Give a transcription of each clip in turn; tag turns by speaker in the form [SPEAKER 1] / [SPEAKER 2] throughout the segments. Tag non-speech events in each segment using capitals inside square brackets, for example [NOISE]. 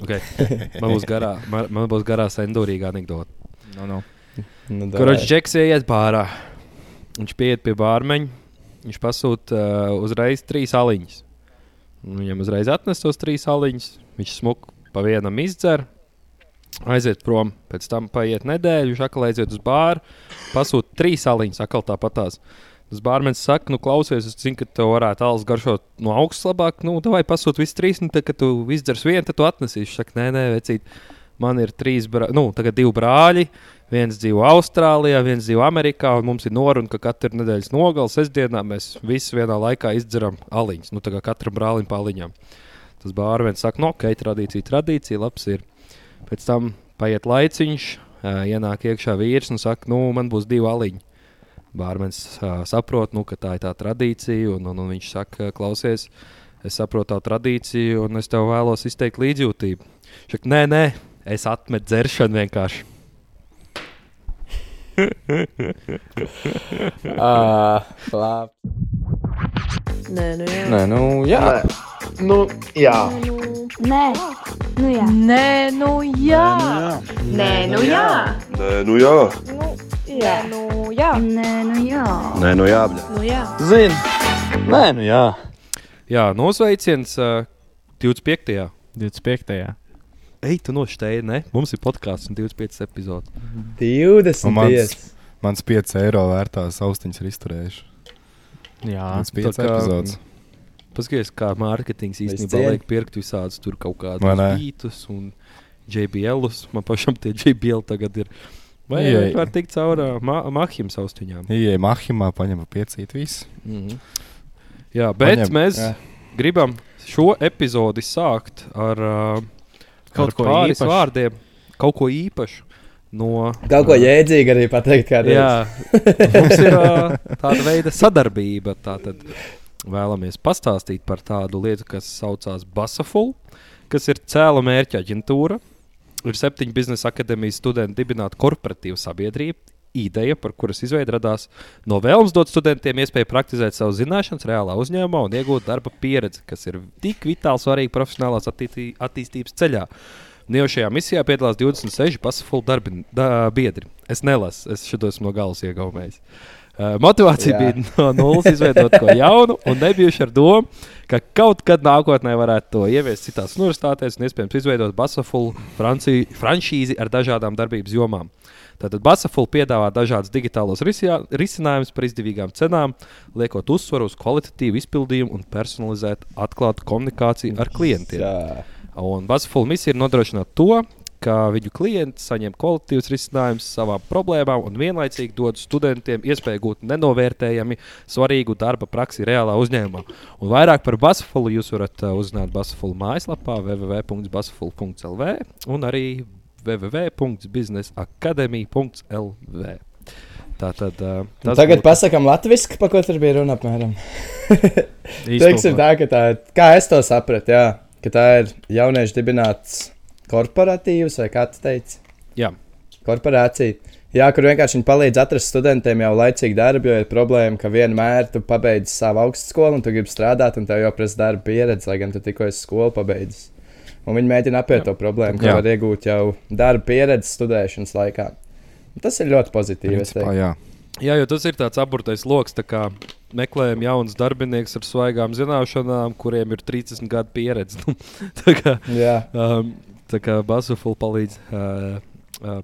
[SPEAKER 1] Okay. Man būs garā, man, man būs garā sendurīga anekdote.
[SPEAKER 2] No, no.
[SPEAKER 3] Nu,
[SPEAKER 1] Kurš džeks ieiet pārā? Viņš pieiet pie bārmeņa, viņš pasūta uh, uzreiz trīs aliņas. Un Viņam uzreiz atnes tos trīs aliņas, viņš smuk pa vienam izdzer. Aiziet prom, pēc tam paiet nedēļa, viņš atkal aiziet uz bāru, pasūta trīs aliņas, atkal tāpatās. Tas bārmenis saka, nu, klausies, es zinu, ka tev varētu alus garšot no augstas labāk. Nu, vai pasūti visas trīs, nu, tad, kad tu izdzers vienu, tad tu atnesīsi. Viņš saka, nē, nē, vecīt, man ir trīs, brā... nu, tagad divi brāļi. Viens dzīvo Austrālijā, viens dzīvo Amerikā, un mums ir noruna, ka katru nedēļas nogalē, sestdienā mēs visi vienā laikā izdzeram aliņus. Nu, tā kā katram brālim pāliņām. Tas bārmenis saka, nu, ok, tradīcija, tradīcija, labs ir. Pēc tam paiet laiciņš, ā, ienāk iekšā vīrs un saka, nu, man būs divi aliņi. Bārmenis ā, saprot, nu, ka tā ir tā tradīcija, un, un, un viņš saka, klausies, es saprotu tā tradīciju, un es tev vēlos izteikt līdzjūtību. Viņš saka, nē, nē, es atmetu dzeršanu vienkārši.
[SPEAKER 3] Ah, labi.
[SPEAKER 4] Nē, nu jā.
[SPEAKER 3] Nē, nu, jā.
[SPEAKER 5] Nu, jā.
[SPEAKER 6] Nē, nu jā.
[SPEAKER 4] Nē, nu jā.
[SPEAKER 7] Nē, nu jā.
[SPEAKER 5] Nē, nu jā.
[SPEAKER 4] Nē, nu jā.
[SPEAKER 6] Nē, nu jā.
[SPEAKER 5] Nē, nu jā.
[SPEAKER 4] Nu jā.
[SPEAKER 3] Zini. Nē, nu, jā.
[SPEAKER 1] Jā, nosveiciens ā, 25.
[SPEAKER 2] 25.
[SPEAKER 1] Ei, tu nošķēri, ne? Mums ir podkāsts un 25 epizodes.
[SPEAKER 3] 20.
[SPEAKER 8] Un mans- Mans 5 eiro vērtās austiņas ir izturējušas.
[SPEAKER 2] Jā,
[SPEAKER 3] Ah,
[SPEAKER 8] Mans
[SPEAKER 1] tā
[SPEAKER 8] 5
[SPEAKER 1] kā-
[SPEAKER 8] epizodes.
[SPEAKER 1] Paskaties, kā mārketings īstenībā
[SPEAKER 3] cieni.
[SPEAKER 1] liek pirkt visādus tur kaut
[SPEAKER 8] Vai
[SPEAKER 1] kādus
[SPEAKER 8] ne?
[SPEAKER 1] beatus un JBLus. Man pašam tie JBL tagad ir. Vai arī
[SPEAKER 8] Ijai.
[SPEAKER 1] var tikt caur ā, ma mahiem saustiņām?
[SPEAKER 8] Iejai mahimā, paņem pa piecīt visu.
[SPEAKER 1] Mhm. Jā, bet
[SPEAKER 8] Paņem,
[SPEAKER 1] mēs
[SPEAKER 8] jā.
[SPEAKER 1] gribam šo epizodi sākt ar ā,
[SPEAKER 2] Kaut
[SPEAKER 1] ar
[SPEAKER 2] ko
[SPEAKER 1] pāris
[SPEAKER 2] īpašu.
[SPEAKER 1] vārdiem, kaut ko īpašu. No,
[SPEAKER 3] Kaut ko
[SPEAKER 1] ā,
[SPEAKER 3] jēdzīgu arī pateikt, kāda
[SPEAKER 1] Jā, mums ir ā, tāda veida sadarbība. Tātad vēlamies pastāstīt par tādu lietu, kas saucās Basaful, kas ir cēla mērķa aģentūra. Ir septiņu biznesa akadēmijas studenti dibināta korporatīva sabiedrība. Ideja, par kuras izveidi radās no vēlmes dot studentiem iespēju praktizēt savu zināšanas reālā uzņēmumā un iegūt darba pieredzi, kas ir tik vitāli svarīga profesionālās attī attīstības ceļā. Un jau šajā misijā piedalās 26 pasaules darbin- da, biedri. Es nelasu, es šādos no galas iegaumēju. Uh, motivācija
[SPEAKER 3] Jā.
[SPEAKER 1] Jā. bija [LAUGHS] no nulles izveidot ko jaunu, un nebijuši ar domu, ka kaut kad nākotnē varētu to ieviest citās universitātēs un iespējams izveidot Basafulu franci- franšīzi ar dažādām darbības jomām. Tātad Basafulu piedāvā dažādas digitālas risinājumus par izdevīgām cenām, liekot uzsvaru uz kvalitatīvu izpildījumu un personalizētu atklātu komunikāciju ar klientiem.
[SPEAKER 3] Jā.
[SPEAKER 1] Un Basafula misija ir nodrošināt to, ka viņu klienti saņem kvalitīvus risinājumus savām problēmām un vienlaicīgi dod studentiem iespēju gūt nenovērtējami svarīgu darba praksi reālā uzņēmumā. Un vairāk par Basafulu jūs varat uh, uzzināt Basafulu mājaslapā www.basafulu.lv un arī www.businessacademy.lv. Tātad uh,
[SPEAKER 3] Tas Nu, Tagad
[SPEAKER 1] būtu-
[SPEAKER 3] pasakām latviešu, pa ko tur bija runa apmēram. Teiksim
[SPEAKER 2] īstenībā.
[SPEAKER 3] tā, ka tā ir, kā es to sapratu, jā, ka tā ir jauniešu dibināts korporatīvs vai kā tu teici?
[SPEAKER 1] Jā.
[SPEAKER 3] Korporācija. Jā, kur vienkārši viņi palīdz atrast studentiem jau laicīgi darbu, jo ir problēma, ka vienmēr tu pabeidz savu augstskolu un tu gribi strādāt, un tev jau prasa darba pieredze, lai gan tu tikko esi skolu pabeidzis. Un viņi mēģina apiet to problēmu, ka
[SPEAKER 8] Jā.
[SPEAKER 3] var iegūt jau darba pieredzi studēšanas laikā. Un Tas ir ļoti pozitīvi. es
[SPEAKER 8] Principā,
[SPEAKER 3] teiktu.
[SPEAKER 8] jā.
[SPEAKER 1] Jā, jo tas ir tāds apgūtais lokus. Tā kā meklējam jaunus darbiniekus ar svaigām zināšanām, kuriem ir 30 gadu pieredze. [LAUGHS] Nu, tā kā,
[SPEAKER 3] jā.
[SPEAKER 1] um, tā kā Basufula palīdz, uh, uh,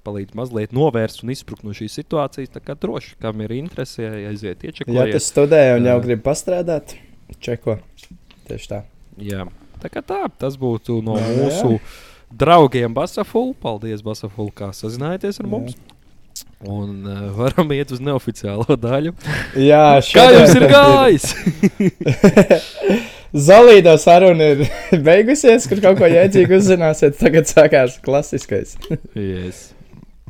[SPEAKER 1] palīdz mazliet novērst un izsprukt no šīs situācijas. Tā kā droši, kam ir interese, ja aiziet
[SPEAKER 3] Ja tu
[SPEAKER 1] iečakojies.
[SPEAKER 3] studē un jau
[SPEAKER 1] Jā.
[SPEAKER 3] gribi pastrādāt, čeko. Tieši tā.
[SPEAKER 1] Jā, tā kā tā, tas būtu no
[SPEAKER 3] Jā, jā.
[SPEAKER 1] mūsu draugiem Basufula. Paldies, Basufula, kā sazinājāties ar
[SPEAKER 3] Jā.
[SPEAKER 1] mums. Un uh, varam iet uz neoficiālo daļu.
[SPEAKER 3] Jā,
[SPEAKER 1] Kā
[SPEAKER 3] šodien
[SPEAKER 1] jums ir
[SPEAKER 3] tad [LAUGHS]
[SPEAKER 1] gājis?
[SPEAKER 3] Zalīda saruna ir [LAUGHS] beigusies, kur kaut ko jēdzīgu uzzināsiet. Tagad sākās klasiskais.
[SPEAKER 1] yes.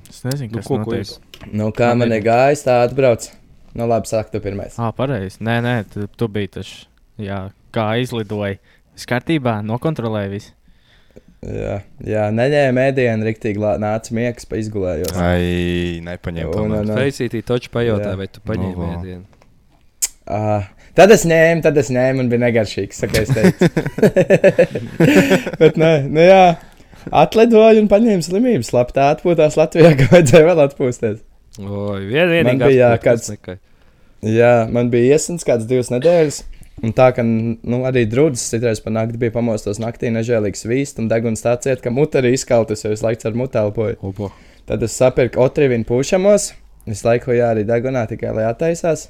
[SPEAKER 2] Es nezinu,
[SPEAKER 1] Nu,
[SPEAKER 2] kas
[SPEAKER 1] ko,
[SPEAKER 2] nu,
[SPEAKER 1] ko
[SPEAKER 2] notiek.
[SPEAKER 1] jūs?
[SPEAKER 3] Nu, kā man ir gājis, tā atbrauc. Nu, labi, sāk tu pirmais.
[SPEAKER 2] Ah, pareizi. Nē, nē, tu, tu biji tas. Jā, kā aizlidoja. Es kārtībā nokontrolēju visu.
[SPEAKER 3] Jā, jā neņēma ēdienu, riktīgi lā- nāca miegs, pa izgulējos.
[SPEAKER 8] Ai, nepaņem to.
[SPEAKER 3] Un,
[SPEAKER 8] man.
[SPEAKER 3] un, un,
[SPEAKER 1] Feisītī taču pajautā,
[SPEAKER 3] Jā.
[SPEAKER 1] vai tu paņēmi
[SPEAKER 8] Nu, vā.
[SPEAKER 1] mēdienu.
[SPEAKER 3] Ah, tad es ņēmu, tad [LAUGHS] es ņēmu un bija negaršīgs. Tā kā es teicu. Bet nē, nu jā. Atlidoju un paņēmu slimību. Slapta atpūtās Latvijā, ka vajadzēja vēl atpūsties.
[SPEAKER 1] Oi, vien,
[SPEAKER 3] Man
[SPEAKER 1] vienīgā
[SPEAKER 3] bija, jā,
[SPEAKER 1] atpūta, kas
[SPEAKER 3] kāds-
[SPEAKER 1] nekai.
[SPEAKER 3] Jā, man bija iesins kāds divas nedēļas. Un tā kā nu, arī drudzis citreiz pa nakti bija pamostos naktī, nežēlīgs vīst un deguns tā ciet, ka mutē arī izkaltas, jo visu laiku ar mutē elpoju.
[SPEAKER 1] Opa.
[SPEAKER 3] Tad es sapirku otrivinu pušamos, visu laiku jā, arī degunā tikai lai attaisās.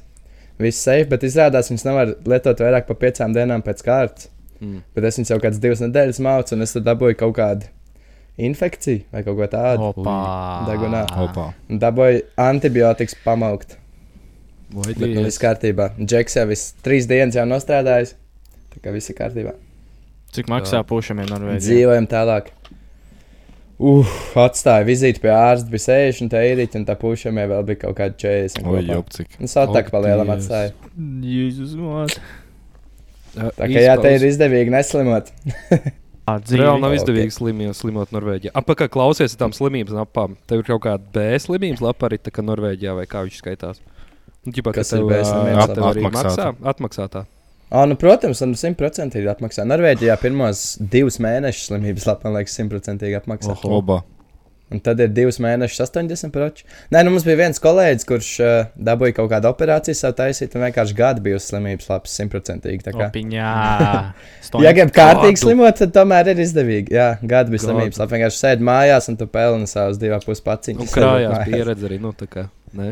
[SPEAKER 3] Viss safe, bet izrādās viņas nevar lietot vairāk par piecām dienām pēc kārtas.
[SPEAKER 1] Mm.
[SPEAKER 3] Mm. Bet es viņas jau kādas divas nedēļas mācu, un es tad dabūju kaut kādu infekciju vai kaut ko tādu.
[SPEAKER 2] Opa.
[SPEAKER 3] Degunā.
[SPEAKER 8] Opā.
[SPEAKER 3] Un Dabūju antibiotikas pamaukt.
[SPEAKER 1] Vai
[SPEAKER 3] Bet nu,
[SPEAKER 1] diez.
[SPEAKER 3] viss kārtībā. Džeks jau viss trīs dienas jau nostrādājis. Tā kā viss ir kārtībā.
[SPEAKER 2] Cik maksā pušamiem Norvēģijā?
[SPEAKER 3] Dzīvojam tālāk. Uf, atstāja vizīti pie ārsta, bija 60 eiro, un tā pušam jau vēl bija kaut kāda 40.
[SPEAKER 8] Oi,
[SPEAKER 3] kopā.
[SPEAKER 8] jopcik.
[SPEAKER 3] Nu, Sātāk
[SPEAKER 1] Ak,
[SPEAKER 3] palielam
[SPEAKER 1] Dievs.
[SPEAKER 3] atstāja.
[SPEAKER 2] Jēzus, māt.
[SPEAKER 3] Tā kā jā, te ir izdevīgi neslimot.
[SPEAKER 2] Ā,
[SPEAKER 1] Reāli
[SPEAKER 2] dzīvi.
[SPEAKER 1] nav
[SPEAKER 3] Ok.
[SPEAKER 1] izdevīgi slimie, slimot Norvēģijā. Apakā klausies ar tām slimības lapām. Tev ir kaut kāda B slimības lapa arī tā kā Norvēģijā vai kā viņš skaitās. Nu, ģipā,
[SPEAKER 3] Kas ir B slimības
[SPEAKER 8] lapa?
[SPEAKER 1] Atmaksāta.
[SPEAKER 8] Atmaksāta.
[SPEAKER 1] Atmaksāta.
[SPEAKER 3] Ā, nu, protams, un 100% ir apmaksā. Norvēģijā pirmos divus mēnešus slimības lapā, man liekas, 100% apmaksā.
[SPEAKER 1] Oho.
[SPEAKER 8] Opā.
[SPEAKER 3] Un tad ir divas mēnešus, 80 proči. Nē, nu mums bija viens kolēģis, kurš uh, dabūja kaut kādu operāciju sev taisīt, un vienkārši gadu bija uz slimības lapas, simtprocentīgi. tā kā.
[SPEAKER 2] Opiņā.
[SPEAKER 1] [LAUGHS]
[SPEAKER 3] Ja grib kārtīgi
[SPEAKER 1] Gadu.
[SPEAKER 3] slimot, tad tomēr ir izdevīgi. Jā, gada bija
[SPEAKER 1] Gadu.
[SPEAKER 3] slimības. Labi, vienkārši sēdi mājās un tu pelni savus divus pusi paciņas.
[SPEAKER 1] Un Nu, krājās pieredze arī. Nu, tā kā, ne?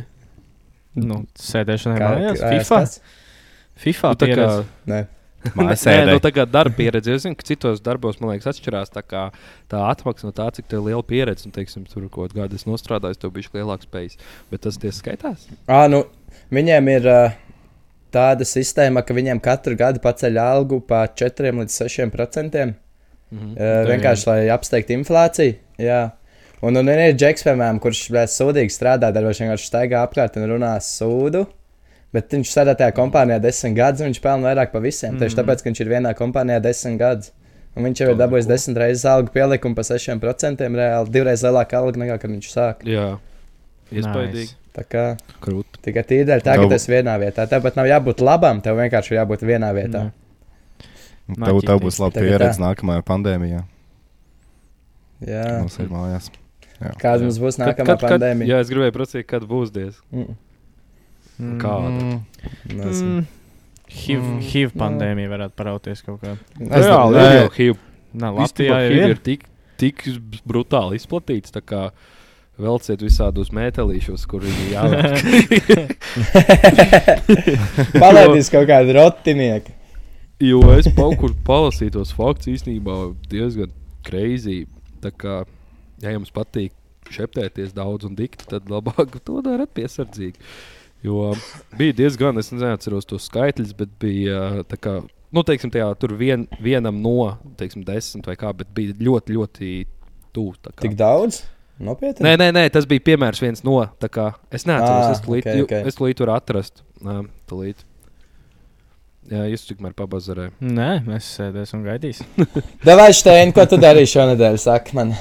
[SPEAKER 2] Nu, sēdēšanai
[SPEAKER 3] Kā-
[SPEAKER 2] mājās.
[SPEAKER 3] krājās
[SPEAKER 2] FIFA.
[SPEAKER 3] kas?
[SPEAKER 2] FIFA.
[SPEAKER 1] nu, tā kā,
[SPEAKER 2] pieredze.
[SPEAKER 3] Nē.
[SPEAKER 1] Nē, nu, tā kā darba pieredze. Es zinu, ka citos darbos, man liekas, atšķirās tā, kā, tā atmaksa no tā, cik tev ir liela pieredze. Un, teiksim, tur kaut kādā gadījumā strādājis, tev bija lielāks spējas. Bet tas tieši skaitās.
[SPEAKER 3] Ā, nu, viņiem ir uh, tāda sistēma, ka viņiem katru gadu paceļ algu pa 4 līdz 6 procentiem.
[SPEAKER 1] Mhm.
[SPEAKER 3] Uh, vienkārši, lai apsteigtu inflāciju. Jā. Un, un ir Džeks, piemēram, kurš vēl sūdīgi strādā, darbā vienkārši staigā apkārt un runā sūdu. Bet viņš strādā tajā kompānijā desmit gadus, un viņš pelna vairāk par visiem. Mm. Tieši tāpēc, ka viņš ir vienā kompānijā desmit gadus. Un viņš jau ir dabūjis desmit reizes algu pielikumu par 6%, reāli divreiz lielāku algu nekā kad viņš sāka.
[SPEAKER 1] Jā, iespaidīgi.
[SPEAKER 3] Tā kā
[SPEAKER 1] Nice. Krūti.
[SPEAKER 3] tikai tīdēļ, tā ka
[SPEAKER 8] Tev-
[SPEAKER 3] tas vienā vietā. Tāpat nav jābūt labam, tev vienkārši ir jābūt vienā vietā.
[SPEAKER 1] Mm.
[SPEAKER 2] Nē.
[SPEAKER 8] Tev, tev būs laba
[SPEAKER 3] Tagad
[SPEAKER 8] pieredze
[SPEAKER 3] tā.
[SPEAKER 8] nākamajā pandēmijā.
[SPEAKER 3] Mm. Jā,
[SPEAKER 8] Mums ir mājās.
[SPEAKER 3] kāda mums būs nākamā
[SPEAKER 1] kad, kad,
[SPEAKER 3] pandēmija?
[SPEAKER 1] jā, es gribēju prasīt, kad būs diez.
[SPEAKER 8] [LAUGHS]
[SPEAKER 3] Mm.
[SPEAKER 2] Mm.
[SPEAKER 1] Kāda?
[SPEAKER 3] Nezinu.
[SPEAKER 2] Mm. HIV,
[SPEAKER 8] Mm.
[SPEAKER 2] HIV pandēmija varētu parauties kaut kā.
[SPEAKER 3] Es-
[SPEAKER 1] Reāli,
[SPEAKER 8] nē.
[SPEAKER 1] ir jau HIV.
[SPEAKER 2] Nā,
[SPEAKER 1] Latvijā
[SPEAKER 2] Latvijā jau
[SPEAKER 1] HIV
[SPEAKER 2] ir.
[SPEAKER 1] ir tik, tik z- brutāli izplatīts. tā kā Velciet visādos mētelīšos, kur viņi jāvērt. [LAUGHS]
[SPEAKER 3] Palaidīs kaut kādu rotinieki.
[SPEAKER 1] jo es kaut
[SPEAKER 3] [LAUGHS]
[SPEAKER 1] kur palasīju tos faktus īstenībā diezgan kreizī. Tā kā, ja jums patīk šeptēties daudz un dikti, tad labāk to darāt piesardzīgi. Jo bija diezgan, es neatceros tos skaitļus, bet bija tā kā, nu, teiksim, tajā tur vien, vienam no, teiksim, desmit vai kā, bet bija ļoti, ļoti tuvu. tā kā.
[SPEAKER 3] Tik daudz? Nopietni.
[SPEAKER 1] Nē, nē, nē, tas bija piemērs viens no. tā kā Es
[SPEAKER 3] Ā,
[SPEAKER 1] neatceros, ah,
[SPEAKER 3] ok,
[SPEAKER 1] es
[SPEAKER 3] ok.
[SPEAKER 1] okay, okay. tur atrast. Nā, tūlīt. Jā, jūs tikmēr pabazarē.
[SPEAKER 2] Nē, mēs sēdēsim un gaidīsim.
[SPEAKER 3] Davai, Štein, ko tu darīsi šonadēļ? Saki man,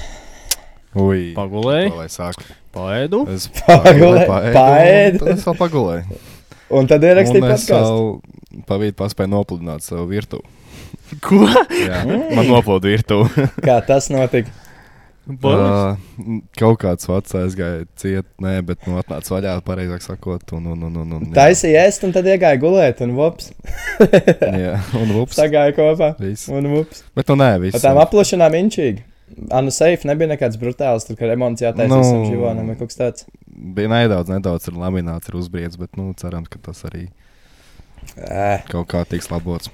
[SPEAKER 8] Ui.
[SPEAKER 2] Pagulēju,
[SPEAKER 8] to lai sāku.
[SPEAKER 2] paēdu.
[SPEAKER 3] [LAUGHS]
[SPEAKER 8] Es
[SPEAKER 3] Pagulē-
[SPEAKER 8] pagulēju, paēdu,
[SPEAKER 3] paēdi.
[SPEAKER 8] un tad Es vēl pagulēju.
[SPEAKER 3] un tad ierakstīji
[SPEAKER 8] Un es
[SPEAKER 3] podkāstu.
[SPEAKER 8] vēl pavīdu paspēju nopludināt savu virtuvi.
[SPEAKER 2] Ko?
[SPEAKER 8] Jā,
[SPEAKER 3] Mm.
[SPEAKER 8] man noplūda virtuvi.
[SPEAKER 3] Kā tas notika?
[SPEAKER 2] Boris?
[SPEAKER 8] Ā, Kaut kāds vecs aizgāja ciet, nē, bet nu atnāca vaļā, pareizāk sakot, un, un, un, un, un jā.
[SPEAKER 3] Taisīja ēst, un tad iegāja gulēt, un vops.
[SPEAKER 8] Jā, un ups.
[SPEAKER 3] Sagāja kopā.
[SPEAKER 8] Viss.
[SPEAKER 3] Un vops.
[SPEAKER 8] Bet nu nē, viss.
[SPEAKER 3] Ar tām aplošanām inčīgi. Anu safe nebija nekāds brutāls, tur, kad remonts jātaisa
[SPEAKER 8] Nu.
[SPEAKER 3] no. visam živonam vai kaut kas tāds.
[SPEAKER 8] Bija nedaudz, nedaudz ir lamināts, ir uzbriedis, bet nu cerams, ka tas arī
[SPEAKER 3] Ē,
[SPEAKER 8] kaut kā tiks labots.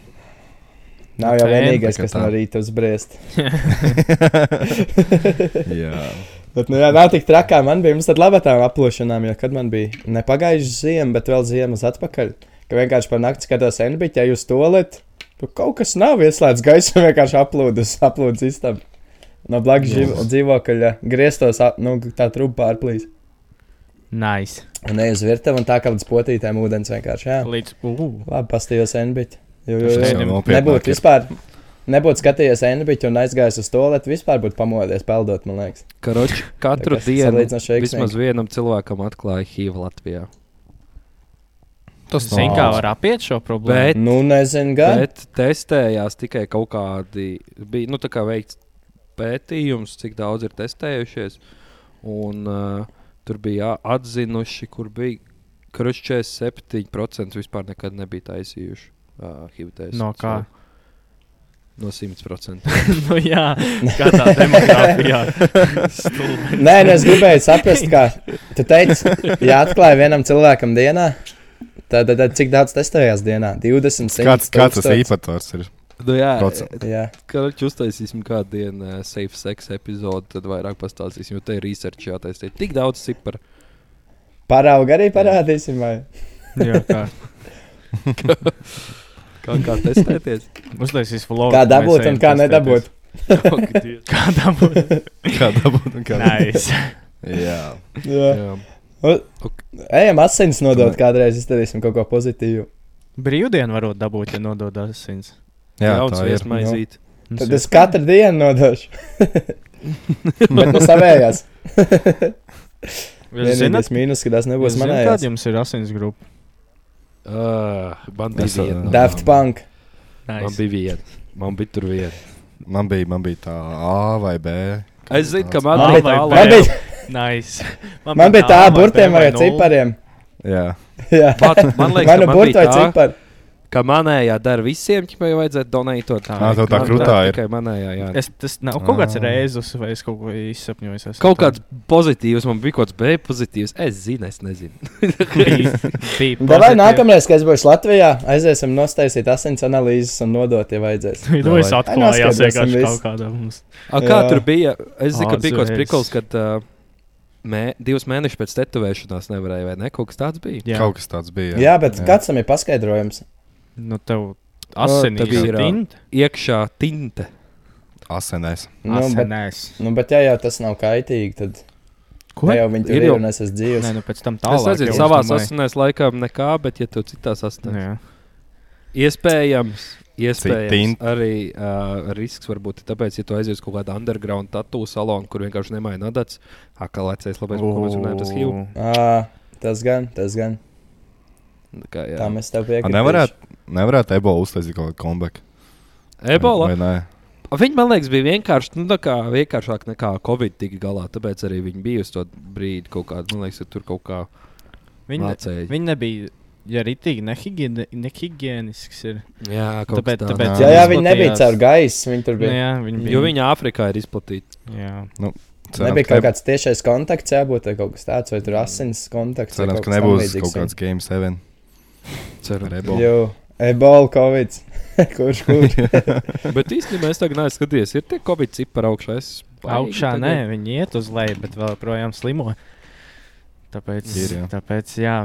[SPEAKER 8] [LAUGHS]
[SPEAKER 3] nav jau
[SPEAKER 2] Tā,
[SPEAKER 3] vienīgais,
[SPEAKER 8] tā kā
[SPEAKER 3] kas
[SPEAKER 8] tā.
[SPEAKER 3] no rīta uzbriest.
[SPEAKER 8] [LAUGHS] Jā.
[SPEAKER 3] Bet, nu, jā, [LAUGHS] nav tik trakā. Man bija tāda laba tā aplošanām, jo kad man bija ne pagājuši ziema, bet vēl ziemas atpakaļ, ka vienkārši par nakti skatos NBC, ja jūs to lietat, tur kaut kas nav ieslēgts gaisa un [LAUGHS] vienkārši aplūdes, aplūdes istabu. No blakus
[SPEAKER 8] Jā.
[SPEAKER 3] dzīvo- dzīvokļa griestos, ap- nu, tā trupa pārplīs.
[SPEAKER 2] Nice.
[SPEAKER 3] Un ne uz virtuvi, un tā kā līdz potītēm ūdens vienkārši. Jā.
[SPEAKER 2] Līdz. ū.
[SPEAKER 3] Labi, pastījos NBC. Jo, jo,
[SPEAKER 8] Tas
[SPEAKER 3] jo.
[SPEAKER 8] jau nopietnāk
[SPEAKER 3] Nebūtu
[SPEAKER 8] ir.
[SPEAKER 3] vispār. Nebūtu skatījies NBC un aizgājis uz to lietu, vispār būtu pamodies, peldot, man liekas.
[SPEAKER 1] Karoči, katru
[SPEAKER 3] kas
[SPEAKER 1] dienu
[SPEAKER 3] salīdzinoši
[SPEAKER 1] vismaz vienam cilvēkam atklāja HIV Latvijā.
[SPEAKER 8] Tas
[SPEAKER 2] Zini, kā var apiet šo problēmu?
[SPEAKER 1] Bet,
[SPEAKER 3] Nu, nezinu, gan.
[SPEAKER 1] bet testējās tikai kaut kādi, bija nu, tā kā veikts pētījums, cik daudz ir testējušies. Un, uh, tur bija jā, atzinuši, kur bija krusts 47% vispār nekad nebija taisījuši uh, HIV testu.
[SPEAKER 2] No kā?
[SPEAKER 1] No 100%.
[SPEAKER 2] [LAUGHS] nu, jā, kā tā
[SPEAKER 8] [LAUGHS]
[SPEAKER 2] demogrāfijā. Stulbi.
[SPEAKER 3] Nē, nu es gribēju saprast, kā tu teici, ja atklāja vienam cilvēkam dienā, tad, tad, tad cik daudz testējās dienā? 20, 100,
[SPEAKER 8] Kāds, kāds tas
[SPEAKER 3] 1000?
[SPEAKER 8] īpatnēs ir?
[SPEAKER 1] [LAUGHS] nu, jā,
[SPEAKER 8] Procent.
[SPEAKER 3] Jā,
[SPEAKER 1] kad uztaisīsim kādu dienu uh, safe sex epizodi, tad vairāk pastāstīsim, jo te ir research jātaisa. Tik daudz cipara.
[SPEAKER 3] parauga arī parādīsim. Vai?
[SPEAKER 2] Jā, kā.
[SPEAKER 1] Kā, kā [LAUGHS] testēties?
[SPEAKER 2] Uztaisīs vlogu.
[SPEAKER 3] Kā dabūt un kā nedabūt.
[SPEAKER 2] Kā
[SPEAKER 8] [LAUGHS]
[SPEAKER 2] dabūt?
[SPEAKER 8] Kā dabūt un kā
[SPEAKER 2] Nice.
[SPEAKER 8] Jā.
[SPEAKER 3] Jā.
[SPEAKER 8] Jā.
[SPEAKER 3] Ejam, asins nodot kādreiz, izdarīsim kaut ko pozitīvu.
[SPEAKER 2] Brīvdienu varot dabūt, ja nododās asins. Nu,
[SPEAKER 8] Jā,
[SPEAKER 1] Jauns
[SPEAKER 8] tā ir.
[SPEAKER 1] viesmaizīt.
[SPEAKER 3] Tad es katru dienu
[SPEAKER 1] [LAUGHS]
[SPEAKER 3] nodošu. Bet no savējās.
[SPEAKER 2] Jūs
[SPEAKER 3] Vienīgais
[SPEAKER 2] zināt,
[SPEAKER 3] mīnus, ka tas
[SPEAKER 2] jūs
[SPEAKER 3] nebūs
[SPEAKER 2] zināt,
[SPEAKER 3] manējās.
[SPEAKER 2] kāda jums ir asins grupa?
[SPEAKER 1] Ah, Man bija
[SPEAKER 8] Es, uh,
[SPEAKER 1] viena.
[SPEAKER 3] Daft Punk.
[SPEAKER 1] Man
[SPEAKER 2] Nice.
[SPEAKER 1] bija viena. Man bija tur viena.
[SPEAKER 8] Man bija, man bija tā A vai B.
[SPEAKER 1] Es zinu, ka man
[SPEAKER 2] Ah,
[SPEAKER 1] bija
[SPEAKER 2] vai
[SPEAKER 1] tā
[SPEAKER 3] Man
[SPEAKER 2] vēl.
[SPEAKER 1] līnija.
[SPEAKER 3] bija,
[SPEAKER 2] nice.
[SPEAKER 3] man bija tā,
[SPEAKER 2] A vai
[SPEAKER 3] burtiem
[SPEAKER 2] B vai
[SPEAKER 3] vai
[SPEAKER 2] nulle.
[SPEAKER 3] cipariem. [LAUGHS]
[SPEAKER 8] Jā.
[SPEAKER 3] Jā,
[SPEAKER 1] nu- Man
[SPEAKER 3] [LAUGHS] vai
[SPEAKER 1] liekas,
[SPEAKER 3] nu
[SPEAKER 1] ka man
[SPEAKER 3] burti
[SPEAKER 1] bija
[SPEAKER 3] vai
[SPEAKER 1] tā,
[SPEAKER 3] cipari.
[SPEAKER 1] ka manējā dara visiem, ķipai vajadzētu donētot.
[SPEAKER 8] Ā, tev tā
[SPEAKER 1] Man
[SPEAKER 8] krutā
[SPEAKER 1] dara
[SPEAKER 8] ir.
[SPEAKER 1] Tikai manējā, jā.
[SPEAKER 2] Es, tas nav kaut kāds
[SPEAKER 8] Ah.
[SPEAKER 2] reizes, vai es kaut ko izsapņoju. esmu.
[SPEAKER 1] Kaut kāds pozitīvs, man bija kaut kāds B pozitīvs. Es zinu, es nezinu.
[SPEAKER 2] [LAUGHS] bija. bija
[SPEAKER 3] Davai
[SPEAKER 2] pozitīvi.
[SPEAKER 3] nākamreiz, kad es būšu Latvijā, aiziesim nostaisīt asins analīzes un nodot, ja vajadzēs.
[SPEAKER 1] [LAUGHS]
[SPEAKER 2] Nu, es
[SPEAKER 8] Davai.
[SPEAKER 2] atklāju,
[SPEAKER 3] Ai, noskaidrosim
[SPEAKER 2] vienkārši
[SPEAKER 3] visu.
[SPEAKER 2] kaut kādā mums.
[SPEAKER 1] A, kā
[SPEAKER 3] Jā.
[SPEAKER 1] tur bija? Es zinu, ka bija kaut kāds
[SPEAKER 2] Ārzemēs.
[SPEAKER 1] priklis, kad uh, mē, divus mēnešus pēc tetovēšanās nevarēja, vai ne? Kaut kas tāds bija.
[SPEAKER 8] Jā.
[SPEAKER 2] Jā,
[SPEAKER 8] Kaut kas tāds bija.
[SPEAKER 3] Jā, bet kāds tam ir paskaidrojums?
[SPEAKER 2] nu tev asinīs.
[SPEAKER 1] tā bija, jā. Iekšā tinte.
[SPEAKER 8] Asenēs.
[SPEAKER 3] Nu, bet,
[SPEAKER 2] Asinēs.
[SPEAKER 3] nu, bet ja jau tas nav kaitīgi, tad
[SPEAKER 2] Ko?
[SPEAKER 3] ne jau viņi
[SPEAKER 1] Ir
[SPEAKER 3] tur ir
[SPEAKER 1] jau-
[SPEAKER 3] un es esmu
[SPEAKER 2] Nē,
[SPEAKER 3] dzīves.
[SPEAKER 2] nu pēc tam
[SPEAKER 1] Es
[SPEAKER 2] tālāk.
[SPEAKER 1] nezinu,
[SPEAKER 2] jau,
[SPEAKER 1] savā
[SPEAKER 2] es domāju.
[SPEAKER 1] sasinājumā laikam nekā, bet ja tu citā sasinājumā.
[SPEAKER 2] Jā.
[SPEAKER 1] Iespējams, iespējams
[SPEAKER 8] Citinti.
[SPEAKER 1] arī uh, risks var būt tāpēc, ja tu aizies kaut kādā underground tattoo salonā, kur vienkārši nemaina adats. Akā lecēs, labi, ko mēs runājam, tas HIV.
[SPEAKER 3] Ā, Tas gan, tas gan.
[SPEAKER 1] Tā kā,
[SPEAKER 3] Tā
[SPEAKER 1] jā.
[SPEAKER 3] mēs tev
[SPEAKER 8] A,
[SPEAKER 3] piekrītam.
[SPEAKER 8] Nevarētu, nevarētu ebola uztaisīt kaut kādu kombaku.
[SPEAKER 1] Ebola.
[SPEAKER 8] Vai nē?
[SPEAKER 1] Viņa, man liekas, bija vienkārši, nu, tā kā vienkāršāk nekā Covid tika galā. Tāpēc arī viņi bija uz to brīdi kaut kādā, man liekas, ka tur kaut kā
[SPEAKER 2] Viņa,
[SPEAKER 1] mācēja.
[SPEAKER 2] viņa nebija. Ja rītīgi nehigieni- nehigienisks ir.
[SPEAKER 1] Jā, kaut
[SPEAKER 2] Tāpēc-
[SPEAKER 1] kā tā.
[SPEAKER 3] Jā,
[SPEAKER 2] tāpēc-
[SPEAKER 3] jā,
[SPEAKER 2] Izplatījās.
[SPEAKER 3] viņi nebija caur gaisu, viņi tur
[SPEAKER 2] Nu,
[SPEAKER 3] bija.
[SPEAKER 2] jā, viņa bija.
[SPEAKER 1] Jo viņa Āfrikā ir izplatīta.
[SPEAKER 2] Jā.
[SPEAKER 8] Cerams,
[SPEAKER 3] Nebija
[SPEAKER 8] ka
[SPEAKER 3] kaut
[SPEAKER 8] neb-
[SPEAKER 3] kāds tiešais kontakts, jābūt vai kaut kas tāds, vai tur asins kontakts. vai
[SPEAKER 8] Cerams,
[SPEAKER 3] kaut
[SPEAKER 8] ka
[SPEAKER 3] kas
[SPEAKER 8] nebūs
[SPEAKER 3] tamlīdzīgs
[SPEAKER 8] kaut kāds game 7
[SPEAKER 1] Ceru.
[SPEAKER 8] ar
[SPEAKER 3] viņam.
[SPEAKER 8] ebola.
[SPEAKER 3] Jo, ebola, covid. [LAUGHS] Kurš kur?
[SPEAKER 8] [LAUGHS]
[SPEAKER 1] Bet īstenībā es tagad neesmu skatījies, ir tie Covid cipari augšā. Es baigi
[SPEAKER 2] Augšā
[SPEAKER 1] tagad-
[SPEAKER 2] nē, viņi iet uz leju, bet vēl projām slimo. Tāpēc,
[SPEAKER 8] Ir, jā.
[SPEAKER 2] tāpēc jā,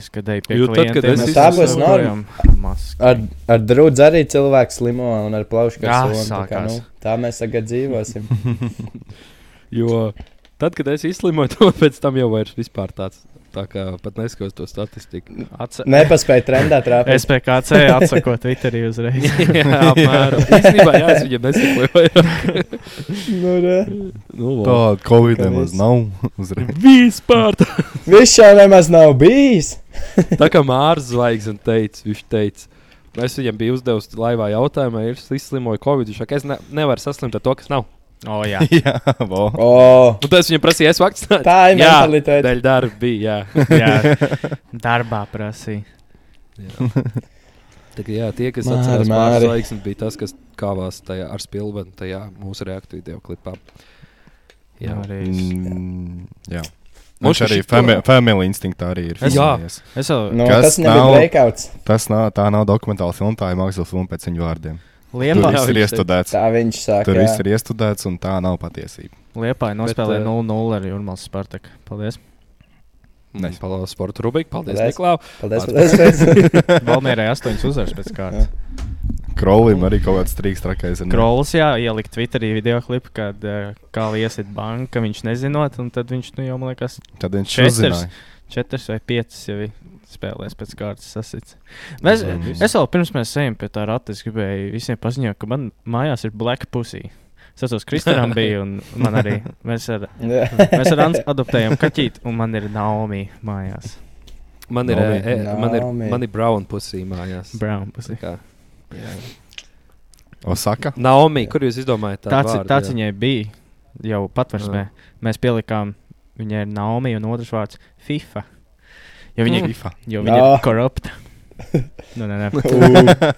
[SPEAKER 2] es kad eju pie
[SPEAKER 1] Jo tad, kad es
[SPEAKER 3] Nu, tā būs norma.
[SPEAKER 2] norma.
[SPEAKER 3] Ar, ar drudzi arī cilvēks slimo un ar plaušu
[SPEAKER 2] Jā,
[SPEAKER 3] kārsoni. Tā, kā, nu,
[SPEAKER 2] sākās.
[SPEAKER 3] tā mēs tagad dzīvosim. [LAUGHS]
[SPEAKER 1] Jo tad, kad es izslimoju, [LAUGHS] to pēc tam jau vairs vispār tāds. Tā kā pat neskatos to
[SPEAKER 2] [LAUGHS]
[SPEAKER 1] statistiku.
[SPEAKER 3] Nepaspēja trendā trāpīt.
[SPEAKER 2] SPKC atsako Twitterī
[SPEAKER 1] [LAUGHS]
[SPEAKER 2] uzreiz.
[SPEAKER 1] jā, apmēram. Īstenībā, jā, es viņam nesakoju vairāk.
[SPEAKER 3] Nu, re.
[SPEAKER 1] nu, lol.
[SPEAKER 8] Tāda Covid
[SPEAKER 3] Kā
[SPEAKER 8] nemaz
[SPEAKER 3] viss. [LAUGHS]
[SPEAKER 8] nav uzreiz.
[SPEAKER 1] Vispār tā.
[SPEAKER 3] Viņš jau nemaz nav bijis.
[SPEAKER 1] tā kā Mārcis Zvaigznes teica, viņš teica. Es viņam biju uzdevis laivā jautājumu, ja es izslimoju Covid. Viņš saka, es ne, nevaru saslimt ar to, kas nav.
[SPEAKER 2] O, jā.
[SPEAKER 8] [LAUGHS] Jā, vo.
[SPEAKER 3] O,
[SPEAKER 1] Un tas viņam prasīja, es vakcinēju.
[SPEAKER 3] tā ir
[SPEAKER 1] jā,
[SPEAKER 3] mentalitāte.
[SPEAKER 1] daļa darba bija. Jā.
[SPEAKER 2] jā, darbā prasīja. [LAUGHS]
[SPEAKER 1] Tā, kā, jā, tie, kas
[SPEAKER 3] Māri,
[SPEAKER 1] atcerās
[SPEAKER 3] Māri.
[SPEAKER 1] Mārcis Zvaigznes, bija tas, kas kāvās tajā ar spilvenu tajā mūsu reaktīvajā video klipā.
[SPEAKER 2] Jā,
[SPEAKER 1] Jā.
[SPEAKER 2] arī. es-
[SPEAKER 8] Mm, Jā.
[SPEAKER 1] Mums
[SPEAKER 8] Mums arī
[SPEAKER 1] šito-
[SPEAKER 8] fami- family instinktā arī ir.
[SPEAKER 1] Jā.
[SPEAKER 8] filmējies.
[SPEAKER 2] Es jau
[SPEAKER 3] Nu,
[SPEAKER 8] Kas
[SPEAKER 3] tas nebija
[SPEAKER 8] nav?
[SPEAKER 3] breakouts.
[SPEAKER 8] Tas nav, tā nav dokumentāla filma, tā ir mākslas filma pēc viņu vārdiem. Tur
[SPEAKER 1] Jā,
[SPEAKER 2] liepā,
[SPEAKER 8] viss ir
[SPEAKER 1] viņš
[SPEAKER 8] iestudēts.
[SPEAKER 3] Tā viņš saka.
[SPEAKER 8] Tur
[SPEAKER 3] jā.
[SPEAKER 8] viss ir iestudēts un tā nav patiesība.
[SPEAKER 2] liepā
[SPEAKER 1] Bet,
[SPEAKER 2] nospēlēja
[SPEAKER 1] eh,
[SPEAKER 2] 0-0 ar Jurmāls Spartaku.
[SPEAKER 8] [LAUGHS]
[SPEAKER 2] Paldies.
[SPEAKER 8] Nice.
[SPEAKER 1] Paldies, Sports Rubiks. Paldies,
[SPEAKER 3] Paldies.
[SPEAKER 1] Niklā.
[SPEAKER 3] Paldies, paldies.
[SPEAKER 2] [LAUGHS]
[SPEAKER 3] paldies. [LAUGHS]
[SPEAKER 2] Valmierai 8 uzvaras
[SPEAKER 8] [LAUGHS]
[SPEAKER 2] pēc kārtas.
[SPEAKER 8] Krolim arī kaut kāds trīks trakais ir.
[SPEAKER 2] Krols jā, ielika Twitterī video klipu, kad eh, kā liesit banka, viņš nezinot, un tad viņš nu, jau, man liekas,
[SPEAKER 8] Tad viņš
[SPEAKER 2] Četers.
[SPEAKER 8] uzzināja.
[SPEAKER 2] četras vai piecas jau ir spēlēs pēc kārtas sasits. Mēs,
[SPEAKER 8] Mm.
[SPEAKER 2] es vēl pirms mēs ejam pie tā rata, es gribēju visiem paziņot, ka man mājās ir black pussy. Es atceros,
[SPEAKER 8] [LAUGHS]
[SPEAKER 2] Kristānam bija un man arī. Mēs ar,
[SPEAKER 3] Jā.
[SPEAKER 2] mēs ar Antu
[SPEAKER 3] [LAUGHS]
[SPEAKER 2] adoptējām kaķīti, un man ir Naomi mājās.
[SPEAKER 1] Man ir,
[SPEAKER 8] Nomi-
[SPEAKER 1] e, e, man ir,
[SPEAKER 3] Nomi.
[SPEAKER 1] man ir brown pusī mājās.
[SPEAKER 2] Brown pussy.
[SPEAKER 1] Tā kā, jā.
[SPEAKER 2] [LAUGHS]
[SPEAKER 8] Osaka.
[SPEAKER 1] Naomi, kur jūs izdomājat tādu
[SPEAKER 2] Tāds,
[SPEAKER 1] vārdu?
[SPEAKER 2] vārdu, tāds
[SPEAKER 1] jā?
[SPEAKER 2] viņai bija jau patvērsmē.
[SPEAKER 1] [LAUGHS]
[SPEAKER 2] Mēs pielikām, viņai ir Naomi un otrs vārds - FIFA. Jo viņa, mm.
[SPEAKER 8] FIFA.
[SPEAKER 2] jo viņa ir
[SPEAKER 3] Nā.
[SPEAKER 2] korupta. [LAUGHS] Nu, nē, nē.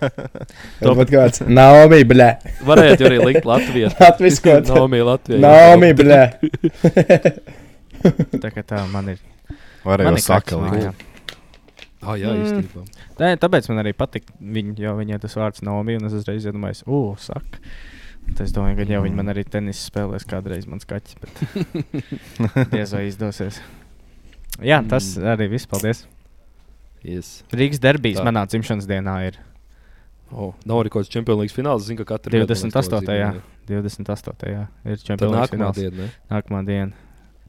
[SPEAKER 3] Tur pat kāds Naomi, blē.
[SPEAKER 1] Varētu arī likt
[SPEAKER 2] [LAUGHS]
[SPEAKER 1] Latvijas.
[SPEAKER 3] Latvijas kods.
[SPEAKER 1] Naomi, Latvija.
[SPEAKER 3] Naomi, blē.
[SPEAKER 1] [LAUGHS]
[SPEAKER 2] Tā kā tā man ir.
[SPEAKER 8] Varēja
[SPEAKER 2] Man ir
[SPEAKER 8] Osaka
[SPEAKER 2] kāds
[SPEAKER 8] likt.
[SPEAKER 2] mājā.
[SPEAKER 1] Oh, jā,
[SPEAKER 2] Mm.
[SPEAKER 1] īstenībā.
[SPEAKER 2] Nē, tāpēc man arī patīk viņa, jo viņai tas vārds Naomi, un es uzreiz iedomājos, o, saka. Tad es domāju, ka jau viņa man arī tenis spēlēs kādreiz, mans kaķis. Bet diez vai izdosies. Jā, tas arī viss. Paldies.
[SPEAKER 1] Yes.
[SPEAKER 2] Rīgas derbijas
[SPEAKER 1] Tā.
[SPEAKER 2] tā. manā dzimšanas dienā ir
[SPEAKER 1] Oh, nav arī kaut kāds čempionu līnijas fināls. Zinu, ka katru
[SPEAKER 2] 28.
[SPEAKER 1] gadu
[SPEAKER 2] 28. ir
[SPEAKER 1] Tā
[SPEAKER 2] čempions
[SPEAKER 1] nākamā
[SPEAKER 2] fināls.
[SPEAKER 1] diena. ne?
[SPEAKER 2] Nākamā diena.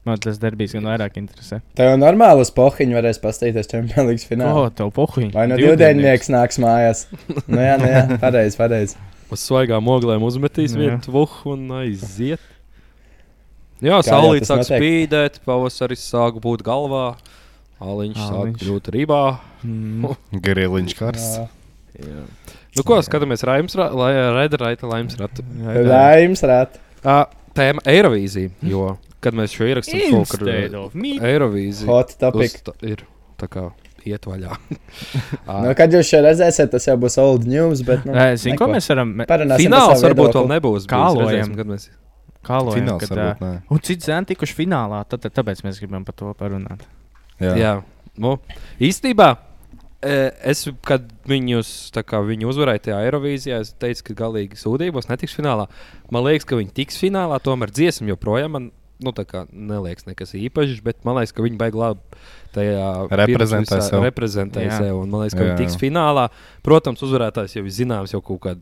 [SPEAKER 2] Man tas derbijas gan vairāk interesē.
[SPEAKER 3] Tev jau normālas pohiņas varēs paskatīties Champions League
[SPEAKER 2] Ko
[SPEAKER 3] finālā.
[SPEAKER 2] tev pohuļi?
[SPEAKER 3] Vai nu divdesmitnieks nāks mājās? Nu jā, nu jā, pareizi, pareizi.
[SPEAKER 1] Uz svaigām oglēm uzmetīs
[SPEAKER 2] Jā.
[SPEAKER 1] vienu tuvu un aiziet. Jā,
[SPEAKER 3] Kā jau
[SPEAKER 1] saulīt
[SPEAKER 3] tas
[SPEAKER 1] sāk
[SPEAKER 3] notiek?
[SPEAKER 1] spīdēt, pavasaris sāk būt galvā, aliņš sāk
[SPEAKER 2] Aliņš.
[SPEAKER 1] kļūt rībā.
[SPEAKER 2] Mm.
[SPEAKER 8] Griliņš karsts.
[SPEAKER 3] Jā.
[SPEAKER 1] Nu, ko skatāmies? Raims, ra, lai redzētu, raita Laims ratu.
[SPEAKER 3] Raims rāt.
[SPEAKER 1] Ā, Tēma Eirovīzija, jo, kad mēs šo ierakstām,
[SPEAKER 2] Instead of me.
[SPEAKER 1] Eirovīzija
[SPEAKER 3] Hot topic.
[SPEAKER 1] uzta- ir tā kā iet
[SPEAKER 3] [LAUGHS]
[SPEAKER 1] vaļā.
[SPEAKER 3] Nu,
[SPEAKER 1] Ā,
[SPEAKER 3] kad jūs šo redzēsiet, tas jau būs old news, bet. Nu,
[SPEAKER 2] Ē, Zini, ko
[SPEAKER 3] neko.
[SPEAKER 2] mēs varam me-
[SPEAKER 3] Parunāsim par
[SPEAKER 1] Fināls
[SPEAKER 3] savu
[SPEAKER 1] varbūt vēl
[SPEAKER 3] viedokli.
[SPEAKER 1] nebūs.
[SPEAKER 2] Kālojam.
[SPEAKER 1] Kālojam, kad mēs
[SPEAKER 2] kalot?
[SPEAKER 8] Fināls varbūt nē.
[SPEAKER 2] Un cits zēns tikuši finālā, tad, tad tāpēc mēs gribam par to parunāt.
[SPEAKER 8] Jā.
[SPEAKER 1] Jā, nu, īstenībā. e, Es, kad viņus, tā kā viņi uzvarēja tajā Eirovīzijā, es teicu, ka galīgi sūdībos netiks finālā. Man liekas, ka viņi tiks finālā, tomēr dziesma joprojām man nu, tā kā neliekas nekas īpašs, bet man liekas, ka viņi beigas labi tajā
[SPEAKER 8] Reprezentē
[SPEAKER 1] pirms visā-
[SPEAKER 8] sev.
[SPEAKER 1] reprezentē
[SPEAKER 2] Jā.
[SPEAKER 1] sev. un Man liekas, ka
[SPEAKER 8] Jā,
[SPEAKER 1] viņi tiks
[SPEAKER 8] jā.
[SPEAKER 1] finālā. Protams, uzvarētājs jau ir zināms jau kaut kādu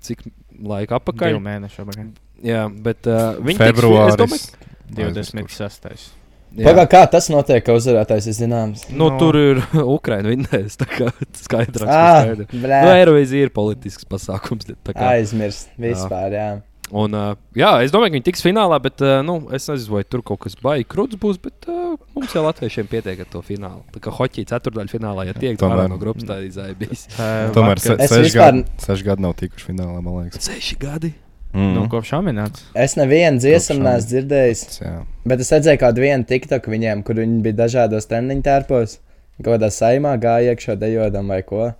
[SPEAKER 1] cik laika
[SPEAKER 2] Divu
[SPEAKER 1] apakaļ.
[SPEAKER 2] mēnešu apakaļ.
[SPEAKER 1] Jā, bet uh, viņi tiks fi- es
[SPEAKER 8] Februāris.
[SPEAKER 1] domāju-
[SPEAKER 8] Aizmirst,
[SPEAKER 2] 26.
[SPEAKER 1] jā.
[SPEAKER 3] Pagā, kā tas notiek, ka uzvarētājs ir zināms?
[SPEAKER 1] Nu,
[SPEAKER 2] No.
[SPEAKER 1] no. Tur ir [LAUGHS] Ukraiņa vinnējas. Tā kā skaidrs,
[SPEAKER 3] Ah,
[SPEAKER 1] ka nu,
[SPEAKER 3] blē.
[SPEAKER 1] Eirovīzija ir politisks pasākums. tā Kā,
[SPEAKER 3] Aizmirst. Vispār, jā.
[SPEAKER 1] un, uh, jā, es domāju, ka viņi tiks finālā, bet uh, nu, es nezinu, vai tur kaut kas baigs krūts būs. Bet uh, mums jau latviešiem pietiek ar to finālu. Tā kā hoķī ceturdaļā finālā, ja tiek tāda
[SPEAKER 8] Tomēr.
[SPEAKER 1] no grupas, tā izaizdīs.
[SPEAKER 8] Nu, Tomēr se,
[SPEAKER 3] Es
[SPEAKER 8] seši,
[SPEAKER 3] vispār-
[SPEAKER 8] vispār... gadi, seši gadi nav tikuši finālā, man liekas.
[SPEAKER 1] Seši gadi.
[SPEAKER 8] Mm.
[SPEAKER 2] Nu, kopš amināts.
[SPEAKER 3] Es nevienu dziesmu
[SPEAKER 8] Kopš
[SPEAKER 3] neesmu dzirdējis.
[SPEAKER 8] Jā.
[SPEAKER 3] Bet es redzēju, kādu vienu tiktoku viņiem, kur viņi bija dažādos treniņu tērpos, kaut kādā saimā gāja iekšā dejojam vai ko.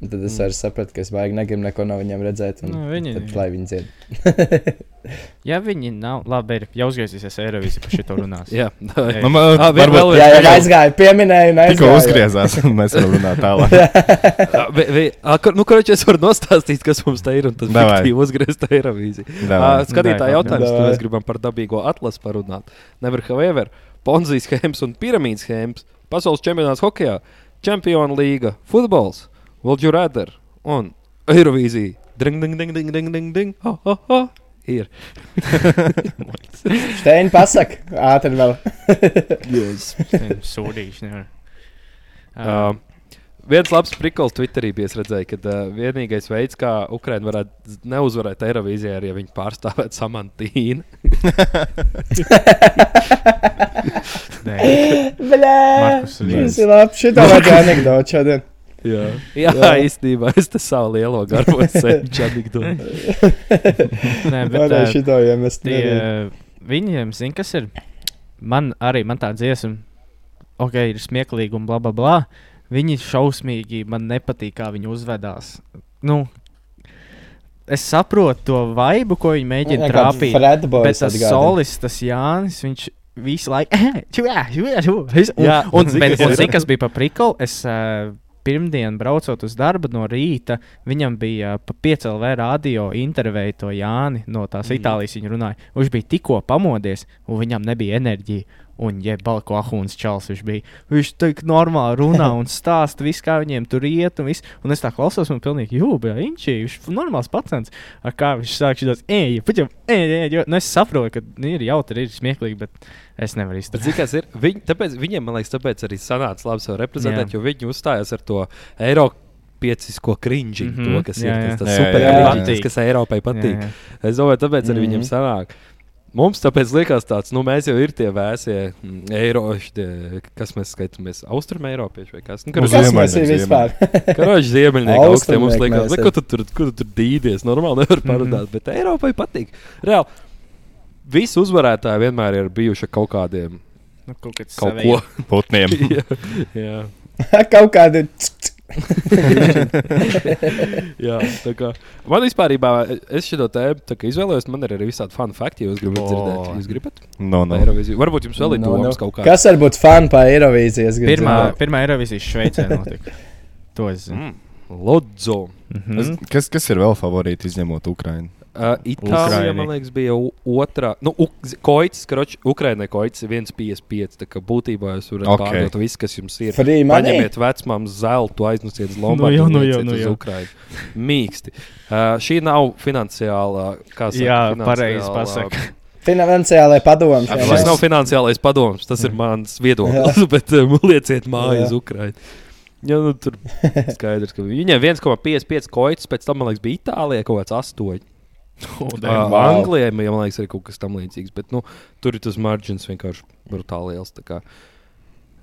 [SPEAKER 3] Un Tad es arī sapratu, ka es baigi negribu neko no viņiem redzēt. Un,
[SPEAKER 2] Mm. Nu, viņi-
[SPEAKER 3] tad, lai viņi dzied.
[SPEAKER 2] Ja viņi nav, labi, ir jau uzgriezīsies Eirovīzija par šito
[SPEAKER 8] [LAUGHS]
[SPEAKER 2] runās.
[SPEAKER 1] Jā,
[SPEAKER 2] Ei.
[SPEAKER 8] Nu,
[SPEAKER 1] Ā,
[SPEAKER 8] man, ah,
[SPEAKER 1] vēl-
[SPEAKER 8] varbūt
[SPEAKER 1] vēl-
[SPEAKER 3] Jā, jā, aizgāju, pieminēju, un
[SPEAKER 8] tikko
[SPEAKER 3] aizgāju.
[SPEAKER 8] uzgriezās, [LAUGHS] un mēs varam runāt tālāk.
[SPEAKER 1] Ā, vi- vi- ā, kur- Nu, kurš es varu nostāstīt, kas mums te ir un tas
[SPEAKER 8] Davai.
[SPEAKER 1] fiktīvi uzgriezt Eirovīziju?
[SPEAKER 8] Davai.
[SPEAKER 1] Ā, Skatītāji
[SPEAKER 2] Davai.
[SPEAKER 1] jautājums,
[SPEAKER 3] Davai.
[SPEAKER 1] tad mēs gribam par dabīgo atlasu parunāt. Never have ever. Ponzi schēmas un piramīdas schēmas, pasaules čempionāts hokeja, čempionu līga, futbols, Would you rather un Eirovīzija. Ding, ding, ding, ding, ding, ding, ding. Ha, ha, ha. Ir.
[SPEAKER 3] Steini, pasak, ātri vēl.
[SPEAKER 8] [LAUGHS]
[SPEAKER 1] Yes.
[SPEAKER 2] Sūdīši nevar. Ah,
[SPEAKER 1] Uh, viens labs priklis Twitterī bija es redzēju, ka uh, vienīgais veids, kā Ukraiņa varētu z- neuzvarēt Eirovīzijā, ir, ja viņi pārstāvētu samantīnu.
[SPEAKER 2] Nē,
[SPEAKER 3] Blē!
[SPEAKER 2] Markus
[SPEAKER 3] Tas
[SPEAKER 2] Rīgas.
[SPEAKER 3] ir labi, šitā vajag anekdoti šodien.
[SPEAKER 1] Jā, [LAUGHS] jā, jā.
[SPEAKER 3] Jā.
[SPEAKER 1] īstenībā es te savu lielo garo [LAUGHS] sēžu anekdoti.
[SPEAKER 2] [LAUGHS] Nē, bet
[SPEAKER 3] Varēju
[SPEAKER 2] ā,
[SPEAKER 3] šitā iemest.
[SPEAKER 2] tie, eh,
[SPEAKER 3] nerīt.
[SPEAKER 2] ā, viņiem, zini, kas ir. Man arī, man tā dziesma, ok, ir smieklīga un bla bla bla. Viņi šausmīgi man nepatīk, kā viņi uzvedās. Nu, es saprotu to vaibu, ko viņi mēģina
[SPEAKER 3] Vienkārši
[SPEAKER 2] trāpīt. Bet
[SPEAKER 3] Fredboys
[SPEAKER 2] tas
[SPEAKER 3] atgādina.
[SPEAKER 2] solis, tas Jānis, viņš visu laiku. [LAUGHS] Jā, jā, jā.
[SPEAKER 1] Jā,
[SPEAKER 2] Un
[SPEAKER 1] zini, kas ir?
[SPEAKER 2] zini, kas bija pa priklu? Es uh, pirmdien braucot uz darbu no rīta, viņam bija uh, pa 5LV radio intervēja to Jāni no tās mm. Itālijas. Viņa runāja, viņš bija tikko pamodies, un viņam nebija enerģija. Un, ja balko ahūns čels viņš bija, viņš tik normāli runā
[SPEAKER 1] [LAUGHS]
[SPEAKER 2] un stāsta visu, kā viņiem tur iet, un, viss. un es tā klausos, un pilnīgi jūbē, inčī, viņš ir normāls pacants. Ar kā viņš sāk šādas, ej, paķem, ej, ej, jo, nu es saprotu, ka nu, ir jautri, ir smieklīgi, bet es nevaru
[SPEAKER 1] Bet,
[SPEAKER 2] izturēt.
[SPEAKER 1] zini, kas ir? Viņ, tāpēc, viņiem, man liekas, tāpēc arī sanāca labi sevi reprezentēt,
[SPEAKER 2] Jā.
[SPEAKER 1] jā. jo viņi uzstājās ar to Eiropas piecisko cringe, mm
[SPEAKER 2] Mhm,
[SPEAKER 1] -hmm. to, kas jā,
[SPEAKER 2] jā, jā.
[SPEAKER 1] ir tas, tas
[SPEAKER 8] Jā,
[SPEAKER 1] super
[SPEAKER 3] jā, jā.
[SPEAKER 1] cringe, kas Eiropai patīk. Jā,
[SPEAKER 2] Jā,
[SPEAKER 1] jā. Es domāju, tāpēc arī mm -hmm. viņiem
[SPEAKER 3] Mhm.
[SPEAKER 1] sanāk. Mums tāpēc liekas, tāds, nu, mēs jau ir tie vēsie mm, eiroši, tie, kas mēs skaitāmies austrumēropieši vai kas Nu,
[SPEAKER 8] Uz
[SPEAKER 1] cits.
[SPEAKER 3] Kas
[SPEAKER 8] Ziemeļiem,
[SPEAKER 3] mēs ir
[SPEAKER 8] ziemeļiem.
[SPEAKER 3] vispār?
[SPEAKER 1] Karoči ziemeļnieki augstiem mums
[SPEAKER 3] Austrumnieki
[SPEAKER 1] liekas,
[SPEAKER 3] mēs
[SPEAKER 1] bet ko tu tur, ko tu tur dīdies? Normāli nevar parunāt, mm -hmm. bet Eiropai patīk. Reāli, visi uzvarētāji vienmēr ir bijuši ar kaut kādiem,
[SPEAKER 2] Nu, kaut kas
[SPEAKER 1] kaut ko.
[SPEAKER 8] [LAUGHS] Putniem.
[SPEAKER 1] [LAUGHS] jā, jā,
[SPEAKER 3] [LAUGHS] Kaut kādi ts- ts-
[SPEAKER 1] jā, tā kā. Man vispār, es šo tēmu tā kā izvēlējos, man ir arī visādi fun fakti, ja jūs gribat
[SPEAKER 2] O.
[SPEAKER 1] dzirdēt. Jūs gribat?
[SPEAKER 8] No, no.
[SPEAKER 2] Nu.
[SPEAKER 1] No. Eiroviziju. Varbūt jums vēl ir
[SPEAKER 3] No,
[SPEAKER 1] domas
[SPEAKER 3] no.
[SPEAKER 1] kaut kāda.
[SPEAKER 3] Nu, Kas var būt fani pa Eirovīzijas gadījumā?
[SPEAKER 2] Pirmā, pirmā Eirovisijas Šveicē notika. To es zinu.
[SPEAKER 1] Mm. Lodzo.
[SPEAKER 2] Mhm.
[SPEAKER 8] Kas,
[SPEAKER 1] Mm.
[SPEAKER 8] kas, kas ir vēl favorīti izņemot Ukrainu?
[SPEAKER 1] Uh, Itālijā,
[SPEAKER 2] Ukraini.
[SPEAKER 1] man liekas, bija o- otrā. Nu, koicis, kroč, Ukrainai koicis ir 1,55. Tā kā būtībā jūs varat
[SPEAKER 8] Ok.
[SPEAKER 1] okay. pārdot visu, kas jums ir.
[SPEAKER 3] Free money.
[SPEAKER 1] Paņemiet vecmām zeltu, aiznesiet uz Lombardiju,
[SPEAKER 2] Nu jā, nu jā, nu
[SPEAKER 1] uz
[SPEAKER 2] jā.
[SPEAKER 1] Ukrainu. Mīksti. Uh, šī nav finansiālā, kā saka,
[SPEAKER 2] Jā,
[SPEAKER 1] finansiālā-
[SPEAKER 2] pareizi pasaka.
[SPEAKER 3] Finansiālai padomi.
[SPEAKER 8] Jā,
[SPEAKER 1] Šis
[SPEAKER 8] jā.
[SPEAKER 1] nav finansiālais padoms, tas ir mans viedoklis. [LAUGHS] Bet um, lieciet māju uz Ukrajinu. Jā, nu, tur skaidrs, ka viņiem 1,55 koits, pēc tam, man liekas, bija Itālijā kaut kāds 8. Uh,
[SPEAKER 3] Wow.
[SPEAKER 1] Anglijai, man liekas, arī kaut kas tam līdzīgs. Bet nu, tur ir tas margins vienkārši brutāli liels. tā kā.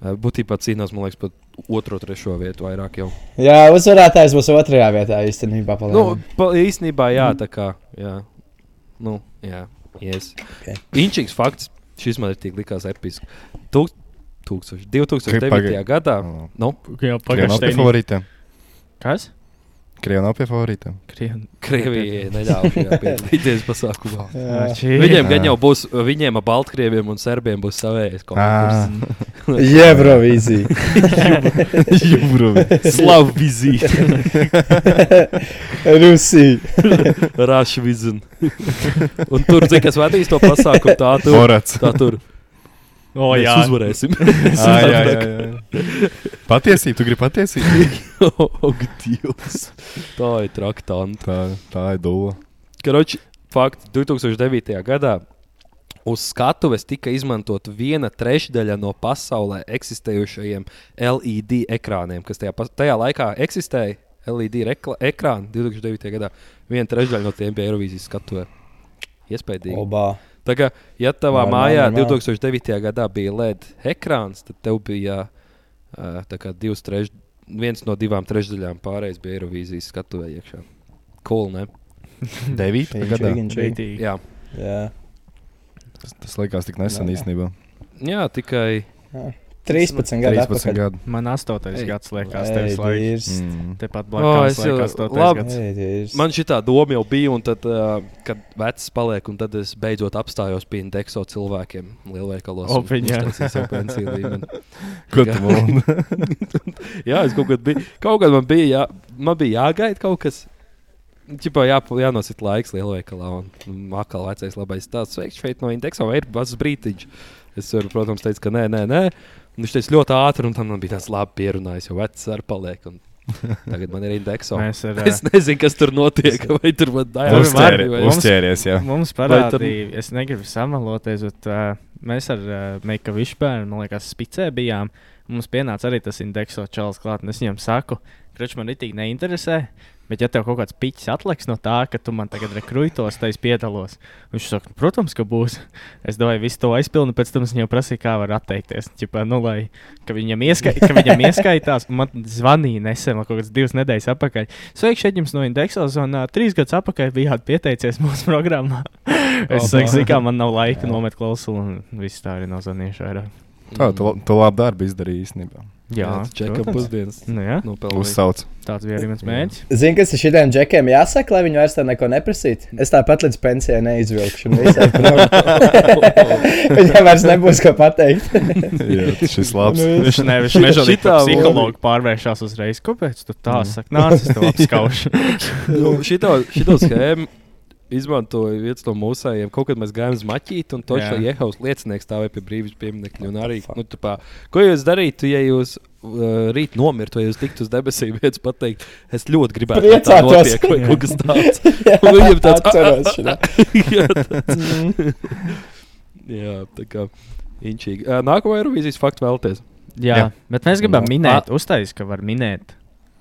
[SPEAKER 1] Uh, Būtībā cīnās, man liekas, pat otro, trešo vietu vairāk jau.
[SPEAKER 3] Jā, uzvarētājs būs otrajā vietā īstenībā.
[SPEAKER 1] Nu,
[SPEAKER 3] palēnām.
[SPEAKER 1] pa, īstenībā, jā, tā kā. Jā, nu, jā. Yes.
[SPEAKER 3] Ok.
[SPEAKER 1] Okay. Inčīgs fakts, šis man ir tik likās episki. Tūk, tūkstoši- 2009.
[SPEAKER 8] Pagaid-
[SPEAKER 1] gadā.
[SPEAKER 8] No.
[SPEAKER 1] Nu,
[SPEAKER 2] Jā,
[SPEAKER 8] Krievija nav pie
[SPEAKER 2] pagaidām.
[SPEAKER 8] favorītiem.
[SPEAKER 2] Kas?
[SPEAKER 8] Krievija nav pie favorītiem.
[SPEAKER 2] Krievija.
[SPEAKER 1] Krievijai neļāva šajā
[SPEAKER 3] [LAUGHS]
[SPEAKER 1] piedalīties pasākumā.
[SPEAKER 3] Jā.
[SPEAKER 1] Viņiem gan jau būs, viņiem ar Baltkrieviem un Serbiem būs savējais
[SPEAKER 3] Ah. [LAUGHS]
[SPEAKER 1] konkurss.
[SPEAKER 8] Ah,
[SPEAKER 1] [LAUGHS]
[SPEAKER 3] Eirovīzija.
[SPEAKER 8] Jumruvi.
[SPEAKER 1] Slavu vizīti,
[SPEAKER 3] Rusija.
[SPEAKER 1] Rāšu
[SPEAKER 3] [LAUGHS]
[SPEAKER 1] vizun. Un tur, cik es vadīju to pasākumu, tā tur.
[SPEAKER 8] Morats.
[SPEAKER 1] Tā tur.
[SPEAKER 2] O,
[SPEAKER 1] Mēs
[SPEAKER 2] jā,
[SPEAKER 1] uzvarēsim. [LAUGHS]
[SPEAKER 8] Ai, jā, jā, jā. Patiesība, tu gribi patiesību?
[SPEAKER 1] [LAUGHS] Ak, Dievs. Tā ir traktanta.
[SPEAKER 8] Tā, tā ir dūla.
[SPEAKER 1] Karoči, fakti 2009. gadā uz skatuves tika izmantota viena trešdaļa no pasaulē eksistējošajiem LED ekrāniem, kas tajā, pas- tajā laikā eksistēja. LED rekla- ekrāni 2009. gadā. Viena trešdaļa no tiem bija Eirovisijas skatuvē. Iespējams.
[SPEAKER 3] Obā.
[SPEAKER 1] Tā kā, ja tavā
[SPEAKER 3] Normāli,
[SPEAKER 1] mājā
[SPEAKER 3] normāli.
[SPEAKER 1] 2009. gadā bija LED ekrāns, tad tev bija uh, tā kā divas treš, viens no divām trešdaļām pārējais bija Eirovisijas skatuvē iekšā. Cool, ne?
[SPEAKER 8] 9.
[SPEAKER 3] Viņš
[SPEAKER 8] gadā.
[SPEAKER 3] viņš viņš.
[SPEAKER 2] Rītīgi.
[SPEAKER 1] Jā.
[SPEAKER 3] Jā.
[SPEAKER 8] Tas, tas liekas tik nesen
[SPEAKER 3] Jā, jā.
[SPEAKER 8] īstenībā.
[SPEAKER 1] Jā, tikai
[SPEAKER 3] 13 gadu.
[SPEAKER 8] 13
[SPEAKER 3] atpakaļ.
[SPEAKER 8] gadu.
[SPEAKER 2] Man astotais
[SPEAKER 1] Ei.
[SPEAKER 2] gads liekas,
[SPEAKER 3] Ei,
[SPEAKER 2] tevis laiks.
[SPEAKER 3] dīrs.
[SPEAKER 8] Mm.
[SPEAKER 2] Tepat
[SPEAKER 1] O,
[SPEAKER 2] blakus
[SPEAKER 1] es jau-
[SPEAKER 2] tam astotais
[SPEAKER 1] labi.
[SPEAKER 2] gads.
[SPEAKER 3] Ei, dīrs.
[SPEAKER 1] man šī tā doma jau bija, un tad, uh, kad vecs paliek, un tad es beidzot apstājos pie indekso cilvēkiem lielveikalos. un
[SPEAKER 2] Opiņā.
[SPEAKER 1] uztaisīju savu pensiju līmeni.
[SPEAKER 8] [LAUGHS] Ko tu mūni?
[SPEAKER 1] [LAUGHS] jā, es kaut kad biju, kaut kad man bija, jā, man bija jāgaida kaut kas. Čipā jā, jānosit laiks lielveikalā, un atkal vecais labais tāds sveiks šeit no indeksa, vai ir mazs brītiņš. Es, varu, protams, teicu, ka nē, nē, nē. Un Viņš teica ļoti ātri, un tam man bija tāds labi pierunājis, jo vecs ar paliek.
[SPEAKER 8] [LAUGHS]
[SPEAKER 1] un Tagad man ir indeksa.
[SPEAKER 2] Mēs
[SPEAKER 1] [LAUGHS]
[SPEAKER 2] ar, eh,
[SPEAKER 1] Es nezinu, kas tur notiek. Vai tur man tā jāsaka,
[SPEAKER 2] Mums
[SPEAKER 8] Uzķēri-
[SPEAKER 1] vai-
[SPEAKER 2] mums-
[SPEAKER 8] Uzķēries, jā.
[SPEAKER 2] Mums
[SPEAKER 1] Vai tad-
[SPEAKER 2] parādīja, es negribu samaloties, bet uh, mēs ar uh, Meika Višbērnu, man liekas, spicē bijām. Mums pienāca arī tas indekso čels klāt, un es viņam saku, kreču man itī neinteresē. Bet, ja tev kaut kāds pičs atliks no tā, ka tu man tagad rekrūtos, tad es piedalos. Viņš saka, protams, ka būs. [LAUGHS] Es domāju, visu to aizpildu, pēc tam es viņam prasīju, kā var atteikties. Čipa, nu, lai, ka, viņam ieskai, ka viņam ieskaitās, un man zvanīja nesen, vēl kaut kāds divas nedēļas atpakaļ. Sveiki, šeit jums no Indexas, un uh, trīs gadus atpakaļ bijāt pieteicies [LAUGHS] mūsu programmā. es
[SPEAKER 3] Opa.
[SPEAKER 2] saku, kā man nav laika nomet klausulu, un viss tā arī nav zvanījuši vairāk.
[SPEAKER 8] Tā, tu, la- tu labu darbu izdarīji īstenībā.
[SPEAKER 2] Jā,
[SPEAKER 1] čeka
[SPEAKER 2] protams.
[SPEAKER 1] pusdienas.
[SPEAKER 2] Nu, jā.
[SPEAKER 1] Nopelnījis.
[SPEAKER 8] Uzsauc.
[SPEAKER 2] Tāds bija arī mans mērķis.
[SPEAKER 3] Zini, kas ir šitiem džekiem jāsaka, lai viņi vairs tā neko neprasītu? Es tāpat līdz pensijai neizvilkšu. un visai [LAUGHS] prom. Viņam vairs nebūs ko pateikt.
[SPEAKER 8] Jā, [LAUGHS] šis labs.
[SPEAKER 2] Viņš nevis mežonīgi par psihologu pārvēršās uzreiz. Kāpēc tu tā saki? Nāc, es tev apskaušu.
[SPEAKER 1] Nu, šito, šito schēmu izmantoja viens no mūsējiem. Kaut kad mēs gājām uz maķīti, un točs
[SPEAKER 2] Jā.
[SPEAKER 1] Jehovas liecinieks stāvēja pie brīvības pieminekļa. un Arī, nu, tāpā, ko jūs darītu, ja jūs uh, rīt nomirtu, ja jūs tiktu uz debesīm? [LAUGHS] Viens pateikt, es ļoti gribētu, lai tā
[SPEAKER 3] Priecātos.
[SPEAKER 1] notiek, vai
[SPEAKER 2] Jā.
[SPEAKER 1] kaut kas tāds.
[SPEAKER 2] [LAUGHS]
[SPEAKER 1] [LAUGHS]
[SPEAKER 3] Jā,
[SPEAKER 1] Un Viņam tāds
[SPEAKER 3] atceros šitā.
[SPEAKER 1] Jā, tāds. [LAUGHS] Jā, tā kā inčīgi. Uh, Nākamā Eirovīzijas faktu vēlties.
[SPEAKER 2] Jā, jā,
[SPEAKER 8] Jā.
[SPEAKER 2] bet mēs gribam
[SPEAKER 8] Nu,
[SPEAKER 2] minēt, uztaisīt, ka var minēt.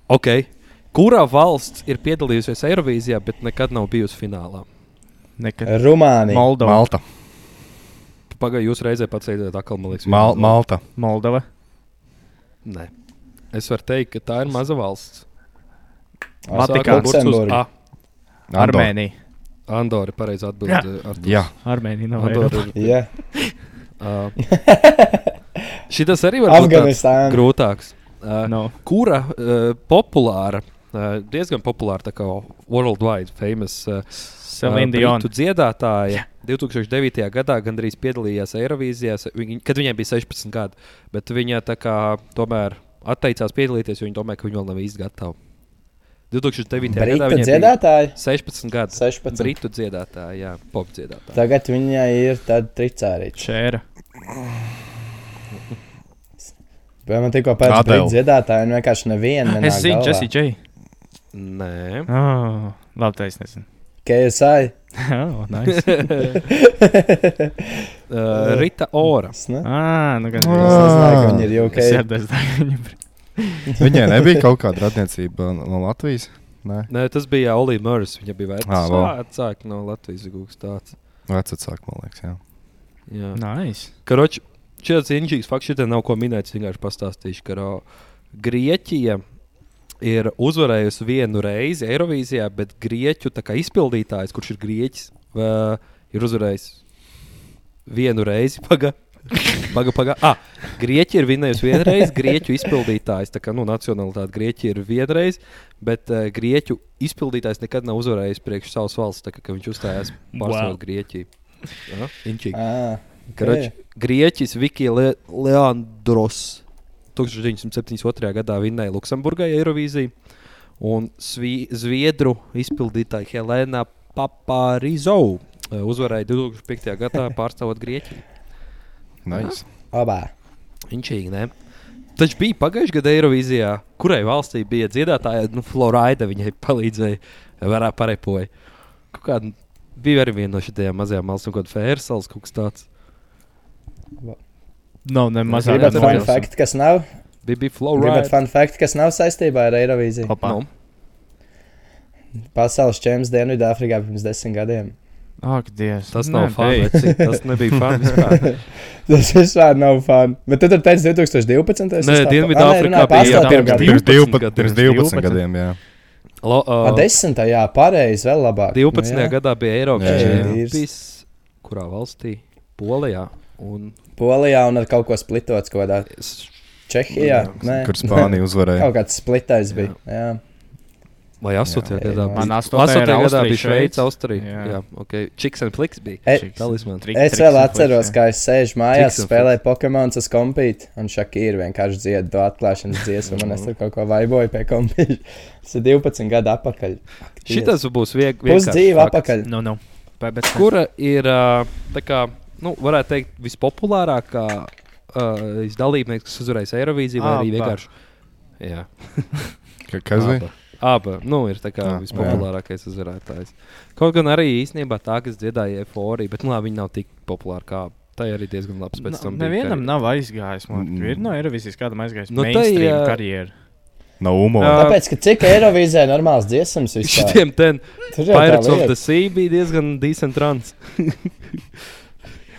[SPEAKER 1] Okay. Kurā valsts ir piedalījusies Eirovīzijā, bet nekad nav bijusi finālā?
[SPEAKER 2] Nekad.
[SPEAKER 3] Rumānija.
[SPEAKER 2] Moldova.
[SPEAKER 8] Malta.
[SPEAKER 1] Pagaidā jūs reizē pateicāt, atkal man liekas,
[SPEAKER 8] Mal
[SPEAKER 1] vienu vārdu.
[SPEAKER 8] Malta.
[SPEAKER 2] Moldova.
[SPEAKER 1] Nē. Es varu teikt, ka tā ir maza valsts. Sākot
[SPEAKER 2] Vatikāns.
[SPEAKER 1] burts uz A.
[SPEAKER 8] Andor.
[SPEAKER 2] Armēnija.
[SPEAKER 1] Andora ir pareizi atbildēt.
[SPEAKER 8] Jā,
[SPEAKER 2] Armēnija nav Eiropa.
[SPEAKER 1] Andora ir.
[SPEAKER 3] Jā,
[SPEAKER 1] Uh, [LAUGHS] šitas arī var būt tāds
[SPEAKER 3] Afganistāna.
[SPEAKER 1] grūtāks. Uh,
[SPEAKER 2] No.
[SPEAKER 1] Kura uh, populāra, uh, diezgan populāra, tā kā worldwide famous uh,
[SPEAKER 2] Celine Dion.
[SPEAKER 1] britu dziedātāja 2009. gadā gandrīz piedalījās Eirovīzijā, se- viņi- kad viņai bija 16 gadi. Bet viņa tā kā tomēr atteicās piedalīties, jo viņa domāja, ka viņa vēl nav īsti gatava. 2009. gadā
[SPEAKER 3] Brīta
[SPEAKER 1] viņai bija
[SPEAKER 3] dziedātāji.
[SPEAKER 1] 16 gadi.
[SPEAKER 3] 16.
[SPEAKER 1] Britu dziedātāja, jā, pop dziedātāja.
[SPEAKER 3] Tagad viņai ir tāda tricārīča.
[SPEAKER 2] Čēra.
[SPEAKER 3] Vai man tikko pēc
[SPEAKER 8] Adele.
[SPEAKER 3] brīta dziedātāja un vienkārši neviena.
[SPEAKER 2] Es zinu, Jesse J. [LAUGHS]
[SPEAKER 1] Nē,
[SPEAKER 2] Oh, labi, tā es nezinu. [LAUGHS]
[SPEAKER 3] KSI.
[SPEAKER 2] oh, nice.
[SPEAKER 1] uh, Rita Ora.
[SPEAKER 3] [LAUGHS] Es ne-
[SPEAKER 2] ah, nu, gan
[SPEAKER 3] es nezināju, ka viņi ir UK.
[SPEAKER 2] Es saprotu, ka viņi ir.
[SPEAKER 8] viņai nebija kaut kāda radniecība uh, no Latvijas. Nē,
[SPEAKER 1] Nē, tas bija Olija Mārcis. Viņa bija
[SPEAKER 8] Ā, vēl.
[SPEAKER 1] vecāka no Latvijas gūstas tāds.
[SPEAKER 8] vecāks, man liekas, jā.
[SPEAKER 1] Jā.
[SPEAKER 2] Nice.
[SPEAKER 1] Karoči, šis inžīgs fakts šitā nav ko minēt. Es vienkārši pastāstīšu, ka ro- Grieķija ir uzvarējusi vienu reizi Eirovīzijā, bet Grieķu tā kā izpildītājs, kurš ir Grieķis, vē, ir uzvarējis vienu reizi. [LAUGHS] Paga. Paga, paga. Ah, Grieķija ir vinnējusi vienu reizi, Grieķu izpildītājs, tā kā nu, nacionālitāte Grieķija ir vienreiz, bet uh, Grieķu izpildītājs nekad nav uzvarējis priekš savas valsts, tā kā ka viņš uzstājās pārstāvot wow.
[SPEAKER 2] Wow.
[SPEAKER 1] Grieķiju. Jā, inčīgi.
[SPEAKER 3] Ā,
[SPEAKER 1] Karač, Grieķis Vikija Le Leandros 1972. gadā vinnēja Luksemburgā Eirovīziju, un Svi Zviedru izpildītāja Helēna Paparizou eh, uzvarēja 2005. gadā pārstāvot Grieķiju.
[SPEAKER 8] Nice.
[SPEAKER 3] Abā.
[SPEAKER 1] Inčīgi, ne? Taču bija pagājušajā gadā Eirovīzijā, kurai valstī bija dziedātāja, nu, Florida viņai palīdzēja, varēja parepoja. Kaut Kāda bija arī viena no šīm mazajām malām, kaut kāda Fērsals, kaut kas tāds.
[SPEAKER 2] Nav ne mazā
[SPEAKER 3] Gribat
[SPEAKER 1] jā,
[SPEAKER 3] fun
[SPEAKER 1] jā.
[SPEAKER 3] fact, kas nav?
[SPEAKER 1] Bija, bija
[SPEAKER 3] Gribat
[SPEAKER 1] Florida.
[SPEAKER 3] fun fact, kas nav saistībā ar Eirovīziju?
[SPEAKER 2] Opa.
[SPEAKER 3] Pasaules čempions Dienvidāfrikā pirms desmit gadiem.
[SPEAKER 2] Ak, Dievs.
[SPEAKER 1] Tas
[SPEAKER 2] Nē,
[SPEAKER 1] nav
[SPEAKER 2] beidz.
[SPEAKER 1] fans. Tas nebija fans.
[SPEAKER 3] [LAUGHS]
[SPEAKER 1] vispār.
[SPEAKER 3] Tas vispār nav fun. Bet tu tur teici 2012.
[SPEAKER 1] Nē, Dienvidāfrikā bija
[SPEAKER 3] bija
[SPEAKER 1] jā,
[SPEAKER 3] gada.
[SPEAKER 1] pirms
[SPEAKER 8] Pirms
[SPEAKER 1] 12
[SPEAKER 8] 12, pirms
[SPEAKER 1] gadiem.
[SPEAKER 8] 12 gadiem, jā.
[SPEAKER 1] Lo,
[SPEAKER 3] A,
[SPEAKER 1] uh,
[SPEAKER 3] 10. jā, pareizi, vēl labāk.
[SPEAKER 1] 12.
[SPEAKER 3] Nu jā.
[SPEAKER 1] gadā bija Eiropas
[SPEAKER 8] Jā, jā.
[SPEAKER 1] čempions. Kurā valstī? Polijā. Un
[SPEAKER 3] Polijā un ar kaut ko splitots kaut kādā
[SPEAKER 1] es-
[SPEAKER 3] Čehijā.
[SPEAKER 1] Jā,
[SPEAKER 3] Nē.
[SPEAKER 8] Kur
[SPEAKER 3] [LAUGHS]
[SPEAKER 8] Spānija uzvarēja.
[SPEAKER 3] Kaut kāds splitais bija. Jā.
[SPEAKER 1] vai 8.
[SPEAKER 3] Jā,
[SPEAKER 1] gadā?
[SPEAKER 3] jā.
[SPEAKER 1] bija-
[SPEAKER 2] Man astotajā
[SPEAKER 1] 8. gadā
[SPEAKER 2] ir Austrija,
[SPEAKER 1] bija
[SPEAKER 2] Šveica.
[SPEAKER 1] Šveice, Austrija. Jā,
[SPEAKER 2] Jā.
[SPEAKER 1] jā ok. Čiks un Fliks bija.
[SPEAKER 3] E,
[SPEAKER 2] Chicks.
[SPEAKER 1] Talismans.
[SPEAKER 2] Trik-
[SPEAKER 3] Es
[SPEAKER 2] triks
[SPEAKER 3] vēl
[SPEAKER 2] un
[SPEAKER 3] atceros,
[SPEAKER 2] fliks, jā.
[SPEAKER 3] kā es sēžu mājās,
[SPEAKER 1] Triks un
[SPEAKER 3] spēlēju Pokemonu uz kompīti, un Šakīra vienkārši dziedā to atklāšanas dziesmu, un es tur kaut ko vaiboju pie kompīta. [LAUGHS] Tas ir 12 gadu atpakaļ.
[SPEAKER 1] Šitas būs vieg-
[SPEAKER 3] būs
[SPEAKER 1] vienkāršs
[SPEAKER 3] dzīve
[SPEAKER 1] fakts.
[SPEAKER 3] atpakaļ.
[SPEAKER 2] Nu, nu. Vai, bet,
[SPEAKER 1] Kura ir ā, tā kā, nu, varētu teikt, vispopulārākā ā, dalībnieks, kas uzvarēs Eirovīziju, vai arī
[SPEAKER 2] Aba.
[SPEAKER 1] vienkārši. Jā.
[SPEAKER 8] Ka- Kas bija?
[SPEAKER 1] Aba. Aba, nu, ir tā kā
[SPEAKER 8] Ah,
[SPEAKER 1] vispopulārākais uzvarētājs. Kaut gan arī īstenībā tā, kas dziedāja eforiju, bet nu, labi, viņa nav tik populāra kā Aba. tā. ir arī diezgan labs pēc tam. bija
[SPEAKER 2] Nu, Nevienam
[SPEAKER 1] karjeras.
[SPEAKER 2] nav aizgājis. Man
[SPEAKER 8] Mm.
[SPEAKER 2] mm. ir no Eirovisijas kādam aizgājis.
[SPEAKER 1] Nu,
[SPEAKER 2] No
[SPEAKER 1] tai,
[SPEAKER 2] mainstream
[SPEAKER 1] jā.
[SPEAKER 2] karjeru.
[SPEAKER 8] No Umo.
[SPEAKER 1] Jā.
[SPEAKER 3] Tāpēc, ka cik Eirovīzē normāls dziesmas vispār?
[SPEAKER 1] [LAUGHS] Šitiem ten
[SPEAKER 3] Tur jau tā
[SPEAKER 1] Pirates of
[SPEAKER 3] lieta.
[SPEAKER 1] the Sea bija diezgan decent
[SPEAKER 8] [LAUGHS]
[SPEAKER 1] runs.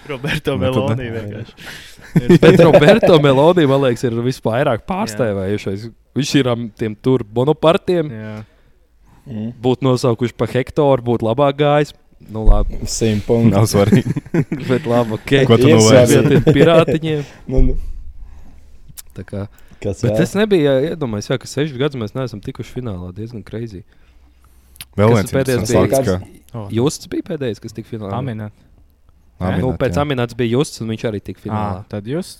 [SPEAKER 2] Roberto
[SPEAKER 8] Nu, tad ne.
[SPEAKER 2] Meloni [LAUGHS] vienkārši.
[SPEAKER 1] [LAUGHS] Bet Roberto Meloni, man liekas, ir vispārāk pārstāvējušais. Viņš ir am tiem tur bonopartiem,
[SPEAKER 2] Jā.
[SPEAKER 3] Mm.
[SPEAKER 1] būtu nosaukuši pa hektāru, būtu labāk gājis. Nu, labi,
[SPEAKER 3] Simt punktu.
[SPEAKER 8] Nav svarīgi.
[SPEAKER 1] bet labi, ok.
[SPEAKER 8] Ko tu
[SPEAKER 3] Iesvērt.
[SPEAKER 8] novēli?
[SPEAKER 1] Vietiem pirātiņiem.
[SPEAKER 3] Nu, nu.
[SPEAKER 1] Tā kā
[SPEAKER 3] Kas
[SPEAKER 1] Bet
[SPEAKER 3] vēl?
[SPEAKER 1] es nebiju ā, iedomājies, jā, ka sešus gadus mēs neesam tikuši finālā. Diezgan greizi.
[SPEAKER 8] Vēl
[SPEAKER 1] Kas
[SPEAKER 8] viens
[SPEAKER 1] pēdējais
[SPEAKER 8] pēdējais
[SPEAKER 1] bija?
[SPEAKER 8] fakts, ka
[SPEAKER 2] Oh,
[SPEAKER 1] Jūs bija pēdējais, kas tika finālā.
[SPEAKER 2] Amina.
[SPEAKER 1] Nē, nu,
[SPEAKER 8] Aminat,
[SPEAKER 1] pēc
[SPEAKER 8] jā.
[SPEAKER 1] tam minētas bija Justs, un viņš arī tika finālā.
[SPEAKER 2] Ah, tad jūs.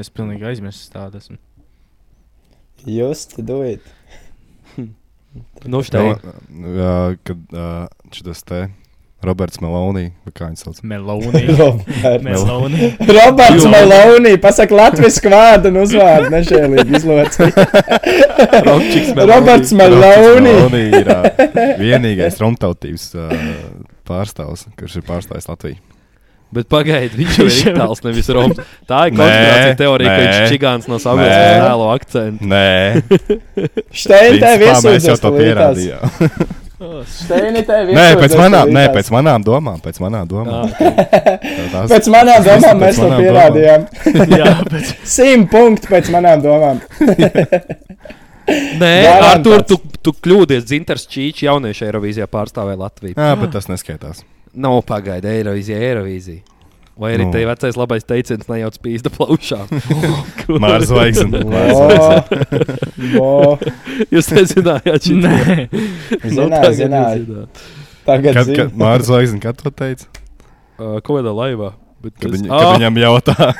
[SPEAKER 2] Es pilnīgi aizmirsu tādu. esmu.
[SPEAKER 3] Jūs te dojat.
[SPEAKER 1] Nu,
[SPEAKER 8] Vēl,
[SPEAKER 1] štai.
[SPEAKER 8] jā, Kad ā, šitas te Roberts Meloni, vai kā viņš sauc?
[SPEAKER 1] [LAUGHS]
[SPEAKER 3] [LAUGHS]
[SPEAKER 2] [LAUGHS] Meloni.
[SPEAKER 3] Roberts
[SPEAKER 2] Meloni.
[SPEAKER 3] Roberts
[SPEAKER 1] Jo.
[SPEAKER 3] Meloni, pasaka latviešu vārdu un uzvārdu nešēlīgi
[SPEAKER 8] [LAUGHS]
[SPEAKER 3] izlots.
[SPEAKER 1] Roberts Meloni.
[SPEAKER 3] Roberts Meloni.
[SPEAKER 8] Roberts Meloni ir
[SPEAKER 3] [LAUGHS]
[SPEAKER 8] ā, vienīgais romtautības ā, pārstāvs, kurš ir pārstāvis Latviju.
[SPEAKER 1] Bet pagaidiet, viņš jau ir itālis, nevis roms. Tā ir
[SPEAKER 8] Nē,
[SPEAKER 1] konspirācija teorija, ka
[SPEAKER 8] nē,
[SPEAKER 1] viņš ir čigāns no savas
[SPEAKER 8] nē.
[SPEAKER 1] tēla akcentu.
[SPEAKER 8] Nē,
[SPEAKER 3] Štein tev
[SPEAKER 8] principā mēs jau
[SPEAKER 3] iesūdzēs.
[SPEAKER 8] to
[SPEAKER 3] tūlītās.
[SPEAKER 8] pierādījām.
[SPEAKER 3] Steini, tev ir.
[SPEAKER 8] Nē, pēc manām, nē, pēc manām domām, pēc manām
[SPEAKER 1] Ah,
[SPEAKER 8] [LAUGHS] domām. Tās-
[SPEAKER 3] Ah. Pēc manām
[SPEAKER 8] [LAUGHS] tas viss
[SPEAKER 3] domām
[SPEAKER 8] pēc
[SPEAKER 3] mēs to
[SPEAKER 8] manām
[SPEAKER 3] pierādījām.
[SPEAKER 2] [LAUGHS]
[SPEAKER 1] Jā, bet
[SPEAKER 3] Simt punktu pēc manām domām.
[SPEAKER 1] Nē,
[SPEAKER 3] Garantēts.
[SPEAKER 1] Artur, tu, tu kļūdies. Zintars Čīčs jauniešu Eirovīzijā pārstāvēja Latviju.
[SPEAKER 8] Jā, bet tas neskaitās.
[SPEAKER 1] Nav pagaida Eirovīzija, Eirovīzija. Vai arī
[SPEAKER 8] Nu.
[SPEAKER 1] nu. te vecais labais teiciens nejauc pīzda [LAUGHS]
[SPEAKER 8] [LAUGHS]
[SPEAKER 1] plaušām? Kur-
[SPEAKER 3] [LAUGHS]
[SPEAKER 8] Mārs Zvaigznes. [LAUGHS]
[SPEAKER 3] O, o,
[SPEAKER 1] Jūs nezinājāt, šī
[SPEAKER 2] [LAUGHS] Nē,
[SPEAKER 3] Zināju, zināju. Tagad
[SPEAKER 8] Kad,
[SPEAKER 3] zinu.
[SPEAKER 8] kad Mārs Zvaigznes, kad to teica?
[SPEAKER 1] Ko vada laivā? Bet
[SPEAKER 8] Kad,
[SPEAKER 1] tas-
[SPEAKER 8] viņ, kad
[SPEAKER 3] Ah.
[SPEAKER 1] Ā,
[SPEAKER 8] viņam jautāja,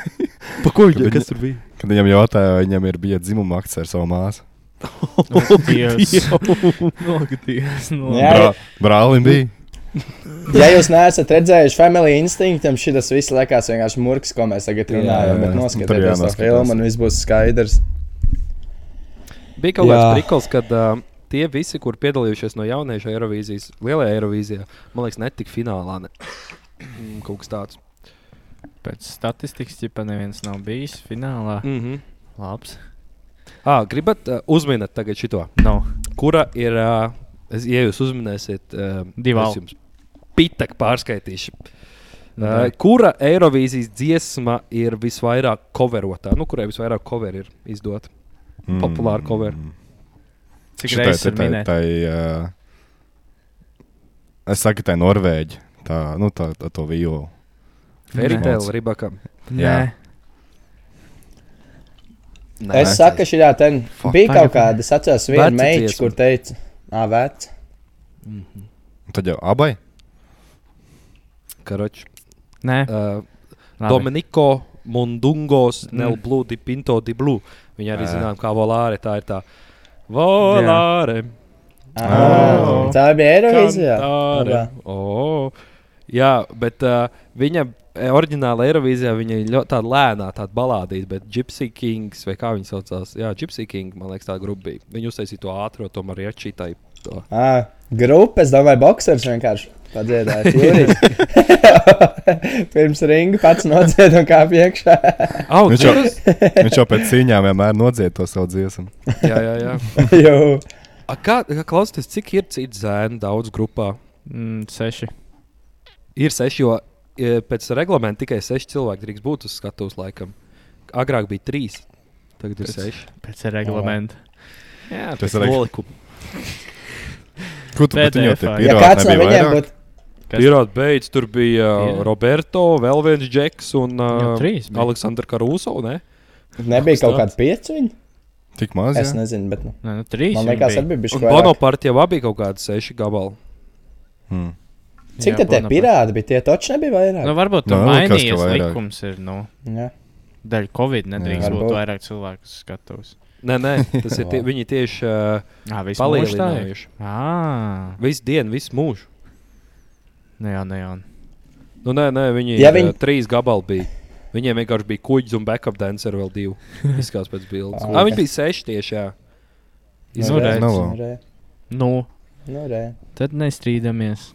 [SPEAKER 1] pa ko viņa?
[SPEAKER 8] kad
[SPEAKER 1] Kas tur
[SPEAKER 3] [LAUGHS]
[SPEAKER 1] bija?
[SPEAKER 8] kad viņam jautāja, vai viņam ir bijis dzimuma akts ar savu māsu.
[SPEAKER 3] Oh,
[SPEAKER 1] Oh,
[SPEAKER 2] [LAUGHS] Dievs. Nogatījos. No.
[SPEAKER 3] Jā.
[SPEAKER 8] Brā, brālim bija.
[SPEAKER 3] Ja jūs neesat redzējuši Family Instinctam, šis viss liekas vienkārši murgs, ko mēs tagad
[SPEAKER 8] Jā, jā,
[SPEAKER 3] runājam. Bet
[SPEAKER 8] jā. Nu, Tur
[SPEAKER 3] noskatieties to
[SPEAKER 8] jānoskatās.
[SPEAKER 3] filmu, un viss būs skaidrs.
[SPEAKER 1] Bija kaut
[SPEAKER 3] Jā.
[SPEAKER 1] kāds priklis, kad uh, tie visi, kur piedalījušies no jauniešu Eirovīzijas, lielajā Eirovīzijā, man liekas, netika finālā. Ne. Mm, Kaut kas tāds.
[SPEAKER 2] Pēc statistikas, ja neviens nav bijis finālā,
[SPEAKER 1] Mm -hmm.
[SPEAKER 2] labs. Nu,
[SPEAKER 1] ah, gribat uh, uzminēt tagad šito?
[SPEAKER 2] No.
[SPEAKER 1] Kura ir, uh, es, ja jūs uzminēsiet, uh,
[SPEAKER 2] Divā.
[SPEAKER 1] es jums pitak pārskaitīšu.
[SPEAKER 2] Nu,
[SPEAKER 1] Uh,
[SPEAKER 2] tā.
[SPEAKER 1] kura Eirovīzijas dziesma ir visvairāk coverotā? Nu, kurai visvairāk cover ir izdota?
[SPEAKER 8] Mm.
[SPEAKER 1] Populāra cover.
[SPEAKER 2] Nu, Cik
[SPEAKER 8] Šitai-
[SPEAKER 2] reizes ir
[SPEAKER 8] tai-
[SPEAKER 2] minēta?
[SPEAKER 8] tai, ā, Es saku, tā ir Norvēģija. Tā, nu, tā, tā to vijolu.
[SPEAKER 1] Fairy
[SPEAKER 2] Nē.
[SPEAKER 1] Tale, Ribakam.
[SPEAKER 8] Jā.
[SPEAKER 1] Nē,
[SPEAKER 3] Es saku, šī ten
[SPEAKER 8] Fuck.
[SPEAKER 3] bija kaut
[SPEAKER 2] Tagad-
[SPEAKER 3] kāda. Es atceros vienu
[SPEAKER 1] Veca
[SPEAKER 3] meitu,
[SPEAKER 1] dziesma.
[SPEAKER 3] kur teica, ah, vec.
[SPEAKER 8] Tad jau abai.
[SPEAKER 1] Karoči.
[SPEAKER 2] Nē,
[SPEAKER 1] Uh,
[SPEAKER 2] labi.
[SPEAKER 1] Dominiko Mundungos, mm.
[SPEAKER 2] Mm.
[SPEAKER 1] Nel Blue, Di Pinto, Di Blue. Viņa
[SPEAKER 8] Eh.
[SPEAKER 1] arī zinām, kā volāre tā ir tā. Volāre.
[SPEAKER 3] Ah,
[SPEAKER 2] Ā.
[SPEAKER 3] Tā bija Eirovizijā.
[SPEAKER 1] kantāre. O. Jā, bet uh, viņa e, oriģināla Eirovīzijā viņa ir ļoti tāda lēnā, tāda balādīta, bet Gypsy Kings vai kā viņa saucās? Jā, Gypsy King, man liekas, tā grupa bija. Viņa uztaisīja to ātrā, tomēr ir šī tā.
[SPEAKER 3] Ah, Grupa, es domāju, boxers vienkārši. Tā
[SPEAKER 8] [LAUGHS]
[SPEAKER 3] dziedāja Jurijs. [LAUGHS] Pirms ringa pats nodzied un kāp iekšā. [LAUGHS]
[SPEAKER 1] Au,
[SPEAKER 8] Viņš jau,
[SPEAKER 1] dzirdus?
[SPEAKER 8] viņš jau pēc cīņām vienmēr nodzied to savu dziesmu.
[SPEAKER 1] jā, jā, jā.
[SPEAKER 3] Jū.
[SPEAKER 1] A, Kā, kā klausieties, cik ir citu zēnu daudz grupā?
[SPEAKER 2] Mm, seši.
[SPEAKER 1] Ir seši, jo e, pēc reglamenta tikai seši cilvēki drīkst būt uz skatuves laikam. Agrāk bija trīs, tagad ir
[SPEAKER 2] Pēc-
[SPEAKER 1] seši.
[SPEAKER 2] Pēc reglamenta.
[SPEAKER 1] Jā,
[SPEAKER 8] Tas
[SPEAKER 1] tas
[SPEAKER 8] ir
[SPEAKER 1] ir
[SPEAKER 8] reg-
[SPEAKER 1] nolikums.
[SPEAKER 8] Kur tu pat viņu
[SPEAKER 2] PDF,
[SPEAKER 8] te
[SPEAKER 2] jā.
[SPEAKER 3] Ja
[SPEAKER 8] pirāti
[SPEAKER 3] kāds no
[SPEAKER 8] nebija
[SPEAKER 3] viņiem
[SPEAKER 8] vairāk?
[SPEAKER 3] būtu
[SPEAKER 2] Kas-
[SPEAKER 1] Pirāta beigas, tur bija uh,
[SPEAKER 2] Jā.
[SPEAKER 1] Roberto, vēl viens Džeks un
[SPEAKER 2] Jau trīs bija.
[SPEAKER 1] Aleksandrs Karuso. Ne?
[SPEAKER 3] Nebija
[SPEAKER 1] Kas
[SPEAKER 3] kaut kāda pieci viņa?
[SPEAKER 8] Tik maz.
[SPEAKER 3] Es
[SPEAKER 8] jā?
[SPEAKER 3] nezinu, bet nu,
[SPEAKER 2] Nē, nu, trīs.
[SPEAKER 3] man
[SPEAKER 2] viņam
[SPEAKER 3] liekas,
[SPEAKER 2] bija.
[SPEAKER 3] arī
[SPEAKER 1] Un
[SPEAKER 3] bija šis bono.
[SPEAKER 1] Bonaparte jau abi kaut kādi seši gabali.
[SPEAKER 8] Mm.
[SPEAKER 3] Cik
[SPEAKER 2] Jā,
[SPEAKER 3] tad tie
[SPEAKER 2] Bonaparte.
[SPEAKER 3] pirāti bija? Tie taču nebija
[SPEAKER 2] Nu,
[SPEAKER 3] vairāk.
[SPEAKER 2] varbūt
[SPEAKER 8] Nu,
[SPEAKER 2] tur
[SPEAKER 8] man liekas, ka
[SPEAKER 2] mainījies
[SPEAKER 8] vairāk.
[SPEAKER 2] likums. Ir, nu,
[SPEAKER 3] Jā.
[SPEAKER 2] daļa Covid nedrīkst
[SPEAKER 3] Jā.
[SPEAKER 2] būt
[SPEAKER 3] Varbūt.
[SPEAKER 2] vairāk cilvēku uz skatuves.
[SPEAKER 1] Nē, nē, tas ir tie, viņi tieši uh,
[SPEAKER 2] Jā, viss palīdzēja.
[SPEAKER 1] palielinājuši.
[SPEAKER 2] Ah,
[SPEAKER 1] Visu dienu, visu mūžu.
[SPEAKER 2] nē, jā, nē, jā.
[SPEAKER 1] Nu, nē, nē, viņi
[SPEAKER 3] Ja
[SPEAKER 1] ja
[SPEAKER 3] viņi-
[SPEAKER 1] viņi... trīs gabali bija. Viņiem vienkārši bija kuģis un backup dance ar vēl
[SPEAKER 3] [LAUGHS]
[SPEAKER 1] divu. Izskatās pēc bildes.
[SPEAKER 3] Ah,
[SPEAKER 1] ah,
[SPEAKER 3] ok.
[SPEAKER 1] viņi bija seši tieši. Jā.
[SPEAKER 3] Nu,
[SPEAKER 2] Izvarēts.
[SPEAKER 3] re,
[SPEAKER 8] Nav
[SPEAKER 3] nu,
[SPEAKER 8] vēl.
[SPEAKER 3] re,
[SPEAKER 2] Nu,
[SPEAKER 3] nu, re.
[SPEAKER 2] tad nestrīdamies.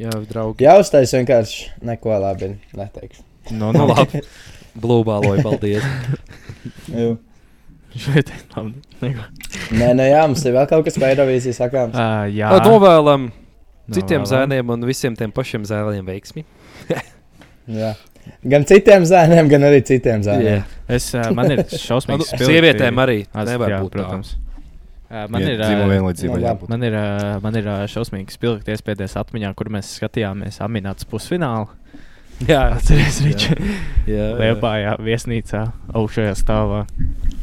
[SPEAKER 1] Jā,
[SPEAKER 2] [LAUGHS]
[SPEAKER 1] draugi.
[SPEAKER 3] Jā, uztais vienkārši neko labi neteikšu.
[SPEAKER 2] No, [LAUGHS]
[SPEAKER 1] Nu, [LAUGHS] labi. Blūbāloju, paldies.
[SPEAKER 3] Jū.
[SPEAKER 2] Šeit ir labi. Neko.
[SPEAKER 3] Nē, nu jā, mums ir vēl kaut kas par Eirovīziju sakāms.
[SPEAKER 2] Ā, Jā, Nu,
[SPEAKER 1] Tad Ah, novēlam citiem
[SPEAKER 2] Ah. novēlam.
[SPEAKER 1] zēniem un visiem tiem pašiem zēniem veiksmi.
[SPEAKER 3] Jā. Gan citiem zēniem, gan arī citiem zēniem.
[SPEAKER 2] Es, ā, man
[SPEAKER 1] [LAUGHS]
[SPEAKER 2] ir šausmīgs.
[SPEAKER 1] Nu, Sievietēm arī
[SPEAKER 2] As-
[SPEAKER 1] nevar
[SPEAKER 2] jā,
[SPEAKER 1] būt. Protams.
[SPEAKER 2] protams. Ā, Man
[SPEAKER 8] Vien-
[SPEAKER 2] ir,
[SPEAKER 8] dzīvo
[SPEAKER 2] ā,
[SPEAKER 8] vienlīdzība
[SPEAKER 3] nu,
[SPEAKER 8] jābūt.
[SPEAKER 2] man ir, ā, man ir ā, šausmīgi spilgti iespējas atmiņā, kur mēs skatījāmies amināts pusfinālu.
[SPEAKER 1] Jā,
[SPEAKER 2] Atcerieties, Ričs.
[SPEAKER 1] jā, jā.
[SPEAKER 2] Liepā, jā, viesnīcā, augšējā stāvā.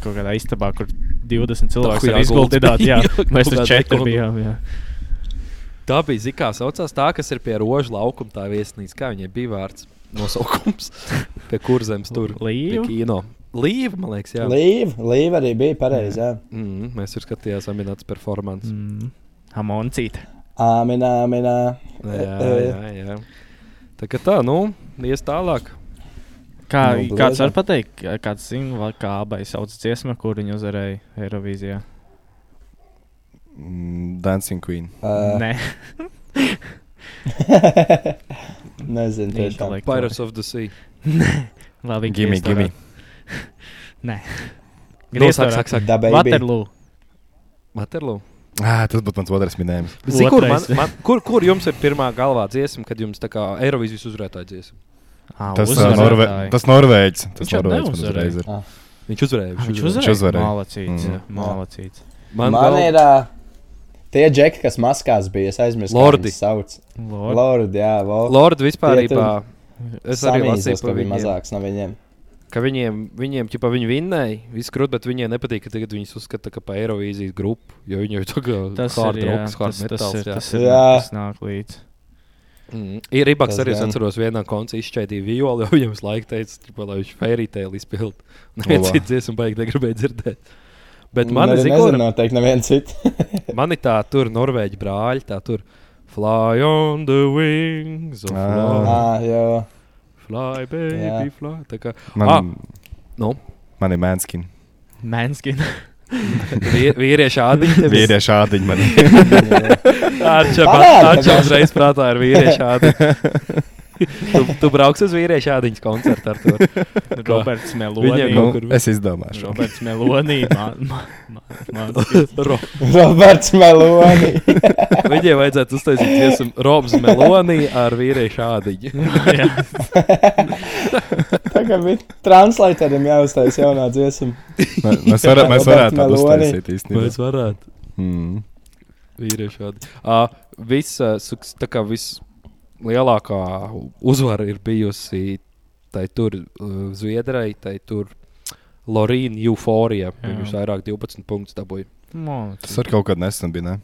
[SPEAKER 2] Kaut kādā istabā, kur 20 cilvēku
[SPEAKER 1] Tā,
[SPEAKER 2] ir
[SPEAKER 1] jā, gulds [LAUGHS]
[SPEAKER 2] izguldīti. Jā,
[SPEAKER 1] bija.
[SPEAKER 2] mēs tur
[SPEAKER 1] Guldā
[SPEAKER 2] četri
[SPEAKER 1] dekonu.
[SPEAKER 2] bijām. Jā.
[SPEAKER 1] tā bija zikā saucās tā, kas ir pie rožu laukuma tā viesnīca. Kā viņai bija vārds
[SPEAKER 2] [LAUGHS]
[SPEAKER 1] nosaukums? pie kurzemes tur. Pie
[SPEAKER 2] Līva.
[SPEAKER 1] kino. Līva, man liekas, jā.
[SPEAKER 3] Līva, līva arī bija pareizi, jā.
[SPEAKER 1] Mm, mēs tur skatījāmies amināts performances.
[SPEAKER 2] Mm. Hamoncīte.
[SPEAKER 3] Āminā, minā.
[SPEAKER 1] Jā,
[SPEAKER 3] Eh,
[SPEAKER 1] jā, jā. Tā kā tā, nu, ies tālāk.
[SPEAKER 2] Kā,
[SPEAKER 3] Nu,
[SPEAKER 2] no, kāds var
[SPEAKER 3] blēda.
[SPEAKER 2] pateikt, kāds zina, vai kā abai sauc dziesma, kur viņa uzvarēja Eirovīzijā?
[SPEAKER 8] Mm, Dancing Queen.
[SPEAKER 3] ā,
[SPEAKER 1] [LAUGHS]
[SPEAKER 2] Nē,
[SPEAKER 3] [LAUGHS] Nezinu, tiešām.
[SPEAKER 2] intelektuāli.
[SPEAKER 1] Pirates of the Sea.
[SPEAKER 2] Labi,
[SPEAKER 8] Gimme, gimme.
[SPEAKER 2] Nē,
[SPEAKER 1] Nu, sāk, sāk, sāk.
[SPEAKER 3] Dabēji.
[SPEAKER 2] Waterloo.
[SPEAKER 1] Waterloo.
[SPEAKER 8] Ah, tas būtu mans otrais minējums.
[SPEAKER 1] Bet zini, Kur, man,
[SPEAKER 2] Otrais.
[SPEAKER 1] man, kur, kur jums ir pirmā galvā dziesma, kad jums tā kā Eirovizijas uzvarētāja dziesma?
[SPEAKER 2] Ā,
[SPEAKER 8] Tas, uh,
[SPEAKER 2] uzvarētāji.
[SPEAKER 8] Norve... tas Norvēģis. Tas
[SPEAKER 2] Viņš jau
[SPEAKER 8] Norvēģis man
[SPEAKER 2] neuzvarēja.
[SPEAKER 8] uzreiz ir.
[SPEAKER 1] Viņš uzvarēja.
[SPEAKER 2] Ā, Viņš
[SPEAKER 8] Viņš uzvarēja.
[SPEAKER 2] uzvarēja. Malacīts.
[SPEAKER 8] Mhm.
[SPEAKER 2] Malacīts.
[SPEAKER 1] Man,
[SPEAKER 3] Man
[SPEAKER 1] gal...
[SPEAKER 3] ir uh, tie džeki, kas maskās bija. Es aizmirsu,
[SPEAKER 1] Lordi.
[SPEAKER 3] kā viņus sauc.
[SPEAKER 2] Lord.
[SPEAKER 3] Lordi, jā, Lordi.
[SPEAKER 1] Lorda
[SPEAKER 3] Tie
[SPEAKER 1] vispārībā.
[SPEAKER 3] tur
[SPEAKER 1] Es arī lasīju,
[SPEAKER 3] ka
[SPEAKER 1] par
[SPEAKER 3] bija
[SPEAKER 1] viņiem,
[SPEAKER 3] mazāks no viņiem.
[SPEAKER 1] ka viņiem, viņiem ķipa, viņi vinnēja, viss grūti, bet viņiem nepatīk, ka tagad viņus uzskata kā par Eirovīzijas grupu. Jo viņi jau tā kā
[SPEAKER 2] Tas
[SPEAKER 1] hard
[SPEAKER 2] ir jā,
[SPEAKER 1] rocks, hard
[SPEAKER 2] tas, tas
[SPEAKER 1] metals,
[SPEAKER 2] ir
[SPEAKER 1] jā.
[SPEAKER 2] tas, ir,
[SPEAKER 3] Jā.
[SPEAKER 2] kas nāk līdzi.
[SPEAKER 1] Mm. Ir Rībaks
[SPEAKER 3] Tas
[SPEAKER 1] arī, es
[SPEAKER 3] gan.
[SPEAKER 1] atceros, vienā koncertā izšķēdīja violi, [LAUGHS] jo viņam laika teica, ķipa, lai viņš fairytēlu izpildītu. [LAUGHS] Nē,
[SPEAKER 8] Olā.
[SPEAKER 1] cits dziesmu baigi negribēja dzirdēt.
[SPEAKER 3] Mm,
[SPEAKER 1] Bet man ir
[SPEAKER 3] Nu, nezinu,
[SPEAKER 1] zināms,
[SPEAKER 3] noteikti nevienu citu.
[SPEAKER 1] man ir tā, tur norvēģi brāļi, tā tur fly on the wings, of
[SPEAKER 8] Ah.
[SPEAKER 1] love,
[SPEAKER 3] Ā,
[SPEAKER 1] [LAUGHS]
[SPEAKER 3] jo.
[SPEAKER 1] fly baby,
[SPEAKER 3] Jā.
[SPEAKER 1] fly. Tā kā,
[SPEAKER 8] Man,
[SPEAKER 1] Ah.
[SPEAKER 8] ah.
[SPEAKER 1] nu,
[SPEAKER 8] man ir mēnskins.
[SPEAKER 2] Manskin.
[SPEAKER 1] vie- vīrieši
[SPEAKER 3] [LAUGHS]
[SPEAKER 1] ādiņi. [LAUGHS]
[SPEAKER 8] Vīrieši ādiņi [LAUGHS] man ir.
[SPEAKER 3] Parādi,
[SPEAKER 1] Atšķirīgi.
[SPEAKER 3] tev.
[SPEAKER 1] Uzreiz prātā ir vīriešu ādiņa.
[SPEAKER 3] [LAUGHS]
[SPEAKER 1] tu, tu brauks uz vīriešu ādiņas koncertu ar to.
[SPEAKER 2] Roberts
[SPEAKER 1] Viņiem
[SPEAKER 2] Meloni.
[SPEAKER 8] nu,
[SPEAKER 1] kaut kur-
[SPEAKER 8] es izdomāšu.
[SPEAKER 2] Roberts
[SPEAKER 1] [LAUGHS]
[SPEAKER 2] Meloni.
[SPEAKER 3] [LAUGHS]
[SPEAKER 1] Ro,
[SPEAKER 3] Roberts Meloni. [LAUGHS]
[SPEAKER 1] viņiem vajadzētu uztaisīt dziesmu Robs Melonija ar vīriešu ādiņu.
[SPEAKER 3] Tā kā bija translatoram jāuztais jaunā dziesma.
[SPEAKER 8] Mē- Mēs, varā, mēs
[SPEAKER 3] Roberts
[SPEAKER 8] varētu tādu
[SPEAKER 3] Meloni.
[SPEAKER 8] uztaisīt īstenībā.
[SPEAKER 1] Mēs varētu.
[SPEAKER 8] Mm.
[SPEAKER 1] Vīriešu ādiņu. Uh, viss, uh, suks- tā kā vislielākā uzvara ir bijusi tai tur uh, Zviedrai, tai tur Lorīna Euforija.
[SPEAKER 2] Jā.
[SPEAKER 1] Viņš vairāk 12 punktus dabūja.
[SPEAKER 8] Tas var kaut kad nesen bija. Ne?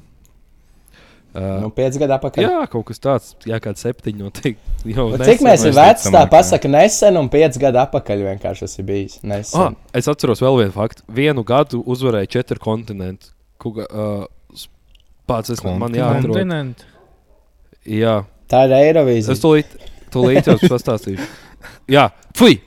[SPEAKER 1] Uh,
[SPEAKER 3] Nu, pieci gadi atpakaļ.
[SPEAKER 1] Jā, kaut kas tāds, jā, kāds septiņi noteikti. Jau
[SPEAKER 3] Bet Cik mēs esam
[SPEAKER 8] mēs
[SPEAKER 3] veci, tā
[SPEAKER 8] ticamāk, jā.
[SPEAKER 3] pasaka nesen un pieci gadi atpakaļ vienkārši tas ir bijis.
[SPEAKER 1] Ah,
[SPEAKER 3] Nesen.
[SPEAKER 1] es atceros vēl vienu faktu. Vienu gadu uzvarēja četri kontinenti. Kuga, uh, pats es nezinu, man jāatrod.
[SPEAKER 2] Kontinent.
[SPEAKER 1] Jā,
[SPEAKER 3] Tā ir
[SPEAKER 1] es
[SPEAKER 3] Eirovīzija.
[SPEAKER 1] tūlīt, tūlīt
[SPEAKER 8] [LAUGHS]
[SPEAKER 1] jums pastāstīšu. Jā, fui!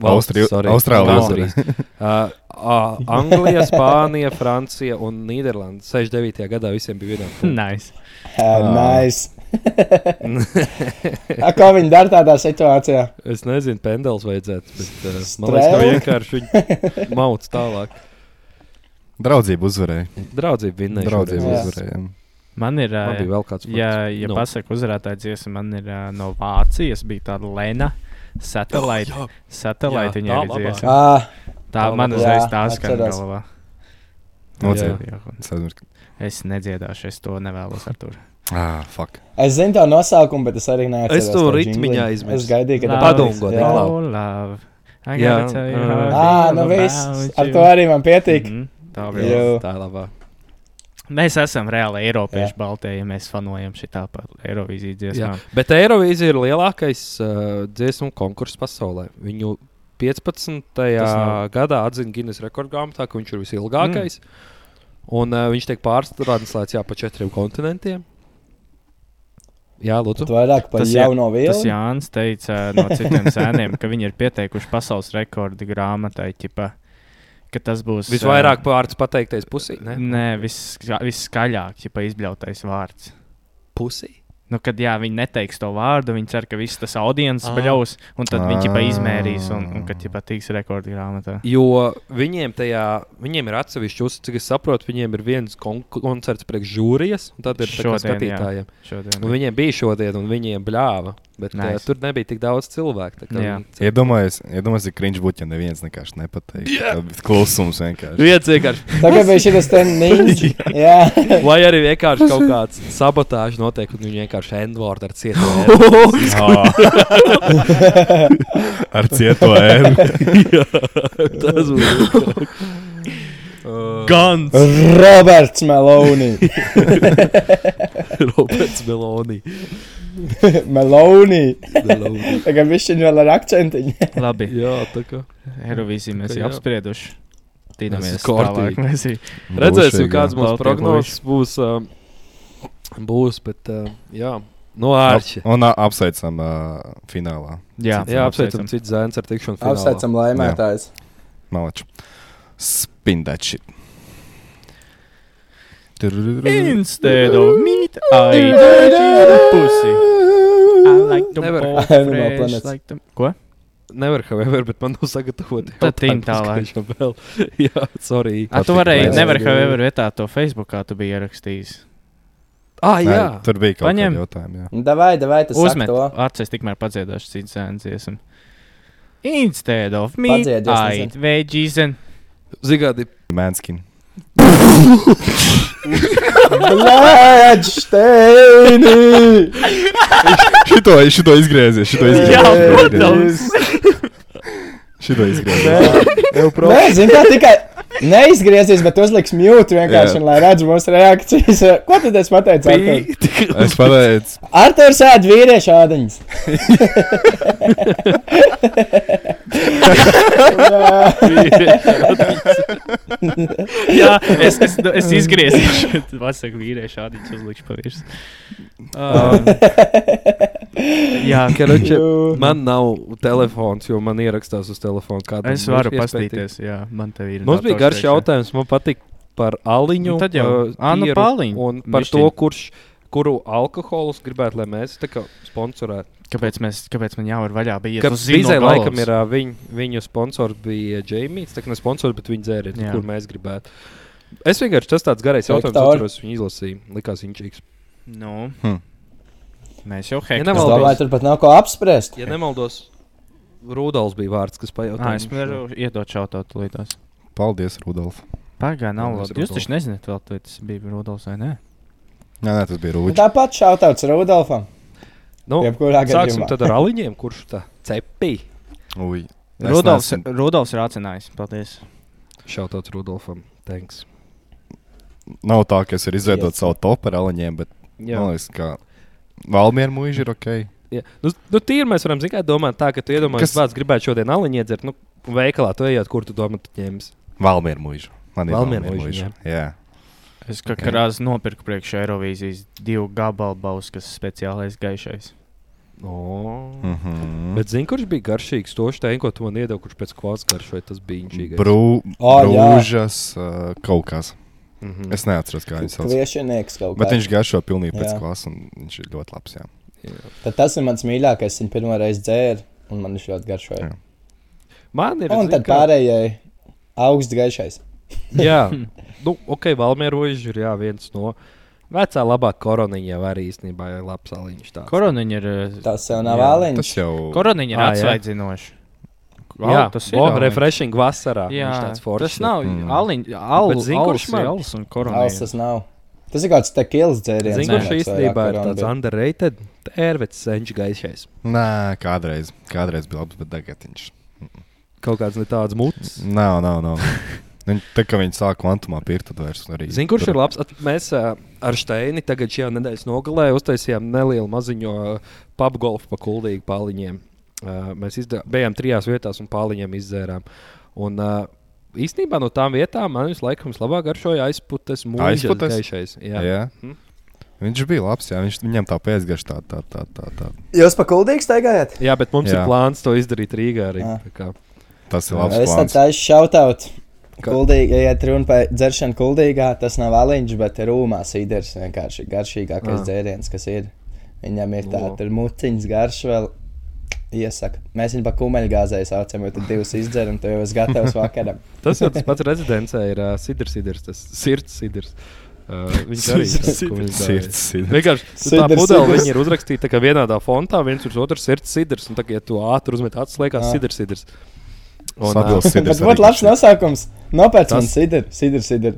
[SPEAKER 1] Val-
[SPEAKER 8] Austri-
[SPEAKER 1] sorry,
[SPEAKER 8] Austrālija
[SPEAKER 1] Austrijas. Uh, uh, Anglija, Spānija, Francija un Nīderlanda 69. gadā visiem bija vienā.
[SPEAKER 2] Nice.
[SPEAKER 1] Ah.
[SPEAKER 3] Nē, nē. Ko viņi dara tādā situācijā?
[SPEAKER 1] [LAUGHS] Es nezinu, pendels vajadzētu, bet uh, man liekas, ka
[SPEAKER 3] Strēle?
[SPEAKER 1] vienkārši viņi mauc tālāk.
[SPEAKER 8] Draudzība uzvarēja.
[SPEAKER 1] Draudzība vinnēja.
[SPEAKER 8] Draudzība
[SPEAKER 1] šoreiz.
[SPEAKER 3] Jā.
[SPEAKER 8] uzvarēja.
[SPEAKER 2] Man ir.
[SPEAKER 1] Man
[SPEAKER 2] ā,
[SPEAKER 1] bija vēl kāds.
[SPEAKER 2] Ja,
[SPEAKER 1] punkts.
[SPEAKER 2] ja
[SPEAKER 1] Nu.
[SPEAKER 2] no. pasaka uzvarētāja dziesma, man ir uh, no Vācijas, bija tāda Lena. Satelīte.
[SPEAKER 1] Jā, Jā,
[SPEAKER 2] Satelīte
[SPEAKER 1] tā
[SPEAKER 2] viņa ir
[SPEAKER 1] labā.
[SPEAKER 2] dziesma.
[SPEAKER 3] Ah,
[SPEAKER 2] Tā
[SPEAKER 1] Tā
[SPEAKER 2] man
[SPEAKER 1] labā.
[SPEAKER 2] uzreiz
[SPEAKER 3] Jā,
[SPEAKER 2] tā skan
[SPEAKER 3] atceros.
[SPEAKER 2] galvā.
[SPEAKER 1] Jā.
[SPEAKER 8] Nocēlīja.
[SPEAKER 2] Jā, un
[SPEAKER 8] Es aizmirsu. ka-
[SPEAKER 2] Es nedziedāšu, es to nevēlos ar to.
[SPEAKER 8] Ah, fuck.
[SPEAKER 3] es zinu to nosaukumu, bet es arī neesmu.
[SPEAKER 1] Es to ritmiņā aizmirsu.
[SPEAKER 3] Es gaidīju, ka
[SPEAKER 1] Love Padomgo,
[SPEAKER 3] jā.
[SPEAKER 1] Niklau. Jā, uh,
[SPEAKER 3] Ah, nu viss. Ar to arī man pietiek.
[SPEAKER 2] Mhm. Tā
[SPEAKER 3] Jā.
[SPEAKER 2] vēl.
[SPEAKER 3] Jo.
[SPEAKER 1] Tā ir labā.
[SPEAKER 2] Mēs esam reāli Eiropieši baltie, ja mēs fanojam šī tāpat Eirovīzijas
[SPEAKER 1] Jā.
[SPEAKER 2] dziesmām.
[SPEAKER 1] Bet Eirovīzija ir lielākais uh, dziesmu konkurss pasaulē. Viņu 15.
[SPEAKER 2] Tas nav-
[SPEAKER 1] gadā atzina Guinness rekordgrāmatā, ka viņš ir visilgākais. Mm. Un uh, viņš tiek pārstrādāts jā, pa četriem kontinentiem. Jā, Lūdzu.
[SPEAKER 3] Tu vairāk par
[SPEAKER 2] Tas jā-
[SPEAKER 3] jauno
[SPEAKER 2] Tas
[SPEAKER 3] vīru.
[SPEAKER 2] Jānis teica eh, no citiem sēniem, ka viņi ir pieteikuši pasaules rekordu grāmatai, ķipa, ka tas būs ā,
[SPEAKER 1] Visvairāk vārds pateiktais pusī. Ne?
[SPEAKER 2] Nē, viss skaļāk, ja izbļautais vārds.
[SPEAKER 1] Pusī.
[SPEAKER 2] Nu, kad jā, viņi neteiks to vārdu, viņi cer, ka viss tas audiences
[SPEAKER 1] Ah.
[SPEAKER 2] paļaus, un tad viņi
[SPEAKER 8] Ah.
[SPEAKER 2] pat izmērīs, un, un kad jau patiks rekordu grāmatā.
[SPEAKER 1] Jo viņiem tajā, viņiem ir atsevišķi uzsācis, cik es saprotu, viņiem ir viens kon koncerts priekš žūrijas, un tad ir arī
[SPEAKER 2] Šodien, jā.
[SPEAKER 1] skatītājiem. Un
[SPEAKER 2] Šodien.
[SPEAKER 1] viņiem bija šodien, un viņiem bļāva. Bet nice.
[SPEAKER 2] Nice.
[SPEAKER 1] uh, tur nebija tik daudz cilvēku. tā kā
[SPEAKER 2] Jā.
[SPEAKER 1] viņi-
[SPEAKER 8] Iedomājieties, iedomājies, ja kriņš būtu, ja neviens vienkārši nepateiktu. Yeah. Klusums vienkārši.
[SPEAKER 1] Viens vienkārši,
[SPEAKER 3] Tagad bija šis
[SPEAKER 2] [LAUGHS]
[SPEAKER 3] te nīņš. Jā.
[SPEAKER 1] vai arī vienkārši kaut kāds sabotāžs notiek, un viņi vienkārši endvārdu ar cietu. vērtību. [LAUGHS]
[SPEAKER 8] [LAUGHS] Ah.
[SPEAKER 2] [LAUGHS]
[SPEAKER 8] Ar cietu ēnu.
[SPEAKER 1] Tas būtu. [LAUGHS]
[SPEAKER 2] Gans!
[SPEAKER 3] Roberts
[SPEAKER 2] [LAUGHS]
[SPEAKER 3] Meloni.
[SPEAKER 1] Roberts Meloni.
[SPEAKER 3] Meloni.
[SPEAKER 1] Meloni.
[SPEAKER 3] Tagad viņš ir vēl ar akcentiņu.
[SPEAKER 2] Labi,
[SPEAKER 1] [LAUGHS] Jā, tā kā.
[SPEAKER 2] Eirovīziju mēs
[SPEAKER 1] Tā
[SPEAKER 2] jau
[SPEAKER 1] jā.
[SPEAKER 2] apsprieduši. Tīnamies
[SPEAKER 1] Tas ir kārtīgi.
[SPEAKER 2] tālāk. Mēs jau
[SPEAKER 1] [LAUGHS] Redzēsim, kāds
[SPEAKER 2] jā.
[SPEAKER 1] mums prognozes būs. Um, būs, bet, um, jā, no ārķa.
[SPEAKER 8] Un ā, apsveicam uh, finālā.
[SPEAKER 2] Jā,
[SPEAKER 1] Jā, apsveicam citu zēnu ar tikšanos. finālā.
[SPEAKER 3] Apsveicam laimētājs.
[SPEAKER 8] Malaču. Spindači.
[SPEAKER 2] Instead of meat, I eat pussy. I like the
[SPEAKER 1] Nevar.
[SPEAKER 2] ball
[SPEAKER 3] Animal
[SPEAKER 2] fresh,
[SPEAKER 3] Planets.
[SPEAKER 2] like the... Ko?
[SPEAKER 1] nevaru however, bet man nav sagatavota.
[SPEAKER 2] Tad tiņ tālāk.
[SPEAKER 1] Vēl. [LAUGHS] Jā, sorry.
[SPEAKER 2] A, tu varēji,
[SPEAKER 8] Patika,
[SPEAKER 2] nevar
[SPEAKER 3] jā.
[SPEAKER 2] however, vietā to Facebookā tu biji ierakstījis.
[SPEAKER 1] Ah,
[SPEAKER 8] Nē,
[SPEAKER 1] jā.
[SPEAKER 8] tur bija kaut
[SPEAKER 2] Paņem.
[SPEAKER 8] kāda jautājuma. jā.
[SPEAKER 3] Davai, davai, tas
[SPEAKER 2] Uzmet,
[SPEAKER 3] to.
[SPEAKER 2] atceries, tikmēr padziedāšu citu zēnu dziesmu. Instead of me,
[SPEAKER 3] Padzied, es
[SPEAKER 2] I eat veggies and [LAUGHS]
[SPEAKER 1] Zigādi.
[SPEAKER 8] Manskin.
[SPEAKER 3] Blēdšteini!
[SPEAKER 8] Šito, šito izgriezies, šito
[SPEAKER 3] [LAUGHS]
[SPEAKER 2] Jā,
[SPEAKER 8] izgriezies.
[SPEAKER 2] protams.
[SPEAKER 8] Šito izgriezies.
[SPEAKER 3] Nē, zini, kā tikai neizgriezīsies, bet uzliks mute vienkārši,
[SPEAKER 8] Jā.
[SPEAKER 3] un lai redz mūsu reakcijas. Ko tad es pateicu? Artur?
[SPEAKER 8] Es pateicu,
[SPEAKER 3] Arthurs ēd vīriešu ādaņas.
[SPEAKER 2] Jā, es, es, es izgriezīšu [LAUGHS] to vasaru vīriešu, šādi uzlikšu pavirši. Um, jā,
[SPEAKER 3] [LAUGHS]
[SPEAKER 1] Karoče,
[SPEAKER 3] Jū.
[SPEAKER 1] man nav telefons, jo man ierakstās uz telefonu. kādam.
[SPEAKER 2] es varu
[SPEAKER 1] Mums iespēja tikt-
[SPEAKER 2] paskatīties. Jā, man te ir.
[SPEAKER 1] Mums bija
[SPEAKER 2] dators
[SPEAKER 1] garš
[SPEAKER 2] priekšā.
[SPEAKER 1] jautājums. Man patīk par aliņu.
[SPEAKER 2] Nu, tad jau,
[SPEAKER 1] uh,
[SPEAKER 2] ā, nu,
[SPEAKER 1] tīru
[SPEAKER 2] paliņ,
[SPEAKER 1] Un par
[SPEAKER 2] mišķiņ.
[SPEAKER 1] to, kurš, kuru alkoholu es gribētu, lai mēs tā kā sponsorētu.
[SPEAKER 2] Kāpēc, mēs, kāpēc man jāvar vaļā? Bija
[SPEAKER 1] Kad Zizai laikam ir ā, viņ, viņu sponsors bija Jamijs, tā kā ne sponsors, bet viņa dzērienu,
[SPEAKER 2] Jā.
[SPEAKER 1] kur mēs gribētu. Es vienkārši tas tāds garais
[SPEAKER 3] Hektāri.
[SPEAKER 1] jautājums, kurus viņa izlasīja. Likās viņš čīks.
[SPEAKER 2] Nu,
[SPEAKER 8] Hmm.
[SPEAKER 2] Mēs jau
[SPEAKER 1] Ja
[SPEAKER 3] Es
[SPEAKER 1] nemaldos-
[SPEAKER 2] hekstējām.
[SPEAKER 3] domāju, tur pat nav ko apspriest.
[SPEAKER 1] Ja nemaldos, Rudals bija vārds, kas pajautāja.
[SPEAKER 2] Es varu iedot šautautu līdās.
[SPEAKER 8] paldies, Rudolf.
[SPEAKER 2] Pagaidām, nav
[SPEAKER 1] Paldies,
[SPEAKER 2] labi. Jūs taču
[SPEAKER 1] Rudolf.
[SPEAKER 2] nezināt, vēl vai tas bija Rudolfs vai nē.
[SPEAKER 8] Jā, nē, tas bija
[SPEAKER 3] Un
[SPEAKER 8] Rūģis.
[SPEAKER 3] Tāpat šautauts Rudolfam.
[SPEAKER 1] Nu,
[SPEAKER 3] Jebkurā
[SPEAKER 1] Sāksim
[SPEAKER 3] gadījumā.
[SPEAKER 1] tad ar aliņiem, kurš tā cepī.
[SPEAKER 8] Ui. Es
[SPEAKER 2] Rudolfs,
[SPEAKER 8] neesmu-
[SPEAKER 2] Rudolfs ir atcinājis. Paldies.
[SPEAKER 1] Šautauts Rudolfam. Thanks.
[SPEAKER 8] Nav tā, ka es varu izveidot savu topu ar aliņiem, bet
[SPEAKER 1] Jā,
[SPEAKER 8] man liekas, ka Valmiera mūža ir ok.
[SPEAKER 1] jā. Nu, s- nu tīri mēs varam tikai domāt tā, ka tu iedomājies,
[SPEAKER 8] Kas-
[SPEAKER 1] kāds gribētu šodien aliņu iedzert. Nu, veikalā tu ejot, kur tu domā, tu ņemsi.
[SPEAKER 8] Valmiera mūža. Man ir
[SPEAKER 1] Valmiera
[SPEAKER 8] Valmiera
[SPEAKER 1] mūža,
[SPEAKER 8] mūža. Jā.
[SPEAKER 2] Es kā krāsas nopirku priekšā Eirovīzijas divu gabalu bauskas speciālais gaišais.
[SPEAKER 1] Oh.
[SPEAKER 8] Mhm.
[SPEAKER 1] Bet zini, kurš bija garšīgs? To šitā, ko tu man iedevi, kurš pēc kvotas garšoja, tas bija inčīgs.
[SPEAKER 8] Brū,
[SPEAKER 3] O, jā.
[SPEAKER 8] brūžas uh, kaut kas.
[SPEAKER 1] Mhm.
[SPEAKER 8] Es neatceros, kā viņš sauc.
[SPEAKER 3] Kviešinieks kaut
[SPEAKER 8] Bet
[SPEAKER 3] kā.
[SPEAKER 8] viņš garšo pilnīgi pēc
[SPEAKER 3] Jā.
[SPEAKER 8] klases, un viņš ir ļoti labs. Jā.
[SPEAKER 3] Tad tas ir mans mīļākais, viņa pirmo reizi dzēra, un man viņš ļoti garšoja.
[SPEAKER 8] Jā.
[SPEAKER 1] Man ir.
[SPEAKER 3] Un
[SPEAKER 1] zini,
[SPEAKER 3] tad
[SPEAKER 1] kā-
[SPEAKER 3] pārējai augsts gaišais.
[SPEAKER 1] Jā, nu, ok, Valmērožs ir jā, viens no vecā labā koroniņa, jau arī īstenībā ir labs aliņš. tāds.
[SPEAKER 2] Koroniņa ir. ā,
[SPEAKER 3] Tas jau nav
[SPEAKER 1] Jā,
[SPEAKER 3] āliņš.
[SPEAKER 8] Tas jau
[SPEAKER 2] Koroniņa
[SPEAKER 1] Ā,
[SPEAKER 2] ir
[SPEAKER 1] jā.
[SPEAKER 2] atsvaidzinoša.
[SPEAKER 1] Jā,
[SPEAKER 2] Au,
[SPEAKER 1] tas
[SPEAKER 2] tas
[SPEAKER 1] ir.
[SPEAKER 2] ir
[SPEAKER 1] Oh,
[SPEAKER 2] aliņš.
[SPEAKER 1] refreshing vasarā.
[SPEAKER 2] Jā,
[SPEAKER 1] viņš tāds foršs.
[SPEAKER 2] tas nav
[SPEAKER 8] Mm.
[SPEAKER 2] aliņš. Alu,
[SPEAKER 1] Bet zini, kurš
[SPEAKER 2] alus,
[SPEAKER 1] man-
[SPEAKER 2] ir alus un
[SPEAKER 3] Alus
[SPEAKER 2] koroniņa.
[SPEAKER 3] tas nav. Tas ir kāds tekils dzēriens.
[SPEAKER 1] Zinu,
[SPEAKER 3] man
[SPEAKER 1] kurš
[SPEAKER 3] liekas, vairāk,
[SPEAKER 1] īstenībā ir
[SPEAKER 3] kuram
[SPEAKER 1] tāds
[SPEAKER 3] bija.
[SPEAKER 1] underrated, tērvets, senčs gaišais.
[SPEAKER 8] Nē, kādreiz, kādreiz bija labs, bet tagad viņš.
[SPEAKER 1] Kaut kāds ne tāds mūcis.
[SPEAKER 8] Nav, nav,
[SPEAKER 1] [LAUGHS]
[SPEAKER 8] nav. Viņ, tā kā viņi sāk kvantumā pirkt, tad vairs arī.
[SPEAKER 1] Zinu, kurš
[SPEAKER 8] tur-
[SPEAKER 1] ir labs. At, mēs ā, ar Steini tagad šajā nedēļas nogalē uztaisījām nelielu maziņo papgolfu pa kuldīgu pāliņiem. Ā, Mēs izdā, bijām trijās vietās un pāliņiem izdzērām. Un, ā, Īstenībā no tām vietām man vislabāk vislabāk garšoja aizputes mūžs.
[SPEAKER 8] Aizputes?
[SPEAKER 1] Gaišais. Jā, jā.
[SPEAKER 8] Jā.
[SPEAKER 1] Mhm.
[SPEAKER 8] Viņš bija labs, jā. Viņš, viņam tā pēcgaša tā, tā, tā, tā, tā.
[SPEAKER 3] Jūs pa kuldīgs taigājat?
[SPEAKER 1] jā, bet mums jā.
[SPEAKER 8] Jā.
[SPEAKER 1] ir plāns to izdarīt Rīgā arī.
[SPEAKER 3] Jā.
[SPEAKER 1] tā kā.
[SPEAKER 8] Tas ir labs
[SPEAKER 3] Es tad
[SPEAKER 8] plāns.
[SPEAKER 3] taisu šautaut.
[SPEAKER 1] Ka-
[SPEAKER 3] Kuldīgi, ja iet runa par dzeršanu kuldīgā, tas nav aliņš, bet ir rūmā sīders vienkārši garšīgākais
[SPEAKER 1] Ah.
[SPEAKER 3] dzēriens, kas ir. Viņam ir
[SPEAKER 1] Nu.
[SPEAKER 3] tāds muciņas garš vēl. Iesaka. Mēs viņu pa kumeļgāzēju saucam, jo tad divas izdzeram, tu jau esi
[SPEAKER 1] [LAUGHS]
[SPEAKER 3] gatavs vakaram.
[SPEAKER 1] Tas jau tas pats rezidencē ir uh, Sidrs, Sidrs, tas sirds Sidrs. Uh, viņš arī
[SPEAKER 3] Sidrs,
[SPEAKER 1] ko viņš dāja.
[SPEAKER 8] [LAUGHS] Sirds, sirds.
[SPEAKER 1] Vienkārši tu tā
[SPEAKER 3] Sidrs,
[SPEAKER 1] pudele
[SPEAKER 3] sidrs.
[SPEAKER 1] viņi ir uzrakstīta tā kā vienādā fontā, viens uz otru sirds sidrs, un tagad, ja tu ātri uzmet acis, liekas,
[SPEAKER 3] Jā.
[SPEAKER 1] sidrs, sidrs. Un,
[SPEAKER 8] Sadils
[SPEAKER 1] ā,
[SPEAKER 8] sidrs.
[SPEAKER 3] Bet būtu labs nosaukums. Nopērts man
[SPEAKER 1] Tas-
[SPEAKER 3] sidru, sidru, sidru.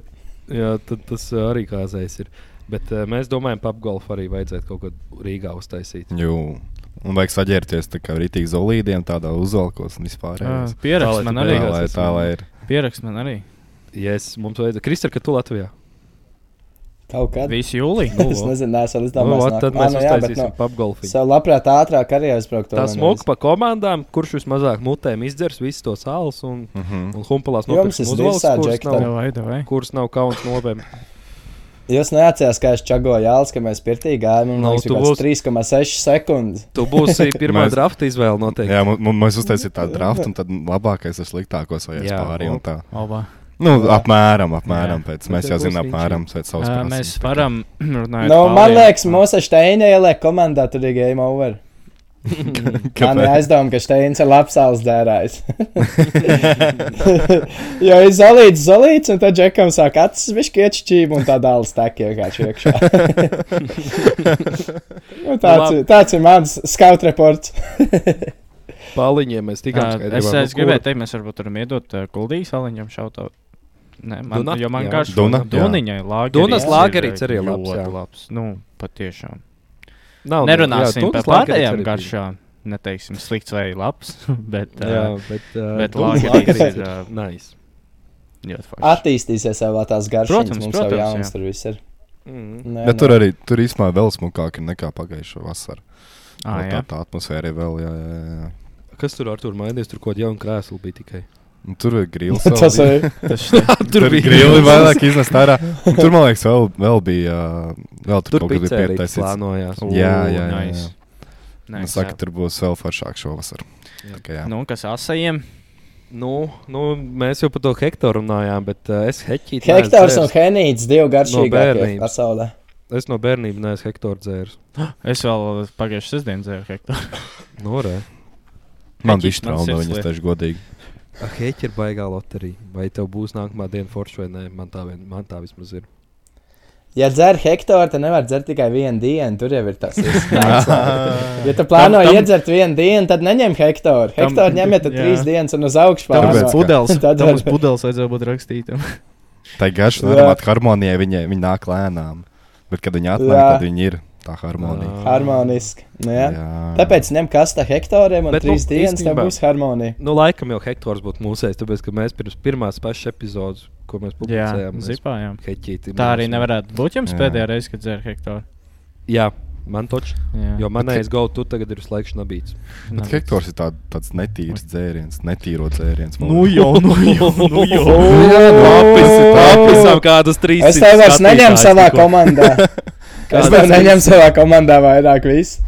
[SPEAKER 1] jā, tad tas ā, arī kāzais ir. Bet uh, mēs domājam, ka apgolfu arī vajadzētu kaut ko Rīgā uztaisīt.
[SPEAKER 8] Jū. Un vajag saģērties tā kā rītīgi zolīdiem, tādā uzvalkos un vispār.
[SPEAKER 2] Ā,
[SPEAKER 8] Jā,
[SPEAKER 1] Tā, lai tu
[SPEAKER 2] Pierakst man
[SPEAKER 8] tā
[SPEAKER 2] arī.
[SPEAKER 1] beigās-
[SPEAKER 8] lai,
[SPEAKER 1] es
[SPEAKER 8] tā,
[SPEAKER 1] esmu-
[SPEAKER 8] lai ir.
[SPEAKER 2] Pierakst man arī.
[SPEAKER 1] Yes, mums vajadzētu. Kristā, ka tu Latvijā?
[SPEAKER 3] Kaut kad.
[SPEAKER 2] Visu jūliju.
[SPEAKER 1] Nu,
[SPEAKER 3] [LAUGHS] Es
[SPEAKER 1] vo.
[SPEAKER 3] nezinu, es vēl
[SPEAKER 1] Nu,
[SPEAKER 3] izdomāju,
[SPEAKER 1] ot, tad mēs
[SPEAKER 3] nu,
[SPEAKER 1] uztaisīsim apgolfu.
[SPEAKER 3] Sev labprāt ātrāk arī aizbraukt.
[SPEAKER 1] Tā smoka pa komandām, kurš vismazāk mutēm izdzers visus tos sāls un,
[SPEAKER 8] Mhm.
[SPEAKER 1] un humpalās
[SPEAKER 3] Jums
[SPEAKER 1] nopirks
[SPEAKER 3] es
[SPEAKER 1] uzvalks,
[SPEAKER 3] visā
[SPEAKER 1] kuras
[SPEAKER 3] džektā.
[SPEAKER 1] nav-
[SPEAKER 2] Davai, davai.
[SPEAKER 1] kuras nav kauns nobēm.
[SPEAKER 3] Jūs neatcerāties, kā es čagoju Jālis, ka mēs pirtī gājām. Man
[SPEAKER 1] Nu,
[SPEAKER 3] liekas,
[SPEAKER 1] tu
[SPEAKER 3] ka tas
[SPEAKER 1] būsi-
[SPEAKER 3] 3,6 sekundes.
[SPEAKER 1] Tu
[SPEAKER 8] [LAUGHS]
[SPEAKER 1] būsi pirmā
[SPEAKER 8] Mēs-
[SPEAKER 1] drafta izvēle noteikti.
[SPEAKER 8] jā mu- mu- mēs uztaisījām tādu draftu, un tad labākais ar sliktākos vai
[SPEAKER 1] Jā,
[SPEAKER 8] pāri. un
[SPEAKER 1] un-
[SPEAKER 8] tā.
[SPEAKER 2] Oba.
[SPEAKER 8] Nu, apmēram, apmēram pēc. Mēs
[SPEAKER 1] Bet
[SPEAKER 8] jau
[SPEAKER 1] tev būs
[SPEAKER 8] zinām, apmēram pēc savas
[SPEAKER 2] Ā,
[SPEAKER 8] prasības.
[SPEAKER 2] Mēs varam runāt.
[SPEAKER 3] Nu, man liekas, mūsu steina ieliek komandā, tur ir game over. Man ir aizdomas, ka Steins ir labs sāls dērājs. [LAUGHS] jo ir zolīts, zolīts, un tad džekam sāk acis višķi iečķīm, un tā dāls tak vienkārši
[SPEAKER 2] [LAUGHS]
[SPEAKER 3] iekšā. Nu, tāds, ir- tāds ir mans scout reports.
[SPEAKER 1] Paliņiem mēs tikām skaidrībā.
[SPEAKER 2] Es,
[SPEAKER 1] nu,
[SPEAKER 2] es
[SPEAKER 1] kur-
[SPEAKER 2] gribēju teikt, mēs varbūt varam iedot uh, Kuldīgas aliņam šautau. Nē, man,
[SPEAKER 1] Duna?
[SPEAKER 2] Duna, jo man
[SPEAKER 1] Jā.
[SPEAKER 2] garš
[SPEAKER 8] Duna, jā.
[SPEAKER 2] Duniņai lagerīts.
[SPEAKER 1] Dunas
[SPEAKER 2] ir,
[SPEAKER 1] lagerīts arī
[SPEAKER 2] uh,
[SPEAKER 1] labs,
[SPEAKER 2] ļoti
[SPEAKER 1] jā.
[SPEAKER 2] labs. Nu, patiešām.
[SPEAKER 1] Nav,
[SPEAKER 2] Nerunāsim par pārējām
[SPEAKER 1] garšām.
[SPEAKER 2] garšām. Neteiksim slikts vai labs, [LAUGHS] bet
[SPEAKER 1] Jā,
[SPEAKER 2] uh,
[SPEAKER 1] bet,
[SPEAKER 2] bet
[SPEAKER 1] Dunas
[SPEAKER 2] lagerīts
[SPEAKER 1] lagerīts
[SPEAKER 2] ir,
[SPEAKER 1] ir,
[SPEAKER 2] ā,
[SPEAKER 1] nice.
[SPEAKER 2] ļoti forši.
[SPEAKER 3] Attīstīsies jau tās garšas,
[SPEAKER 2] Protams,
[SPEAKER 3] mums jau
[SPEAKER 2] protams,
[SPEAKER 3] jaunas
[SPEAKER 2] jā.
[SPEAKER 3] tur viss ir.
[SPEAKER 1] Mm.
[SPEAKER 3] Nē,
[SPEAKER 8] Bet
[SPEAKER 3] nē.
[SPEAKER 8] tur arī tur īstenībā vēl smukāk ir nekā pagājušā vasarā.
[SPEAKER 2] Ah,
[SPEAKER 8] tā,
[SPEAKER 2] jā.
[SPEAKER 8] tā atmosfēra ir vēl, jā, jā, jā.
[SPEAKER 1] Kas tur ar tur mainījies? Tur kaut kāda jauna krēsla bija tikai.
[SPEAKER 8] Un tur ir grils.
[SPEAKER 3] [LAUGHS] Tas
[SPEAKER 8] vēl bija.
[SPEAKER 3] ir.
[SPEAKER 2] Tas
[SPEAKER 8] [LAUGHS] Tur bija
[SPEAKER 1] [LAUGHS]
[SPEAKER 8] grili vairāk iznest ārā. Un Tur, man liekas, vēl, vēl bija. Vēl tur
[SPEAKER 1] Tur
[SPEAKER 8] kaut kas
[SPEAKER 1] bija
[SPEAKER 8] bija
[SPEAKER 1] pieredzēts.
[SPEAKER 8] pietaisīts.
[SPEAKER 1] Plānojās.
[SPEAKER 8] Jā, jā, jā, jā.
[SPEAKER 2] nice.
[SPEAKER 8] Man
[SPEAKER 2] Nice,
[SPEAKER 8] saka,
[SPEAKER 2] jā.
[SPEAKER 8] tur būs vēl foršāk šovasar.
[SPEAKER 1] Nu, Jā.
[SPEAKER 8] Tā kā jā.
[SPEAKER 2] Nu, kas asajiem?
[SPEAKER 1] Nu, nu, mēs jau par to hektāru runājām, bet uh, es heķīju.
[SPEAKER 3] Hektors un Henīts, divi
[SPEAKER 1] bērnības.
[SPEAKER 3] garšīgākie pasaulē.
[SPEAKER 1] Es no bērnības neesmu hektāru dzēris.
[SPEAKER 2] Es vēl pagājušajā sestdienā dzēru hektāru.
[SPEAKER 1] No, re.
[SPEAKER 8] Man bija
[SPEAKER 2] Heķis man
[SPEAKER 8] štrauma,
[SPEAKER 2] sirds
[SPEAKER 8] viņas
[SPEAKER 2] liek.
[SPEAKER 8] taču
[SPEAKER 2] [LAUGHS]
[SPEAKER 8] godīgi.
[SPEAKER 1] Ah, Heķi ir baigā loterija. Vai tev būs nākamā diena forša vai nē? Man tā, vien, man tā vismaz ir.
[SPEAKER 3] Ja dzer hektāru, tad nevar dzert tikai vienu dienu. Tur jau ir tas izslēgts.
[SPEAKER 8] [LAUGHS]
[SPEAKER 3] Ja tu plāno
[SPEAKER 2] Tam- tam-
[SPEAKER 3] iedzert vienu dienu, tad neņem hektāru.
[SPEAKER 2] Tam-
[SPEAKER 3] Hektāru ņemiet tad
[SPEAKER 2] jā.
[SPEAKER 3] trīs dienas un uz augšu
[SPEAKER 2] Tam
[SPEAKER 8] Tāpēc,
[SPEAKER 2] uz
[SPEAKER 8] ka-
[SPEAKER 3] pāri.
[SPEAKER 8] [LAUGHS]
[SPEAKER 2] pudeles,
[SPEAKER 3] Tad
[SPEAKER 2] tam
[SPEAKER 3] var-
[SPEAKER 2] uz pudeles vajadzēja būt rakstītam.
[SPEAKER 8] Tā nu, ir garša,
[SPEAKER 3] Jā.
[SPEAKER 8] un arī harmonija viņa, viņa nāk lēnām. Bet, kad viņa atnāk,
[SPEAKER 3] Jā.
[SPEAKER 8] tad viņa ir tā harmonija.
[SPEAKER 3] Harmoniski. Nu, jā.
[SPEAKER 8] Jā.
[SPEAKER 3] Tāpēc ņem kasta hektāriem un
[SPEAKER 1] Bet, nu,
[SPEAKER 3] trīs dienas tam
[SPEAKER 1] īstenībā-
[SPEAKER 3] būs harmonija.
[SPEAKER 1] Nu, laikam jau hektārs būtu mūsejs, tāpēc, ka mēs pirms pirmās pašas epizodes, ko mēs
[SPEAKER 2] Jā,
[SPEAKER 1] publicējām, mēs
[SPEAKER 2] zipājām.
[SPEAKER 1] heķīti.
[SPEAKER 2] Tā arī
[SPEAKER 1] mūsu-
[SPEAKER 2] nevarētu būt jums
[SPEAKER 8] Jā.
[SPEAKER 2] pēdējā reize, kad dzēru hektāru.
[SPEAKER 1] Jā, man točs.
[SPEAKER 2] Jā.
[SPEAKER 1] Jo manējais gauts, tu tagad ir slēgšana nabīts.
[SPEAKER 8] Bet Hektors ir tā, tāds netīrs dzēriens, netīro dzēriens. man
[SPEAKER 2] Nu
[SPEAKER 8] liekas.
[SPEAKER 2] jau, nu jau, nu
[SPEAKER 8] [LAUGHS]
[SPEAKER 2] jau.
[SPEAKER 1] Papisam kādus trīs.
[SPEAKER 3] Es tev vairs neņemu savā komandā. Es tev neņemu savā komandā vairāk visu.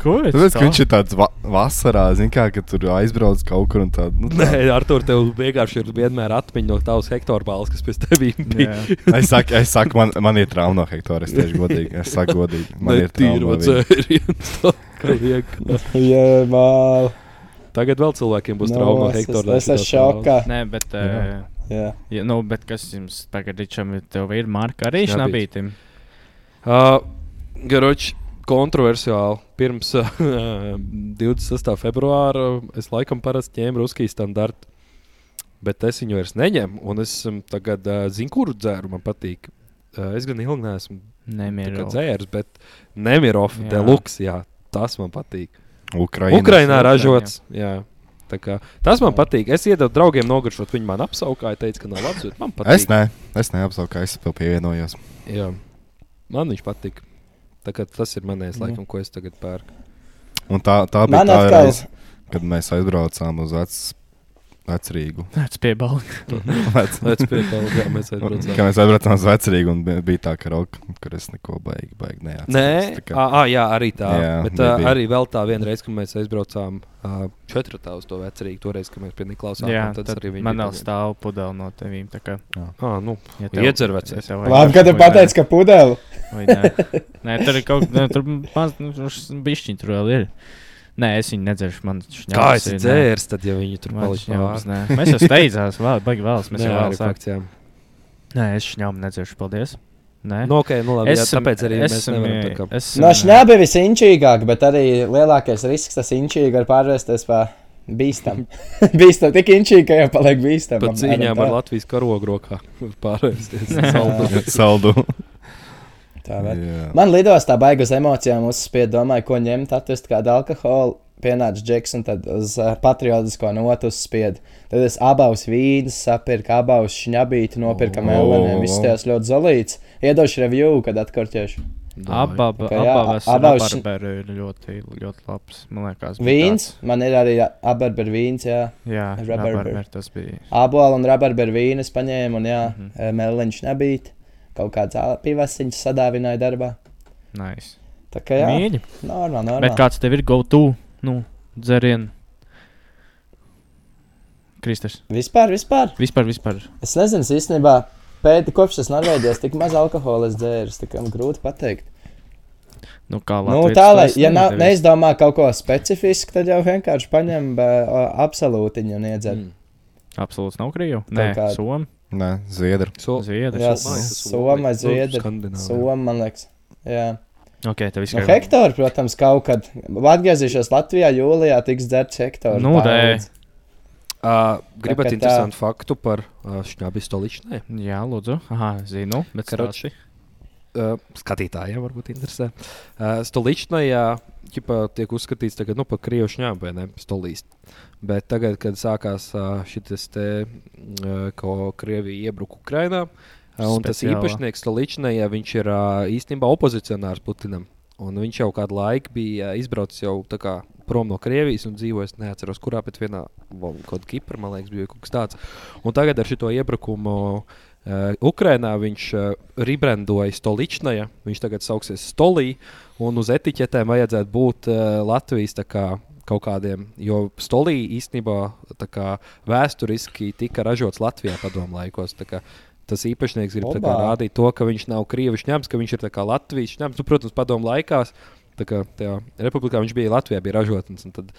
[SPEAKER 2] Ko es?
[SPEAKER 8] Tāpēc, ka
[SPEAKER 2] tā?
[SPEAKER 8] viņš ir tāds va vasarā, zin kā, ka tur aizbrauc kaut kur un tā. Nu,
[SPEAKER 1] [LAUGHS]
[SPEAKER 8] tā.
[SPEAKER 1] Nē, Artur, tev vienkārši ir vienmēr atmiņa no tavas hektāra balss, kas pēc
[SPEAKER 2] [LAUGHS]
[SPEAKER 1] tevis bija.
[SPEAKER 2] Jā.
[SPEAKER 8] Es saku, es saku man, man ir trauma no hektāra. Es tieši godīgi. Es saku, godīgi. Man ir trauma.
[SPEAKER 1] Netīro
[SPEAKER 8] viņa.
[SPEAKER 1] dzēriens. tā kā vienkārši.
[SPEAKER 3] Jā, vēl.
[SPEAKER 1] Tagad vēl cilvēkiem būs
[SPEAKER 3] Nu,
[SPEAKER 1] trauma no
[SPEAKER 3] es-
[SPEAKER 1] hektāra.
[SPEAKER 3] Es esmu šokā.
[SPEAKER 2] Nē, bet.
[SPEAKER 8] Jā.
[SPEAKER 2] ē,
[SPEAKER 3] Jā.
[SPEAKER 2] Ja, nu, bet kas jums tagad Ričam, ir? Tev ir marka arī
[SPEAKER 1] Šnabīt.
[SPEAKER 2] šnabītim.
[SPEAKER 1] Uh, Garoči, kontroversiāli. Pirms [LAUGHS] uh, 26. februāra es laikam parasti ņēmu ruskiju standartu, bet es viņu vairs neņemu. Un es um, tagad uh, zinu, kuru dzēru man patīk. Uh, es gan ilgi neesmu tā kā
[SPEAKER 2] Nemieru.
[SPEAKER 1] dzēris, bet Nemirov
[SPEAKER 2] Jā.
[SPEAKER 1] deluks, jā, tas man patīk.
[SPEAKER 8] Ukrainas.
[SPEAKER 1] Ukrainā
[SPEAKER 2] Ukrainā,
[SPEAKER 1] ražots. Jā. Tā Kā, tas man patīk. Es iedodu draugiem noguršot. Viņi man apskaukāja, teica, ka nav labi. Man patīk.
[SPEAKER 8] Es ne, es neapsaucu, es vēl pievienojos.
[SPEAKER 1] Jā. Man viņš patīk. Tā kā Tas ir
[SPEAKER 8] Mhm.
[SPEAKER 1] manējais, laikam, ko es tagad pērku.
[SPEAKER 8] [LAUGHS] Un tā, tā bija
[SPEAKER 3] Man
[SPEAKER 8] tā
[SPEAKER 3] atkal-
[SPEAKER 8] reize, kad mēs aizbraucām uz Vec- Vecrīgu.
[SPEAKER 2] Nāc pie balka.
[SPEAKER 8] Vec-
[SPEAKER 1] Lai tas pietiek, mēs aizbraucām.
[SPEAKER 8] Kad mēs aizbraucām uz Vecrīgu, un bija- bija tā karoka, kur es neko baigi, baigi neatceros.
[SPEAKER 1] Nē,
[SPEAKER 8] Tā kā-
[SPEAKER 1] à, à, jā, arī tā. Jā,
[SPEAKER 8] Jā,
[SPEAKER 1] Bet uh,
[SPEAKER 8] nebija.
[SPEAKER 1] arī vēl tā viena reize, kad mēs aizbraucām uh, četratā uz to vecerīgu, toreiz, kad mēs pie Niklaus
[SPEAKER 2] Jā,
[SPEAKER 1] sākām. Tad
[SPEAKER 2] tad
[SPEAKER 1] arī viņi
[SPEAKER 2] man vēl stāv pudeli no tevīm. tā kā,
[SPEAKER 1] Ah, nu,
[SPEAKER 2] ja tev-
[SPEAKER 1] iedzer
[SPEAKER 2] ja
[SPEAKER 1] vecais.
[SPEAKER 2] tev vajag
[SPEAKER 3] Labi, ka tu
[SPEAKER 2] vai
[SPEAKER 3] pateici, ka pudeli.
[SPEAKER 2] nē, vai Nē, [LAUGHS] Nē, tur ir kaut kas, tur maz, nu, bišķiņ tur vēl ir. Nē, es viņu nedzeršu, man šņabis
[SPEAKER 1] Kā es
[SPEAKER 2] ir, nē.
[SPEAKER 1] dzērs, tad jau viņi tur
[SPEAKER 2] Man
[SPEAKER 1] palika
[SPEAKER 2] šņabs,
[SPEAKER 1] pāri.
[SPEAKER 2] nē. Mēs jau steidzās, vēl, baigi vēlas, mēs
[SPEAKER 1] Nē,
[SPEAKER 2] jau
[SPEAKER 1] arī
[SPEAKER 2] vēlas. sākt.
[SPEAKER 1] fakts, jā.
[SPEAKER 2] Nē, es šņaubu nedzeršu, paldies. Nē.
[SPEAKER 1] Nu, okay, nu, labi, jā,
[SPEAKER 2] Esam-
[SPEAKER 1] tāpēc arī mēs
[SPEAKER 2] esam,
[SPEAKER 1] nevaram
[SPEAKER 2] ē,
[SPEAKER 1] tā kā
[SPEAKER 2] esam,
[SPEAKER 3] No
[SPEAKER 2] ē,
[SPEAKER 3] šņābi visinčīgāk, bet arī lielākais risks tas inčīgi var pārvērsties par bīstam. bīstam, tik inčīgi, ka jau paliek bīstam.
[SPEAKER 1] pat cīņām ar
[SPEAKER 3] tā,
[SPEAKER 1] Latvijas karogu [LAUGHS] rokā pārvērsties.
[SPEAKER 3] [LAUGHS]
[SPEAKER 8] Jā, Saldu.
[SPEAKER 3] tā var.
[SPEAKER 8] Jā.
[SPEAKER 3] Man lidostā baigi uz emocijām uzspied, domāju, ko ņemt, atvest kādu alkoholu. Pienāca džeks un tad uz uh, patriotisko notu uzspied. Tad es abās vīnas sapirku, abās šņabīti nopirku
[SPEAKER 8] Oh.
[SPEAKER 3] melnēm. Viss tajās ļoti zolīts. Iedošu review, kad atkortēšu.
[SPEAKER 2] Abā
[SPEAKER 3] kā jā, a-
[SPEAKER 2] pusē
[SPEAKER 3] abās-
[SPEAKER 2] ir ļoti, ļoti labs. Man liekas, bija
[SPEAKER 3] Vīns, man ir arī abarber vīns, jā.
[SPEAKER 2] tāds. Jā,
[SPEAKER 3] Rabarber.
[SPEAKER 2] rabarber tas bija.
[SPEAKER 3] Abola un rabarber vīnas paņēmu un jā,
[SPEAKER 2] Mhm.
[SPEAKER 3] mm -hmm. meliņš nebīt. Kaut kāds ā- pivasiņš sadāvināja darbā.
[SPEAKER 2] Nice.
[SPEAKER 3] Tā kā jā,
[SPEAKER 2] Mīļi.
[SPEAKER 3] normāli,
[SPEAKER 2] Bet
[SPEAKER 3] normāli.
[SPEAKER 2] kāds tev ir go-to? Nu, dzerien. Kristers.
[SPEAKER 3] Vispār, vispār.
[SPEAKER 2] Vispār, vispār.
[SPEAKER 3] Es nezinu, es īstenībā pēdi, kopš es Norvēģijos tik maz alkohola es dzēru, es tā kā man grūti pateikt.
[SPEAKER 2] Nu, kā
[SPEAKER 3] Nu,
[SPEAKER 2] Latvijas
[SPEAKER 3] tā lai,
[SPEAKER 2] tas
[SPEAKER 3] ja nav,
[SPEAKER 2] nedevis.
[SPEAKER 3] neizdomā kaut ko specifisku, tad jau vienkārši paņem uh, absolūtiņu un iedzer.
[SPEAKER 1] Mm.
[SPEAKER 2] Absolūts nav Krievija. Nē,
[SPEAKER 3] Tā kā-
[SPEAKER 2] Somija.
[SPEAKER 8] Nē, Zviedri.
[SPEAKER 1] So,
[SPEAKER 2] Zviedri.
[SPEAKER 3] Nu, Jā,
[SPEAKER 1] Somai, tas
[SPEAKER 3] Somai,
[SPEAKER 1] Somai. Nu,
[SPEAKER 3] Zviedri,
[SPEAKER 1] Skandināvijā.
[SPEAKER 3] Soma, man liekas. Jā.
[SPEAKER 2] Ok, tev viss
[SPEAKER 3] Nu, Hektāra, protams, kaut kad atgriezīšos Latvijā, jūlijā tiks dzerts hektāra.
[SPEAKER 2] Nu, dē.
[SPEAKER 1] Ā,
[SPEAKER 3] Tā kā
[SPEAKER 1] Gribat
[SPEAKER 3] tā.
[SPEAKER 1] interesantu faktu par uh, šņābi stoličnē.
[SPEAKER 2] Jā, lūdzu. Aha, zinu. Bet
[SPEAKER 1] Karoči.
[SPEAKER 2] karoči.
[SPEAKER 1] Uh, skatītājiem varbūt interesē. Uh, Stoličnajā ķipā tiek uzskatīts tagad, nu, par krievu šņābēniem stolīst. Bet tagad, kad sākās uh, šis te, uh, ko Krievija iebruka Ukrainā, uh, un tas
[SPEAKER 2] Speciālā.
[SPEAKER 1] īpašnieks Stoličnajā, viņš ir uh, īstenībā opozicionārs Putinam. Un viņš jau kādu laiku bija uh, izbraucis jau tā kā prom no Krievijas un dzīvojis, neatceros, kurā, bet vienā, val- kaut kādā Kiprā, man liekas, bija kaut kas tāds. Un tagad ar šo iebrukumu uh, Ukrainā viņš uh, ribrendoja Stoličnaja. Viņš tagad sauksies Stolī, un uz etiķetēm vajadzētu būt uh, Latvijas tā kā, kaut kādiem. Jo Stolī īstenībā tā kā, vēsturiski tika ražots Latvijā padomu laikos. tā kā Tas īpašnieks grib tā kā,
[SPEAKER 3] Obā.
[SPEAKER 1] rādīt to, ka viņš nav krievis šņēmis, ka viņš ir tā kā Latvijas šņēmis. Nu, protams, padomu laikos. Tā kā tajā republikā viņš bija Latvijā, bija ražotnes. un Tad,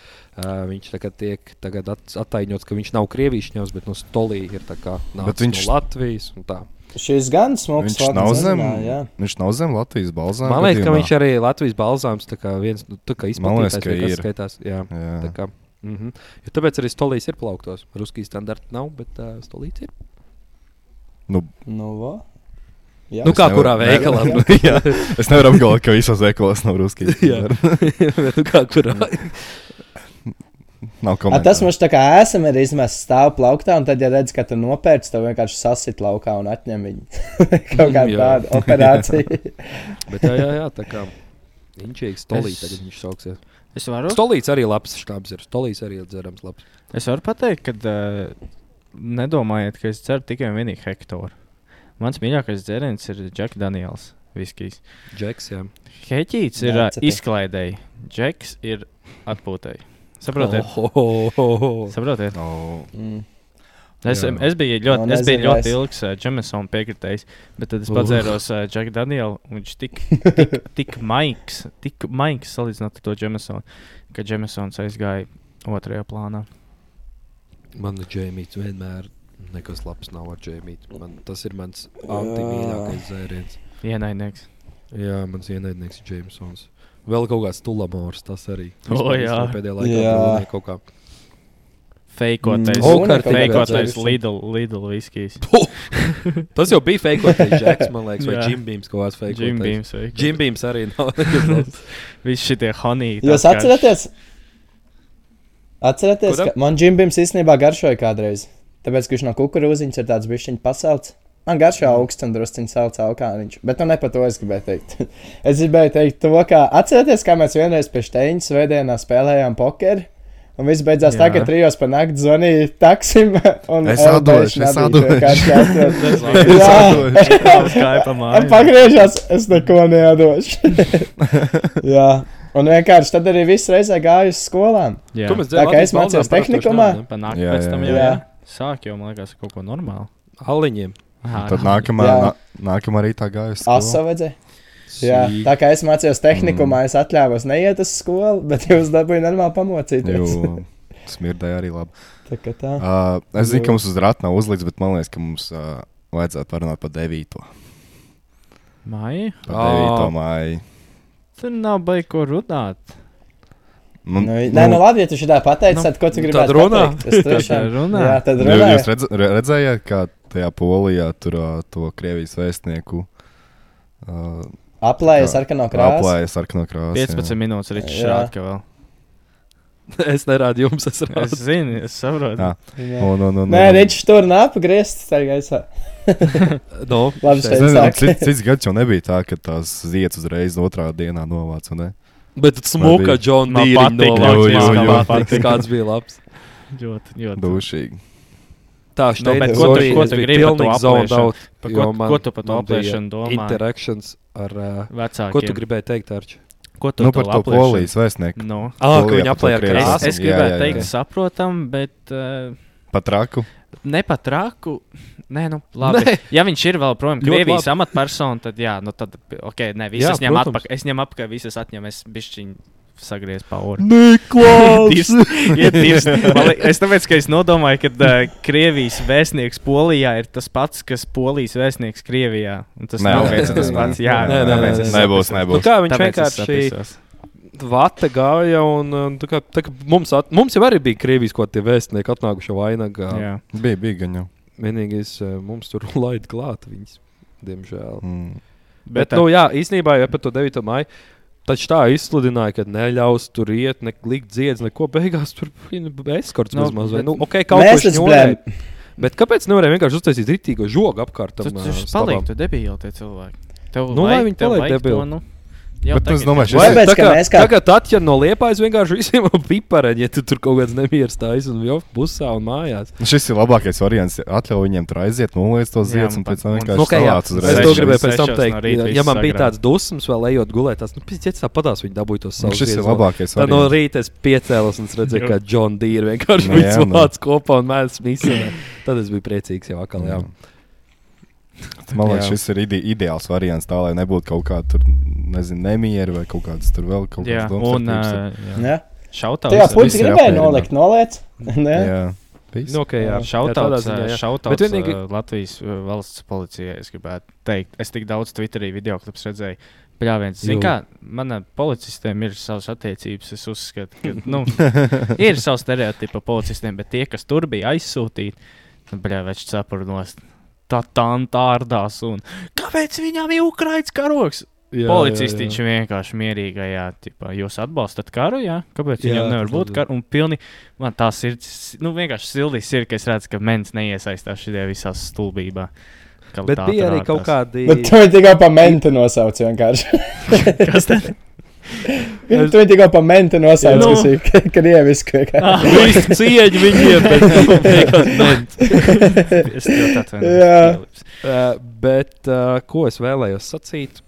[SPEAKER 1] uh, viņš tagad tiek tagad at, attainots, ka viņš nav krievijas ņēmis, bet no Stolija ir tā kā nācis
[SPEAKER 8] viņš-
[SPEAKER 1] no Latvijas. un tā.
[SPEAKER 3] Šis gan smags.
[SPEAKER 8] Viņš nav, zem,
[SPEAKER 3] Jā,
[SPEAKER 8] viņš nav zem Latvijas balzāna.
[SPEAKER 1] Man liekas, ka viņš arī Latvijas balzāms tā kā viens nu, tā kā
[SPEAKER 8] Man
[SPEAKER 1] izplatītājs
[SPEAKER 8] liekas, ka
[SPEAKER 1] vienkārši
[SPEAKER 8] ir.
[SPEAKER 1] skaitās. Jā, tā
[SPEAKER 8] Jā.
[SPEAKER 1] kā. Mm -hmm. jo tāpēc arī Stolijas ir plauktos. Ruskijas standarta nav, bet uh, Stolijas
[SPEAKER 8] [LAUGHS]
[SPEAKER 1] ir.
[SPEAKER 8] Nu,
[SPEAKER 3] nu, vo. Jā,
[SPEAKER 1] Nu, kā
[SPEAKER 8] nevaru-
[SPEAKER 1] kurā veikalā?
[SPEAKER 8] ne- [LAUGHS] Jā, es nevaru apgalvot, ka visos veikalos nav ruskijas.
[SPEAKER 1] [LAUGHS] Jā. nu, kā kurā?
[SPEAKER 8] Mm. Nav
[SPEAKER 3] A, tas
[SPEAKER 8] komentāru.
[SPEAKER 3] mums tā kā esam ir izmests stāv plauktā, un tad, ja redz, ka tu nopērci, tad vienkārši sasit laukā un atņem viņu. [LAUGHS] kaut kā
[SPEAKER 1] Jā.
[SPEAKER 3] tāda operācija.
[SPEAKER 1] [LAUGHS] bet jā, jā, jā, tā kā. Viņš ir Stolijas,
[SPEAKER 2] Es-
[SPEAKER 1] tagad viņš sauksies.
[SPEAKER 2] Es varu.
[SPEAKER 1] Stolijas arī labs štābs ir. Stolijas arī ir dzerams labs.
[SPEAKER 2] Es varu pateikt, ka uh, nedomājiet, ka es dzeru tikai un vienīgi hektāru. Mans mīļākais dzēriens ir Jack Daniels viskijs.
[SPEAKER 1] Džeks, jā.
[SPEAKER 2] Heķīts ir uh,
[SPEAKER 3] Nāca te.
[SPEAKER 2] izklaidēji, Džeks ir atpūtai. Saprotiet?
[SPEAKER 1] Oh, oh, oh, oh.
[SPEAKER 2] Saprotiet?
[SPEAKER 8] Nav-
[SPEAKER 3] Mm.
[SPEAKER 2] Es,
[SPEAKER 8] Jā.
[SPEAKER 2] es biju ļoti,
[SPEAKER 3] Man
[SPEAKER 2] es biju
[SPEAKER 3] aizvien
[SPEAKER 2] ļoti
[SPEAKER 3] vairs.
[SPEAKER 2] ilgs uh, Jamesona piekritējs, bet tad es
[SPEAKER 1] Uh.
[SPEAKER 2] padzēros uh, Jack Danielu, un viņš tik, tik,
[SPEAKER 3] [LAUGHS]
[SPEAKER 2] tik maigs, tik maigs salīdzinot ar to Jamesonu, ka Jamesons aizgāja otrajā plānā.
[SPEAKER 1] Man ir ģēmīts vienmēr. Nekas labs nav ar ģēmītu. Man, tas ir mans antimīļākais dzēriens.
[SPEAKER 2] Ienaidnieks.
[SPEAKER 1] Jā, mans ienaidnieks ir Jamesons. Vēl kaut kāds tulamors, tas arī.
[SPEAKER 2] O,
[SPEAKER 1] Vispār
[SPEAKER 2] jā.
[SPEAKER 1] īstenībā Pēdējā laikā
[SPEAKER 3] Jā.
[SPEAKER 1] pelnīja kaut kā. [LAUGHS]
[SPEAKER 2] Feikotais.
[SPEAKER 3] Mm.
[SPEAKER 2] Mm.
[SPEAKER 1] Okartī
[SPEAKER 2] Feikotais
[SPEAKER 3] redzējuši.
[SPEAKER 2] Lidl, Lidl viskijs.
[SPEAKER 1] Tas jau bija fake, Jacks, man liekas, vai
[SPEAKER 2] Jā.
[SPEAKER 1] Jimbims kaut kāds fake.
[SPEAKER 2] Džimbīms.
[SPEAKER 1] Jimbims arī
[SPEAKER 2] [LAUGHS]
[SPEAKER 1] nav. nekas labs.
[SPEAKER 2] Visi šitie honī.
[SPEAKER 3] Jūs
[SPEAKER 2] tas, ka-
[SPEAKER 3] atceraties? Atceraties,
[SPEAKER 1] Kuram?
[SPEAKER 3] ka man džimbims īstenībā garšoja kādreiz. Tāpēc, ka viņš no kukurūziņas ir tāds bišķiņš pasauts. Man garšo augsts un drusciņš sauc alkāniņš. Bet nu ne par to es gribēju teikt. [LAUGHS] es gribēju teikt to, ka atceraties, kā mēs vienreiz pie Steņas veidienā spēlējām pokeru. Un viss beidzās
[SPEAKER 2] Jā.
[SPEAKER 3] tā, ka trijos par nakti zvanīja taksim. [LAUGHS] un
[SPEAKER 8] Es
[SPEAKER 3] LB
[SPEAKER 8] atdošu, es
[SPEAKER 3] šnabīja
[SPEAKER 8] atdošu.
[SPEAKER 3] vienkārši
[SPEAKER 2] [LAUGHS]
[SPEAKER 3] jāatrod.
[SPEAKER 2] [LAUGHS] Tas
[SPEAKER 8] [LAUGHS] Es
[SPEAKER 3] Jā.
[SPEAKER 8] atdošu.
[SPEAKER 3] [LAUGHS]
[SPEAKER 2] Uz Skype mājās.
[SPEAKER 3] Pagriežās, es neko nedošu. [LAUGHS] Jā, un vienkārši tad arī viss reizē gāju uz skolām.
[SPEAKER 2] Jā.
[SPEAKER 1] Tu mēs
[SPEAKER 3] Tā
[SPEAKER 1] dzēri
[SPEAKER 3] kā es
[SPEAKER 1] Latvijas balzām
[SPEAKER 3] mācījos
[SPEAKER 1] parasti taču
[SPEAKER 3] tehnikumā.
[SPEAKER 1] nav, ne?
[SPEAKER 2] Panāk
[SPEAKER 8] Jā,
[SPEAKER 2] pēc
[SPEAKER 8] jā,
[SPEAKER 2] tam
[SPEAKER 8] jā.
[SPEAKER 2] jau,
[SPEAKER 3] Jā.
[SPEAKER 2] jā. Sāk jau, man liekas, kaut ko normālu.
[SPEAKER 1] Aliņiem.
[SPEAKER 2] Aha,
[SPEAKER 8] Tad nākamā,
[SPEAKER 3] Jā.
[SPEAKER 8] nā, nākamā rītā gāja uz
[SPEAKER 3] Asa
[SPEAKER 8] skolu.
[SPEAKER 3] vajadzēja. Jā, tā kā es mācījos tehnikumā,
[SPEAKER 8] Mm.
[SPEAKER 3] es atļāvos neiet uz skolu, [LAUGHS] bet jūs dabūjāt normāli pamocīties.
[SPEAKER 8] Jo [LAUGHS] smirdēja arī labi.
[SPEAKER 3] Tā kā tā.
[SPEAKER 8] Uh, es zinu,
[SPEAKER 3] Jū.
[SPEAKER 8] ka mums uz rāta nav uzlikts, bet man liekas, ka mums uh, vajadzētu parunāt par 9.
[SPEAKER 2] Māja?
[SPEAKER 8] Par
[SPEAKER 1] Ā.
[SPEAKER 8] 9. māju.
[SPEAKER 2] Tur nav baigi ko runāt.
[SPEAKER 8] Nu,
[SPEAKER 3] Nu, nē, nu labi, ja tu šitā pateici, tad ko tu
[SPEAKER 1] nu,
[SPEAKER 3] gribētu
[SPEAKER 1] tad runā.
[SPEAKER 3] pateikt?
[SPEAKER 2] [LAUGHS]
[SPEAKER 3] Es
[SPEAKER 2] Tad
[SPEAKER 3] tiešām-
[SPEAKER 2] runā.
[SPEAKER 3] Jā, tad
[SPEAKER 8] nu,
[SPEAKER 3] runā.
[SPEAKER 8] jūs redz, re- redzējāt, kā tajā polijā tur uh, to Krievijas vēstnieku uh,
[SPEAKER 3] Aplēja sarkano krāsu.
[SPEAKER 8] aplēja sarkano krāsu.
[SPEAKER 2] 15 jā. minūtes Ričs
[SPEAKER 3] Jā.
[SPEAKER 2] rāda, ka vēl.
[SPEAKER 1] [LAUGHS] Es nerādu jums, es
[SPEAKER 2] Es
[SPEAKER 1] redzu.
[SPEAKER 2] zinu, es saprotu.
[SPEAKER 8] Jā.
[SPEAKER 2] Jā.
[SPEAKER 3] Jā.
[SPEAKER 8] Un, un, un,
[SPEAKER 3] Nē, Ričs tur nāpagriezts, tā gaisā.
[SPEAKER 1] No,
[SPEAKER 3] Labi,
[SPEAKER 8] Es
[SPEAKER 1] šeit.
[SPEAKER 3] šeit.
[SPEAKER 8] nezinu,
[SPEAKER 3] sāk.
[SPEAKER 8] cits, cits gads jau nebija tā, ka tās zieds uzreiz otrā dienā novāca. ne?
[SPEAKER 1] Bet smuka
[SPEAKER 8] Man bija-
[SPEAKER 1] Džona
[SPEAKER 2] Man
[SPEAKER 1] Dīriņa
[SPEAKER 8] jū,
[SPEAKER 2] patīk,
[SPEAKER 8] jū,
[SPEAKER 1] novācis.
[SPEAKER 8] jū.
[SPEAKER 1] Man patīk, Kāds bija labs.
[SPEAKER 2] Ļoti, ļoti.
[SPEAKER 8] Dušīgi.
[SPEAKER 1] Tā
[SPEAKER 2] Nu,
[SPEAKER 1] šeit
[SPEAKER 2] bet
[SPEAKER 1] ir
[SPEAKER 2] ko tu-
[SPEAKER 1] Zorija,
[SPEAKER 2] ko
[SPEAKER 1] es
[SPEAKER 2] tu
[SPEAKER 1] biju
[SPEAKER 2] gribi par to
[SPEAKER 1] pilnīgi zoned
[SPEAKER 2] aplēšanu?
[SPEAKER 1] out,
[SPEAKER 2] Pa
[SPEAKER 1] jo
[SPEAKER 2] Ko,
[SPEAKER 1] man-
[SPEAKER 2] ko tu par to
[SPEAKER 1] man bija
[SPEAKER 2] aplēšanu domā?
[SPEAKER 1] Interactions ar. Uh,
[SPEAKER 2] Vecākiem.
[SPEAKER 1] ko tu gribēji teikt, Arčs?
[SPEAKER 2] Ko tu
[SPEAKER 8] Nu, par to
[SPEAKER 2] aplēšanu?
[SPEAKER 8] polijas vēstnieku.
[SPEAKER 2] Nu.
[SPEAKER 1] Ah, ka
[SPEAKER 8] Polijā
[SPEAKER 1] viņi
[SPEAKER 8] par to
[SPEAKER 1] aplēja ar
[SPEAKER 8] Krievijas
[SPEAKER 1] krāsu.
[SPEAKER 2] Es,
[SPEAKER 8] vēstnieku.
[SPEAKER 2] es
[SPEAKER 8] Jā,
[SPEAKER 2] gribēju
[SPEAKER 8] jā,
[SPEAKER 2] teikt,
[SPEAKER 8] jā.
[SPEAKER 2] saprotam, bet uh,
[SPEAKER 8] Pa traku.
[SPEAKER 2] ne pat raku. Nē, nu, labi. Nē. Ja viņš ir vēl projām
[SPEAKER 1] Ļoti
[SPEAKER 2] Krievijas amatpersona, tad jā, nu tad, ok, nē, visas
[SPEAKER 1] Jā,
[SPEAKER 2] ņem
[SPEAKER 1] protams.
[SPEAKER 2] atpakaļ. Es ņemu apakaļ, visas atņemu, es bišķiņu sagriez pa oru.
[SPEAKER 1] Niklaus!
[SPEAKER 2] Dirst, iet dirst. Man li- es tāpēc, ka es nodomāju, ka uh, Krievijas vēstnieks Polijā ir tas pats, kas Polijas vēstnieks Krievijā. Un Tas
[SPEAKER 8] Nē,
[SPEAKER 2] nav
[SPEAKER 8] nē,
[SPEAKER 2] viens un
[SPEAKER 8] nē,
[SPEAKER 2] tas
[SPEAKER 8] nē,
[SPEAKER 2] pats.
[SPEAKER 8] nē.
[SPEAKER 1] Nē,
[SPEAKER 2] Jā,
[SPEAKER 1] nē,
[SPEAKER 2] tāpēc
[SPEAKER 1] nē,
[SPEAKER 2] es
[SPEAKER 1] nē.
[SPEAKER 8] Nebūs,
[SPEAKER 1] Nu,
[SPEAKER 8] nebūs.
[SPEAKER 1] kā viņš
[SPEAKER 2] tāpēc es
[SPEAKER 1] vienkārši
[SPEAKER 2] sapisos.
[SPEAKER 1] vata gāja un, un tā kā, tā kā mums, at, mums jau arī bija krievis, ko tie vēstnieki atnākuši vainagā.
[SPEAKER 2] Jā.
[SPEAKER 8] Bija, bija gan jau.
[SPEAKER 1] Vienīgais eh, mums tur [LAUGHS] laid klāt viņas, diemžēl.
[SPEAKER 8] Mm.
[SPEAKER 1] Bet, nu, jā, īstenībā jau par to 9. maiju. Taču tā izsludināja, ka neļaus tur iet, ne likt dziedāt, neko. Beigās tur bija eskorts
[SPEAKER 2] Nu,
[SPEAKER 1] no, mazliet. Bet...
[SPEAKER 2] bet-
[SPEAKER 1] Nu, okay, kaut
[SPEAKER 3] Mēs
[SPEAKER 1] ko
[SPEAKER 3] esam
[SPEAKER 1] šņurēja. Bet kāpēc nevarēja vienkārši uztaisīt rītīgo žogu apkārt? uh,
[SPEAKER 2] Tur tas paliek, tu debīli tie cilvēki. Tev
[SPEAKER 1] Nu, lai
[SPEAKER 2] vajag-
[SPEAKER 1] viņi
[SPEAKER 2] tev
[SPEAKER 1] paliek
[SPEAKER 2] vajag to,
[SPEAKER 1] debili.
[SPEAKER 2] nu, jau
[SPEAKER 8] Bet nu, es
[SPEAKER 2] tagad.
[SPEAKER 8] domāju, šis
[SPEAKER 3] Vai-
[SPEAKER 8] ir.
[SPEAKER 3] Tāpēc, ka mēs kā-
[SPEAKER 1] Tagad atķer no liepais vienkārši visiem [LAUGHS] pipareņiem, ja tu tur kaut kāds nemieris taisa un jau busā un mājās.
[SPEAKER 8] Šis ir labākais variants. Ļauj viņiem tur aiziet, noliec to
[SPEAKER 2] Jā,
[SPEAKER 8] ziedus
[SPEAKER 2] un
[SPEAKER 8] un pēc
[SPEAKER 2] pat-
[SPEAKER 8] tam
[SPEAKER 2] un-
[SPEAKER 8] vienkārši
[SPEAKER 1] Nu, kā, jā,
[SPEAKER 8] stāvāt
[SPEAKER 1] es
[SPEAKER 8] uzreiz.
[SPEAKER 1] to
[SPEAKER 2] Sešos-
[SPEAKER 1] gribēju pēc tam
[SPEAKER 2] sešos
[SPEAKER 1] teikt.
[SPEAKER 2] no rīta
[SPEAKER 1] ja- ja man
[SPEAKER 2] viss
[SPEAKER 1] bija
[SPEAKER 2] sagrāb.
[SPEAKER 1] tāds dusmas, vēl ejot gulēt, tas nu, pēc tam padās, viņi dabūja tos
[SPEAKER 2] Nu,
[SPEAKER 1] savus.
[SPEAKER 8] Šis ir
[SPEAKER 1] ziedus vēl.
[SPEAKER 8] labākais
[SPEAKER 1] Tad no
[SPEAKER 8] variants.
[SPEAKER 1] rīta es piecēlos un es redzēju, ka Džona Dīra vienkārši
[SPEAKER 8] Nu, [LAUGHS] jā,
[SPEAKER 1] visu
[SPEAKER 8] nu.
[SPEAKER 1] vācu kopā un mēs visi. Tad es biju priecīgs jau atkal. Jā.
[SPEAKER 8] Man liekas,
[SPEAKER 2] Jā.
[SPEAKER 8] šis ir ide ideāls variants. Tā lai nebūtu kaut kāda tur, nezinu, nemiera vai kaut kādas tur vēl kaut
[SPEAKER 2] Jā,
[SPEAKER 8] kādas
[SPEAKER 2] un
[SPEAKER 8] domstarpības.
[SPEAKER 2] uh,
[SPEAKER 3] Jā,
[SPEAKER 2] šautā.
[SPEAKER 3] tā jau
[SPEAKER 8] visi-
[SPEAKER 3] puiši
[SPEAKER 8] visi
[SPEAKER 3] gribēja
[SPEAKER 8] apmierināti.
[SPEAKER 3] nolikt, noliec. [LAUGHS] Nē,
[SPEAKER 8] Jā, viss.
[SPEAKER 1] Nu, okay, jā. tādā
[SPEAKER 2] Šautauts,
[SPEAKER 1] ziņā, jā.
[SPEAKER 2] šautauts
[SPEAKER 1] Bet vienīgi-
[SPEAKER 2] vienīgi... Latvijas uh, valsts policijai, es gribētu teikt. Es tik daudz Twitterī video klips redzēju. Pļāviens. Zin
[SPEAKER 1] Jū.
[SPEAKER 2] kā, manā policistiem ir savas attiecības, es uzskatu, ka, nu, ir savs stereotipa policistiem, bet tie, kas tur bija aizsūtīti, nu, bļāviens sapurnos. Tā tā tā ārdās un kāpēc viņām ir ukraiņš karoks?
[SPEAKER 1] Jā,
[SPEAKER 2] Policisti viņš vienkārši mierīgajā, tipā, jūs atbalstat karu, jā? kāpēc
[SPEAKER 1] Jā,
[SPEAKER 2] jā, viņam nevar būt
[SPEAKER 1] protams.
[SPEAKER 2] karu? Un pilni, man tā sirds, nu vienkārši sildīs ir, ka es redzu, ka mens neiesaistās šajā visā stulbībā. kā
[SPEAKER 1] Bet
[SPEAKER 2] tā
[SPEAKER 1] bija arī
[SPEAKER 2] trāpās.
[SPEAKER 1] kaut
[SPEAKER 2] [LAUGHS]
[SPEAKER 1] kādi. [LAUGHS]
[SPEAKER 3] Nu, tu viņu tikai pa menti nosauc vienkārši.
[SPEAKER 2] Kas tad?
[SPEAKER 3] [LAUGHS] Tu viņu tikai pa menti nosauc,
[SPEAKER 2] Nu.
[SPEAKER 3] kas ir krieviski.
[SPEAKER 2] Ah, [LAUGHS]
[SPEAKER 3] vienkārši.
[SPEAKER 1] Visi cieņi viņiem, [LAUGHS] bet nu, vienkārši ne.
[SPEAKER 2] Es jau tā
[SPEAKER 3] Jā.
[SPEAKER 2] domāju.
[SPEAKER 1] Uh, bet uh, ko es vēlējos sacīt?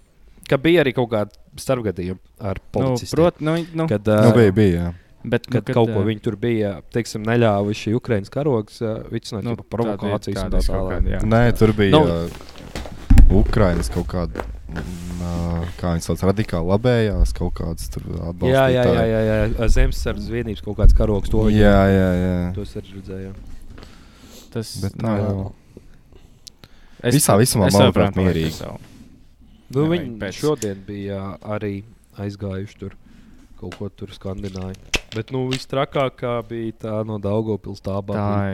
[SPEAKER 1] Ka bija arī kaut kāda starpgadījuma ar policiju.
[SPEAKER 2] Protams, nu, nu,
[SPEAKER 1] Kad,
[SPEAKER 8] Nu,
[SPEAKER 1] uh,
[SPEAKER 8] bija, bija. jā.
[SPEAKER 2] bet, nu,
[SPEAKER 1] kad, kad kaut
[SPEAKER 2] ā,
[SPEAKER 1] ko viņi tur bija, teiksim, neļāvuši Ukraiņas karogs, uh, vicināt nu,
[SPEAKER 2] tādi-
[SPEAKER 1] provokācijas un tā
[SPEAKER 2] tādas kaut
[SPEAKER 1] tālāk.
[SPEAKER 2] kādi, jā.
[SPEAKER 8] Nē, tur bija
[SPEAKER 1] Nu.
[SPEAKER 8] no. Ukraiņas kaut kāda. mm, ā, Kā viņas sauc, radikāli labējās kaut kādas tur atbalstītājas.
[SPEAKER 1] Jā, jā, jā, jā, jā. jā. Zemesardzes vienības kaut kāds karogs to viņi-
[SPEAKER 8] jā, jā, jā.
[SPEAKER 1] Tos arī redzēju.
[SPEAKER 2] Tas
[SPEAKER 8] Bet tā
[SPEAKER 2] nu,
[SPEAKER 8] jau.
[SPEAKER 2] es-
[SPEAKER 8] visā visumā,
[SPEAKER 2] es
[SPEAKER 8] manuprāt,
[SPEAKER 2] joprojām palieku
[SPEAKER 8] mierīgi.
[SPEAKER 2] savu.
[SPEAKER 1] Nu,
[SPEAKER 2] Jā,
[SPEAKER 1] viņi
[SPEAKER 2] viņi pēc-
[SPEAKER 1] šodien bija arī aizgājuši tur. Kaut ko tur skandināja. Bet, nu, visstrakākā bija tā no Daugopils tā bāra.
[SPEAKER 2] Tā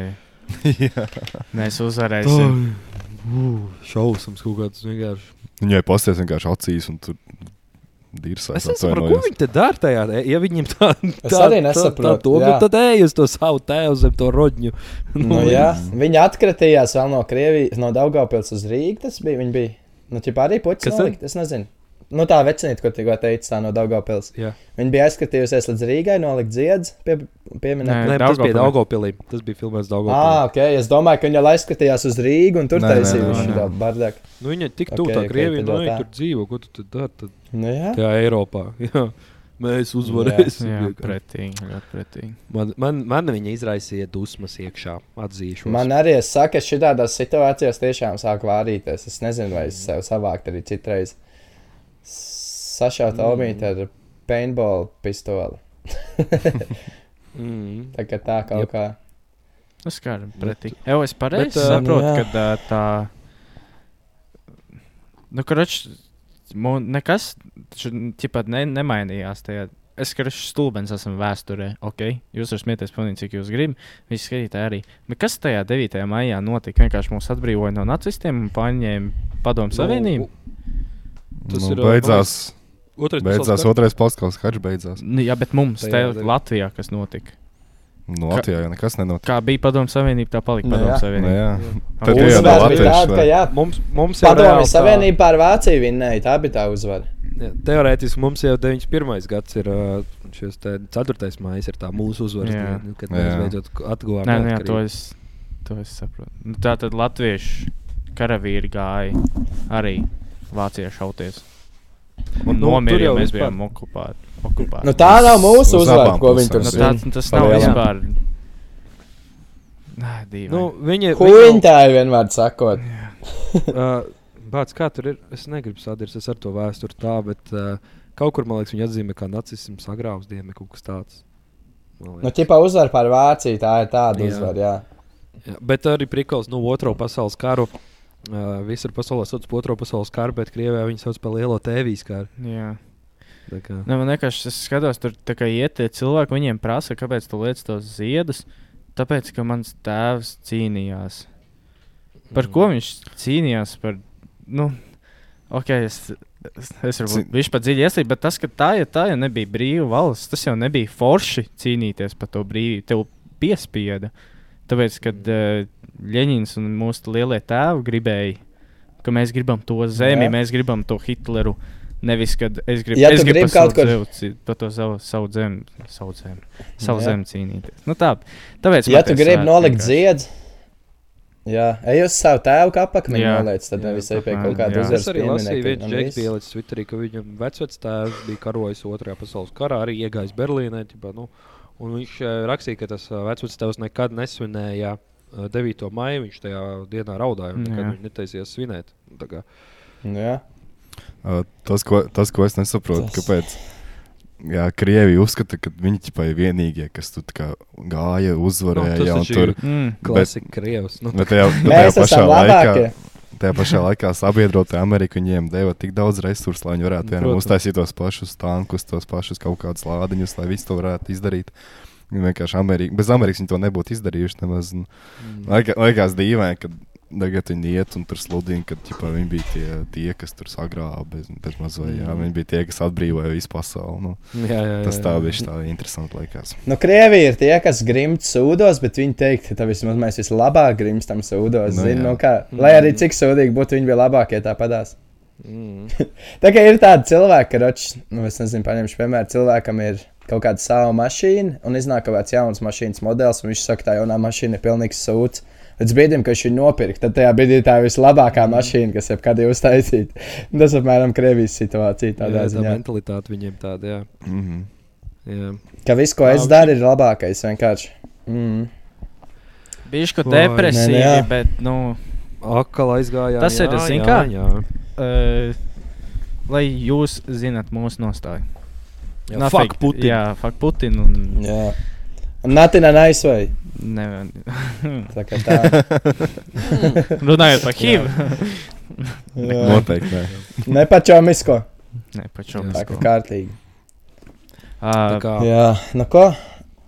[SPEAKER 1] [LAUGHS]
[SPEAKER 2] ir.
[SPEAKER 8] jā.
[SPEAKER 2] Mēs uzvarēsim.
[SPEAKER 1] Šausmas kaut kāds vienkārši.
[SPEAKER 8] Viņai pasties vienkārši acīs un tur dirsās.
[SPEAKER 1] Es nesaprotu, ko viņi te dara tajā. e- Ja viņiem tā
[SPEAKER 3] Es
[SPEAKER 1] tā-
[SPEAKER 3] arī
[SPEAKER 1] tā-
[SPEAKER 3] nesaprotu,
[SPEAKER 1] tā doma,
[SPEAKER 3] jā.
[SPEAKER 1] tad ej uz to savu tēvu zem to [LAUGHS] rodņu.
[SPEAKER 3] Nu, jā, viņa atkritījās vēl no Krievijas, no Daugopils uz Rīgas. Tas bija, viņa bija, nu, ķipā arī puķis
[SPEAKER 1] Kas tad?
[SPEAKER 3] nolikt, es nezinu. Nu, tā vecinīt, ko tikko teica, tā no Daugopils.
[SPEAKER 1] Jā.
[SPEAKER 3] Viņa bija aizskatījusies līdz Rīgai, nolikt dziedz, pie, pieminēt.
[SPEAKER 2] Nē,
[SPEAKER 1] Nē, tas bija
[SPEAKER 2] Daugavpilī.
[SPEAKER 1] Daugopilī. Tas bija filmēts
[SPEAKER 3] Ah,
[SPEAKER 1] Daugopilī.
[SPEAKER 3] ok, es domāju, ka viņa jau aizskatījās uz Rīgu un tur
[SPEAKER 8] Nē, nē,
[SPEAKER 3] taisīja
[SPEAKER 8] nē,
[SPEAKER 3] visu
[SPEAKER 2] nē.
[SPEAKER 3] šo bardaku.
[SPEAKER 1] Nu, viņa tik
[SPEAKER 3] Ok,
[SPEAKER 1] tuvu tā
[SPEAKER 3] ok,
[SPEAKER 1] Krievijai,
[SPEAKER 3] tad
[SPEAKER 1] nu,
[SPEAKER 3] vēl
[SPEAKER 1] viņa
[SPEAKER 3] tā.
[SPEAKER 1] tur dzīvo. Ko tu tur dari? tad
[SPEAKER 3] Nu, jā.
[SPEAKER 1] Tajā Eiropā. [LAUGHS] Jā. Mēs uzvarēsim.
[SPEAKER 2] Jā,
[SPEAKER 1] vienkārši.
[SPEAKER 2] pretīgi, ļoti pretīgi.
[SPEAKER 1] Man, man, man viņa izraisīja dusmas iekšā, atzīšos.
[SPEAKER 3] Man arī es saka, ka šādās situācijās tiešām sāk vārīties. Es nezinu, vai es sev savākt arī citreiz. Sašaut mm. omīti ar paintball pistoli.
[SPEAKER 1] mm.
[SPEAKER 3] Tā kā tā kaut
[SPEAKER 1] Jep.
[SPEAKER 3] yep. kā.
[SPEAKER 2] Tas kā ir pretīgi. Jau es pareizi
[SPEAKER 1] Bet, ā,
[SPEAKER 3] nu
[SPEAKER 2] saprotu,
[SPEAKER 3] jā.
[SPEAKER 2] ka uh, tā. Nu, kurš nekas tāpat ne, nemainījās. Tajā. Es kurš stulbens esmu vēsturē. Okay? Jūs varat smieties, pilnīgi, cik jūs gribat. Visi skatītāji arī. Bet kas tajā 9. maijā notika? Vienkārši mūs atbrīvoja no nacistiem un paņēma
[SPEAKER 3] Nu,
[SPEAKER 2] padomu savienību.
[SPEAKER 1] Tas
[SPEAKER 8] Tas nu,
[SPEAKER 1] ir,
[SPEAKER 8] ir beidzās.
[SPEAKER 1] Otrais
[SPEAKER 8] Beidzās otrais pasaules karš, beidzās.
[SPEAKER 2] Nu, jā, bet mums, tajā,
[SPEAKER 1] Tajā devi-
[SPEAKER 2] Latvijā, kas notika?
[SPEAKER 8] Nu, Latvijā jau nekas nenotiek.
[SPEAKER 2] Kā bija padomu savienība, tā palika
[SPEAKER 3] Nu
[SPEAKER 2] padomu
[SPEAKER 3] jā.
[SPEAKER 8] Nu,
[SPEAKER 2] savienība.
[SPEAKER 8] jā.
[SPEAKER 2] Un
[SPEAKER 8] Tad
[SPEAKER 2] uzvara
[SPEAKER 8] jau no
[SPEAKER 3] Uzvara bija
[SPEAKER 8] Latvijas.
[SPEAKER 3] tāda, ka jā,
[SPEAKER 1] Mums, mums jau
[SPEAKER 3] padomju
[SPEAKER 1] reāli tā-
[SPEAKER 3] savienība pār Vāciju vinnēja. Tā bija tā uzvara.
[SPEAKER 1] Jā, Teorētiski mums jau 91. gads ir ā, šis te 4. maija, ir tā mūsu uzvaras
[SPEAKER 2] Jā.
[SPEAKER 1] diena, nu, kad mēs
[SPEAKER 8] Jā.
[SPEAKER 1] beidzot k- atguvām
[SPEAKER 2] Nē, nu jā, to
[SPEAKER 1] neatkarību.
[SPEAKER 2] es, to es saprotu. Nu, tā tad latviešu karavīri gāja arī Vācijā šauties. Un
[SPEAKER 1] Nu,
[SPEAKER 2] nu,
[SPEAKER 1] tur
[SPEAKER 2] nomira,
[SPEAKER 1] jau
[SPEAKER 2] jo mēs
[SPEAKER 1] vispār-
[SPEAKER 2] bijām okupāti. okupāti.
[SPEAKER 3] Nu, tā nav
[SPEAKER 8] Uz-
[SPEAKER 3] mūsu
[SPEAKER 8] uz
[SPEAKER 3] uzvara,
[SPEAKER 8] abām
[SPEAKER 3] ko viņi
[SPEAKER 8] pusēm.
[SPEAKER 3] tur
[SPEAKER 2] nu,
[SPEAKER 8] tas
[SPEAKER 2] tā,
[SPEAKER 3] sūta.
[SPEAKER 2] tas nav
[SPEAKER 3] palielam.
[SPEAKER 2] vispār. Nē, divi.
[SPEAKER 1] Nu, viņa viņa-
[SPEAKER 3] Huņķēji vienmēr sakot.
[SPEAKER 1] Uh, Bācis, kā tur ir? Es negribu sadarboties ar to vēsturi tā, bet uh, kaut kur man liekas, viņa atzīmē, kā nacisms agrāvs diena, kaut kas tāds. Man
[SPEAKER 3] Nu,
[SPEAKER 1] liekas.
[SPEAKER 3] ķipā uzvar par Vāciju, tā ir tāda
[SPEAKER 1] Jā.
[SPEAKER 3] uzvara, jā.
[SPEAKER 1] Jā, bet arī prikals, nu, otrā pasaules kara. Uh, visur pasaulē sauc par otro pasaules karu, bet Krievijā viņi sauc par lielo tēvijas karu.
[SPEAKER 2] Jā.
[SPEAKER 1] Tā kā-
[SPEAKER 3] Nu,
[SPEAKER 2] Ne, Nu, man vienkārši es skatos, tur tā kā iet tie cilvēki, viņiem prasa, kāpēc tu liec tos ziedus. Tāpēc, ka mans tēvs cīnījās. Par ko viņš cīnījās? Par, nu, okay, es, es, es
[SPEAKER 8] Ci-
[SPEAKER 2] varbūt viņš pat dziļi ieslīd, bet tas, ka tā, ja tā jau nebija brīva valsts, tas jau nebija forši cīnīties par to brīvību. Tev piespieda. Tāpēc, kad uh, Leņņņins un mūsu lielie tēvi gribēja, ka mēs gribam to zemi,
[SPEAKER 3] Jā.
[SPEAKER 2] mēs gribam to Hitleru. Nevis, kad es gribu
[SPEAKER 3] Ja
[SPEAKER 2] es
[SPEAKER 3] tu
[SPEAKER 2] gribu
[SPEAKER 3] gribi
[SPEAKER 2] par
[SPEAKER 3] kaut
[SPEAKER 2] savu
[SPEAKER 3] kur-
[SPEAKER 2] dzevu cī- par to savu, savu zemi, savu zemi, savu
[SPEAKER 3] Jā.
[SPEAKER 2] zemi cīnīties. Nu, tā, tāpēc,
[SPEAKER 3] Ja
[SPEAKER 2] man
[SPEAKER 3] tu
[SPEAKER 2] tie
[SPEAKER 3] gribi
[SPEAKER 2] svētki
[SPEAKER 3] nolikt
[SPEAKER 2] vienkārši-
[SPEAKER 3] ziedu, jā, ej uz savu tēvu kapakni
[SPEAKER 2] Jā.
[SPEAKER 3] noliec, tad
[SPEAKER 2] Jā,
[SPEAKER 3] nevis ej pie
[SPEAKER 2] apmēram,
[SPEAKER 3] kaut kāda
[SPEAKER 2] jā.
[SPEAKER 1] Es
[SPEAKER 3] uzvaras
[SPEAKER 1] arī lasīju,
[SPEAKER 3] pieminiekta
[SPEAKER 1] viens
[SPEAKER 3] un
[SPEAKER 1] džeks
[SPEAKER 3] viss.
[SPEAKER 1] bija ielicis Twitterī, ka viņa vecais tēvs bija karojis Otrajā pasaules karā, arī iegājis Berlīnē. Ģipā, nu, un viņš eh, rakstīja, ka tas eh, vecais tēvs nekad nesvinēja eh, 9. maiju. Viņš tajā dienā raudāja un nekad
[SPEAKER 2] Jā.
[SPEAKER 1] viņš netaisījās svinēt. Tā kā,
[SPEAKER 3] Nu, jā.
[SPEAKER 8] Ā, Tas, ko, tas, ko es nesaprotu,
[SPEAKER 3] Tas.
[SPEAKER 8] tas. kāpēc. Jā, Krievija uzskata, ka viņi tikai ir vienīgie, kas tur tā kā gāja, uzvarēja.
[SPEAKER 1] Nu, tas
[SPEAKER 8] No,
[SPEAKER 1] taču
[SPEAKER 8] tur,
[SPEAKER 1] ir-
[SPEAKER 2] Mm.
[SPEAKER 1] Klasika krievs.
[SPEAKER 3] [LAUGHS]
[SPEAKER 1] Nu,
[SPEAKER 8] bet tajā, bet tajā
[SPEAKER 3] Mēs
[SPEAKER 8] pašā
[SPEAKER 3] esam labākie.
[SPEAKER 8] laikā, tajā pašā laikā sabiedrotie Amerika viņiem deva tik daudz resursu, lai viņi varētu vienam
[SPEAKER 1] Protams.
[SPEAKER 8] uztaisīt tos pašus tankus, tos pašus kaut kādus lādiņus, lai visu to varētu izdarīt. Viņi vienkārši Amerika, bez Amerikas viņi to nebūtu izdarījuši. Nemaz, un,
[SPEAKER 3] Mm.
[SPEAKER 8] laikā, laikās dīvaini, ka tagad viņi iet un tur sludina, ka ķipa, viņi bija tie, tie, kas tur sagrāba bez, bez mazliet.
[SPEAKER 3] Mm.
[SPEAKER 1] Mhm.
[SPEAKER 8] Viņi bija tie, kas atbrīvoja visu pasauli. Nu.
[SPEAKER 1] jā, jā, jā,
[SPEAKER 8] Tas
[SPEAKER 1] jā.
[SPEAKER 8] tā bija tā interesanti. Liekas.
[SPEAKER 3] Nu, Krievija ir tie, kas grimst sūdos, bet viņi teikt, ka tā vismaz mēs vislabāk grimstam sūdos.
[SPEAKER 8] Nu,
[SPEAKER 3] Nu, zin,
[SPEAKER 8] jā.
[SPEAKER 3] nu, kā, lai arī cik sūdīgi būtu, viņi bija labākie tā padās.
[SPEAKER 1] Mm.
[SPEAKER 3] Tā kā ir tāda cilvēka, ka, roč, nu, es nezinu, paņemšu piemēru, cilvēkam ir kaut kāda sava mašīna, un iznāk kaut kāds jauns mašīnas modelis, un viņš saka, tā jaunā mašīna ir pilnīgs sūds. Līdz brīdim, kad viņš ir nopirkt, tad tajā brīdī tā ir vislabākā mašīna, kas jebkad ir uztaisīta. [LAUGHS] Un Tas apmēram Krievijas situācija tādā
[SPEAKER 1] jā,
[SPEAKER 3] jā,
[SPEAKER 1] tā
[SPEAKER 3] ziņā.
[SPEAKER 1] mentalitāte viņiem tāda, jā.
[SPEAKER 8] Mm -hmm.
[SPEAKER 1] jā.
[SPEAKER 3] Ka viss, ko es daru, ir labākais vienkārši. Mm.
[SPEAKER 2] Bijuši kaut
[SPEAKER 1] Vai,
[SPEAKER 2] kā
[SPEAKER 3] nē,
[SPEAKER 2] depresīvi, ne,
[SPEAKER 3] nē,
[SPEAKER 2] ne,
[SPEAKER 3] jā.
[SPEAKER 2] bet, nu,
[SPEAKER 1] Akala aizgājās.
[SPEAKER 2] Tas ir
[SPEAKER 1] jā,
[SPEAKER 2] tas, zini
[SPEAKER 1] jā,
[SPEAKER 2] kā?
[SPEAKER 1] Jā,
[SPEAKER 2] uh, lai jūs zinat mūsu nostāju.
[SPEAKER 1] jā.
[SPEAKER 2] Nothing.
[SPEAKER 1] Fuck, Putin.
[SPEAKER 2] Jā, fuck Putin. Un,
[SPEAKER 3] Jā. Natina nice way.
[SPEAKER 2] ne,
[SPEAKER 3] Tā kā tā.
[SPEAKER 2] [LAUGHS] runājot par HIV.
[SPEAKER 3] Jā.
[SPEAKER 8] Noteikti. Nē.
[SPEAKER 3] Ne pat čomisko.
[SPEAKER 2] Nē, par šo
[SPEAKER 3] Tā kā
[SPEAKER 2] mēs. Ah,
[SPEAKER 3] kārtīgi.
[SPEAKER 1] Tā kā,
[SPEAKER 3] Jā. Nu ko?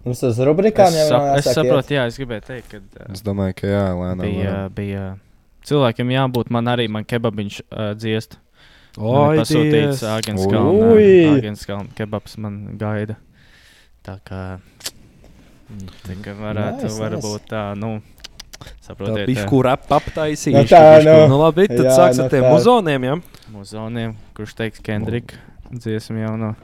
[SPEAKER 3] Mums tas rubrikām
[SPEAKER 2] Es,
[SPEAKER 3] jau
[SPEAKER 2] sap,
[SPEAKER 3] nav
[SPEAKER 2] es
[SPEAKER 3] jāsāk iet.
[SPEAKER 2] saprotu, jā, es gribēju teikt, ka
[SPEAKER 8] Es domāju, ka jā,
[SPEAKER 2] uh,
[SPEAKER 8] lēnām.
[SPEAKER 2] bija,
[SPEAKER 8] lēnām.
[SPEAKER 2] bija cilvēkiem jābūt. Man arī man kebabiņš uh, dziest. Man ir
[SPEAKER 1] Oi,
[SPEAKER 2] Nu, pasūtīts
[SPEAKER 1] Dievs.
[SPEAKER 3] Ui!
[SPEAKER 2] Agenskalna kebabs man gaida. Tā kā, nu, tā kā varētu,
[SPEAKER 3] Nice,
[SPEAKER 2] nice,
[SPEAKER 3] nice.
[SPEAKER 2] varbūt tā, nu,
[SPEAKER 1] Tā
[SPEAKER 2] saprotiet.
[SPEAKER 1] bija kura aptaisīja.
[SPEAKER 3] Nu tā, nu.
[SPEAKER 1] nu labi, tad
[SPEAKER 3] Jā,
[SPEAKER 1] sāks
[SPEAKER 3] nu
[SPEAKER 1] ar tiem
[SPEAKER 3] tā.
[SPEAKER 1] muzoniem. Ja?
[SPEAKER 2] Muzoniem, eh, kurš teiks Kendrika dziesmu jauno.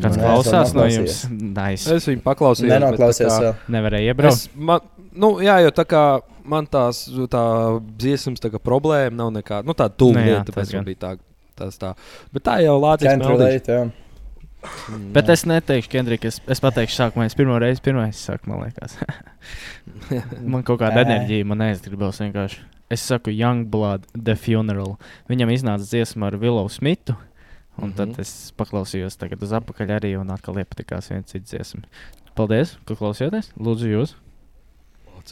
[SPEAKER 3] Nē,
[SPEAKER 2] Kāds
[SPEAKER 8] nē.
[SPEAKER 3] es vēl
[SPEAKER 2] klausās no jums?
[SPEAKER 3] neklausījos.
[SPEAKER 2] Nice.
[SPEAKER 1] Es viņu paklausījos. bet
[SPEAKER 3] Nenoklausies
[SPEAKER 1] tā kā
[SPEAKER 3] vēl.
[SPEAKER 2] Nevarēju iebraukt.
[SPEAKER 1] es- Man, nu, jā, jo tā kā man tās tā dziesmas tā kā problēma nav nekāda. Nu, tā
[SPEAKER 2] Nu,
[SPEAKER 1] dūma,
[SPEAKER 2] jā, tas
[SPEAKER 1] tāpēc man
[SPEAKER 2] gan.
[SPEAKER 1] bija tā. Tas tā. Bet tā jau Mm. Latvijas
[SPEAKER 3] Can't
[SPEAKER 1] monēta.
[SPEAKER 3] relate, jā.
[SPEAKER 2] Bet es neteikšu, Kendrika, es, es pateikšu, sākumā es pirmo reizi, pirmā es saku, man liekas. [LAUGHS] man kaut
[SPEAKER 3] Ē.
[SPEAKER 2] kāda enerģija, man aizgribās vienkārši. Es saku, Youngblood, The Funeral. Viņam iznāca dziesma ar Villu Smitu. Un mm -hmm.
[SPEAKER 1] Mhm.
[SPEAKER 2] tad es paklausījos tagad uz apakaļ arī un atkal iepatikās viena cita dziesma. Paldies, ka klausījāties. Lūdzu, jūs.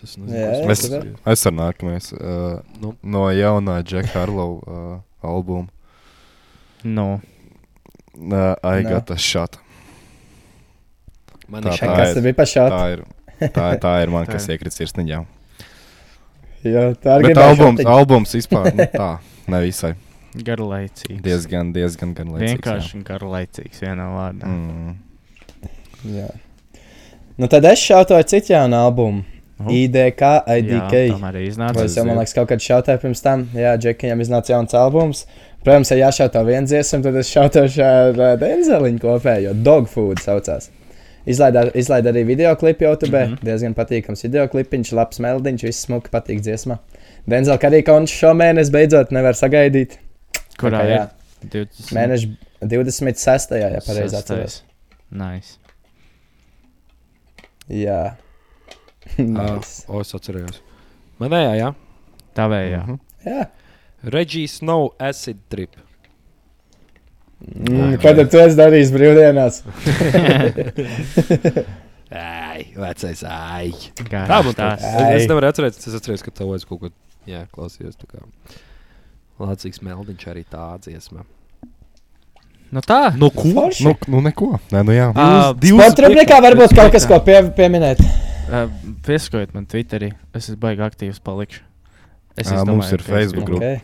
[SPEAKER 1] Es
[SPEAKER 3] Jā,
[SPEAKER 1] nezinu,
[SPEAKER 3] jā,
[SPEAKER 1] kas
[SPEAKER 8] Mēs,
[SPEAKER 1] tas
[SPEAKER 3] super.
[SPEAKER 1] ir.
[SPEAKER 8] es ar nākamais uh,
[SPEAKER 1] Nu.
[SPEAKER 8] no jaunā Džeka Harlova uh, albuma
[SPEAKER 2] No.
[SPEAKER 8] uh, I
[SPEAKER 3] Nē.
[SPEAKER 8] Got a Shot.
[SPEAKER 1] Man ir
[SPEAKER 8] Tā, tā.
[SPEAKER 1] šeit.
[SPEAKER 3] Kas
[SPEAKER 8] ir-
[SPEAKER 3] tad bija pašā?
[SPEAKER 8] Tā ir, tā, ir- tā ir man,
[SPEAKER 2] Tā
[SPEAKER 8] kas iekrita sirsniņā.
[SPEAKER 3] Jā, tā ir
[SPEAKER 8] Bet
[SPEAKER 3] gribēju
[SPEAKER 8] albums,
[SPEAKER 3] šotiņu.
[SPEAKER 8] albums vispār nu,
[SPEAKER 3] [LAUGHS]
[SPEAKER 8] tā nevisai.
[SPEAKER 2] Garlaicīgs.
[SPEAKER 8] Diezgan, diezgan gan līdzīgs.
[SPEAKER 2] Vienkārši garlaicīgs vienā vārdā. Mm.
[SPEAKER 8] Mm.
[SPEAKER 3] Jā. Nu tad es šautāju citu jaunu albumu.
[SPEAKER 2] Nu.
[SPEAKER 3] E IDK,
[SPEAKER 2] Jā,
[SPEAKER 3] IDK.
[SPEAKER 2] tam arī
[SPEAKER 3] Vai
[SPEAKER 2] iznāca.
[SPEAKER 3] es jau, man
[SPEAKER 8] aiziet.
[SPEAKER 3] liekas, kaut kad šautāju pirms tam. Jā, Džekijam iznāca jauns albums. Protams, ja jāšautā viens dziesmu, tad es šautāšu ar ā, Denzeliņu kopējo. Dogfood saucās. Izlaida, izlaida arī video klipu YouTube. Mm
[SPEAKER 2] Mhm.
[SPEAKER 3] -hmm. Diezgan patīkams video klipiņš, labs meldiņš, viss smuki patīk dziesmā. Denzel arī končs šo mēnesi beidzot nevar sagaidīt.
[SPEAKER 2] Kurā
[SPEAKER 3] Tā kā jā,
[SPEAKER 2] ir? 20.
[SPEAKER 3] Mēneša 26. ja pareizi atceros.
[SPEAKER 2] Nice.
[SPEAKER 3] Jā.
[SPEAKER 1] Uh, o, es atceros. Manējā, jā.
[SPEAKER 2] Tā vējā.
[SPEAKER 8] Mhm.
[SPEAKER 2] Mm -hmm.
[SPEAKER 3] Jā,
[SPEAKER 1] Regis Snow acid trip.
[SPEAKER 3] mm, kad tu esi darījis brīvdienās?
[SPEAKER 1] Ai, vecais, ai. Tā
[SPEAKER 2] Garš
[SPEAKER 1] man tā.
[SPEAKER 2] tās.
[SPEAKER 1] Es,
[SPEAKER 3] Ai.
[SPEAKER 1] es nevaru atcerēties, es atceros, ka tev aiz kaut ko, jā, klausījos. tā kā. Lācīgs meldiņš arī tā dziesma.
[SPEAKER 2] Nu tā.
[SPEAKER 1] Nu, ko?
[SPEAKER 8] Nu, nu neko. Nē, nu jā.
[SPEAKER 2] Ā,
[SPEAKER 3] Sporta Mm, rubrikā varbūt kaut kas, ko pie, pieminēt.
[SPEAKER 2] Uh, Pieskojiet man Twitterī. Es esmu baigi aktīvs palikšu. Es
[SPEAKER 8] Ā,
[SPEAKER 2] izdomāju,
[SPEAKER 8] mums ir
[SPEAKER 2] ka es
[SPEAKER 8] Facebook
[SPEAKER 2] gribu.
[SPEAKER 8] grupa.
[SPEAKER 3] Okay.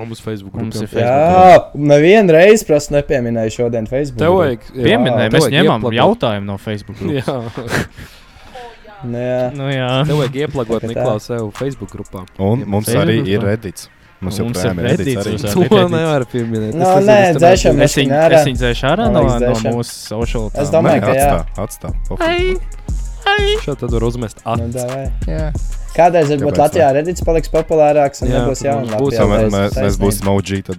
[SPEAKER 1] Un mums Facebook
[SPEAKER 2] Mums
[SPEAKER 1] grupā.
[SPEAKER 2] ir Facebook.
[SPEAKER 3] Jā, nevienu reizi prasa nepieminēju šodien Facebook.
[SPEAKER 1] Tev vajag
[SPEAKER 2] Pieminēja,
[SPEAKER 1] tev
[SPEAKER 2] mēs
[SPEAKER 1] vajag
[SPEAKER 2] ņemam
[SPEAKER 1] ieplakot.
[SPEAKER 2] jautājumu no Facebook. grupas.
[SPEAKER 1] [LAUGHS] Jā,
[SPEAKER 3] Nu, jā.
[SPEAKER 2] Nu jā.
[SPEAKER 1] tev vajag
[SPEAKER 3] [LAUGHS]
[SPEAKER 1] ieplagot
[SPEAKER 3] Tā kā tā.
[SPEAKER 1] Niklaus sev Facebook grupā.
[SPEAKER 8] Un mums arī
[SPEAKER 2] Facebook
[SPEAKER 8] ir
[SPEAKER 2] grupā.
[SPEAKER 8] redīts. Mums
[SPEAKER 2] Un mums
[SPEAKER 8] joprojām
[SPEAKER 2] ir
[SPEAKER 8] ir redīts
[SPEAKER 2] Reddits
[SPEAKER 8] arī.
[SPEAKER 2] uz-
[SPEAKER 1] To
[SPEAKER 2] Reddit.
[SPEAKER 1] nevar pieminēt.
[SPEAKER 3] No,
[SPEAKER 1] Es nezinu,
[SPEAKER 3] Nu, nē,
[SPEAKER 1] es tam
[SPEAKER 3] dzēšam.
[SPEAKER 1] nezinu.
[SPEAKER 2] Es viņu,
[SPEAKER 3] ārā.
[SPEAKER 2] es viņu dzēšu ārā no,
[SPEAKER 3] Man liekas,
[SPEAKER 2] no
[SPEAKER 3] dzēšam.
[SPEAKER 2] mūsu social
[SPEAKER 3] Es
[SPEAKER 2] tām.
[SPEAKER 8] Nē,
[SPEAKER 3] domāju, ka jā.
[SPEAKER 8] atstā, atstā. Pofīgi.
[SPEAKER 1] Šā tad var uzmest
[SPEAKER 3] Nu,
[SPEAKER 1] acis.
[SPEAKER 3] davai.
[SPEAKER 8] Jā.
[SPEAKER 3] Kādreiz varbūt
[SPEAKER 8] Kāpēc
[SPEAKER 3] Latvijā redīts paliks populārāks un
[SPEAKER 1] Jā,
[SPEAKER 3] nebūs jauna
[SPEAKER 1] būs
[SPEAKER 8] Tā
[SPEAKER 1] jau
[SPEAKER 3] Latvijā
[SPEAKER 8] mē-
[SPEAKER 1] mēs-
[SPEAKER 8] mē-
[SPEAKER 3] taisnība.
[SPEAKER 8] Mēs būsim OG. Tad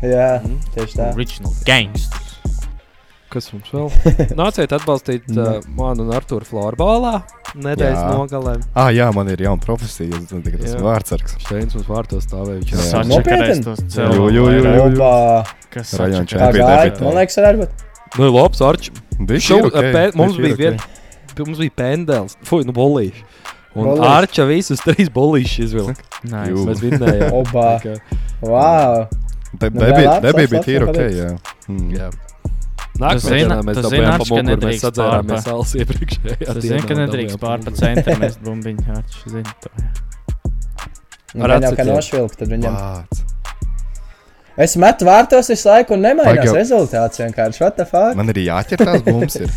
[SPEAKER 3] Jā, tieši tā.
[SPEAKER 2] Original gangsters.
[SPEAKER 1] Kas mums vēl? Nāciet atbalstīt uh, manu un Artūru Florbolā nedēļas
[SPEAKER 8] Jā.
[SPEAKER 1] nogalē.
[SPEAKER 8] Ah, jā, man ir jauna profesija. Es nezinu, kas
[SPEAKER 1] Jā.
[SPEAKER 8] ir vārdsargs.
[SPEAKER 1] Steins mums vārtos stāvēja. viņš
[SPEAKER 8] Jā.
[SPEAKER 1] ir-
[SPEAKER 2] Sačakarēs
[SPEAKER 3] Nopietni?
[SPEAKER 2] tos
[SPEAKER 8] Jo, jo, jo, jo.
[SPEAKER 2] cilvēkus.
[SPEAKER 3] Opa,
[SPEAKER 2] Kas
[SPEAKER 8] Rajona
[SPEAKER 3] tā
[SPEAKER 8] Nebija
[SPEAKER 3] gāja.
[SPEAKER 8] debitē.
[SPEAKER 3] Man liekas, varētu būt.
[SPEAKER 1] Nu, ir labs, Arčs.
[SPEAKER 8] Viņš
[SPEAKER 1] Šau- pē- mums bija viena- Pie mums bija pendels, fuck, nu bolīši. Un
[SPEAKER 3] Bolīši.
[SPEAKER 1] Arča visus trīs bolīšus izvilka.
[SPEAKER 8] Jū.
[SPEAKER 2] Nice.
[SPEAKER 1] Mēs vinnējām. [LAUGHS] Tā
[SPEAKER 3] Opa,
[SPEAKER 1] kā,
[SPEAKER 3] wow.
[SPEAKER 8] Debija
[SPEAKER 3] Nu, vēl
[SPEAKER 8] bija,
[SPEAKER 3] atsauc,
[SPEAKER 8] debija bija
[SPEAKER 3] atsauc,
[SPEAKER 8] tīra ok.
[SPEAKER 3] paldies.
[SPEAKER 8] Jā. Mm.
[SPEAKER 1] jā. Nākamajā
[SPEAKER 2] zini-
[SPEAKER 1] dienā mēs
[SPEAKER 2] tu zini,
[SPEAKER 1] dabūjām
[SPEAKER 2] Arč,
[SPEAKER 1] pa
[SPEAKER 2] ka
[SPEAKER 1] muguru, mēs
[SPEAKER 2] nedrīkst
[SPEAKER 1] sadzērāmies
[SPEAKER 2] pārpa-
[SPEAKER 1] alas iepriekšējā.
[SPEAKER 2] Es zinu,
[SPEAKER 1] dienā
[SPEAKER 2] ka
[SPEAKER 1] un
[SPEAKER 2] nedrīkst
[SPEAKER 1] dabūjām pa
[SPEAKER 2] pār pa
[SPEAKER 1] muguru.
[SPEAKER 2] centru mest bumbiņu. Jā, viņš zina to. jā.
[SPEAKER 3] Nu,
[SPEAKER 1] Ar
[SPEAKER 3] gan jau kā
[SPEAKER 1] atsitienu.
[SPEAKER 3] nošvilkt, tad viņam.
[SPEAKER 8] Vārds.
[SPEAKER 3] Es metu vārtos visu laiku un
[SPEAKER 8] Vajag
[SPEAKER 3] nemainās
[SPEAKER 8] jau-
[SPEAKER 3] rezultāts vienkārši. What the fuck?
[SPEAKER 8] Man arī jāķer tās bumbas. ir.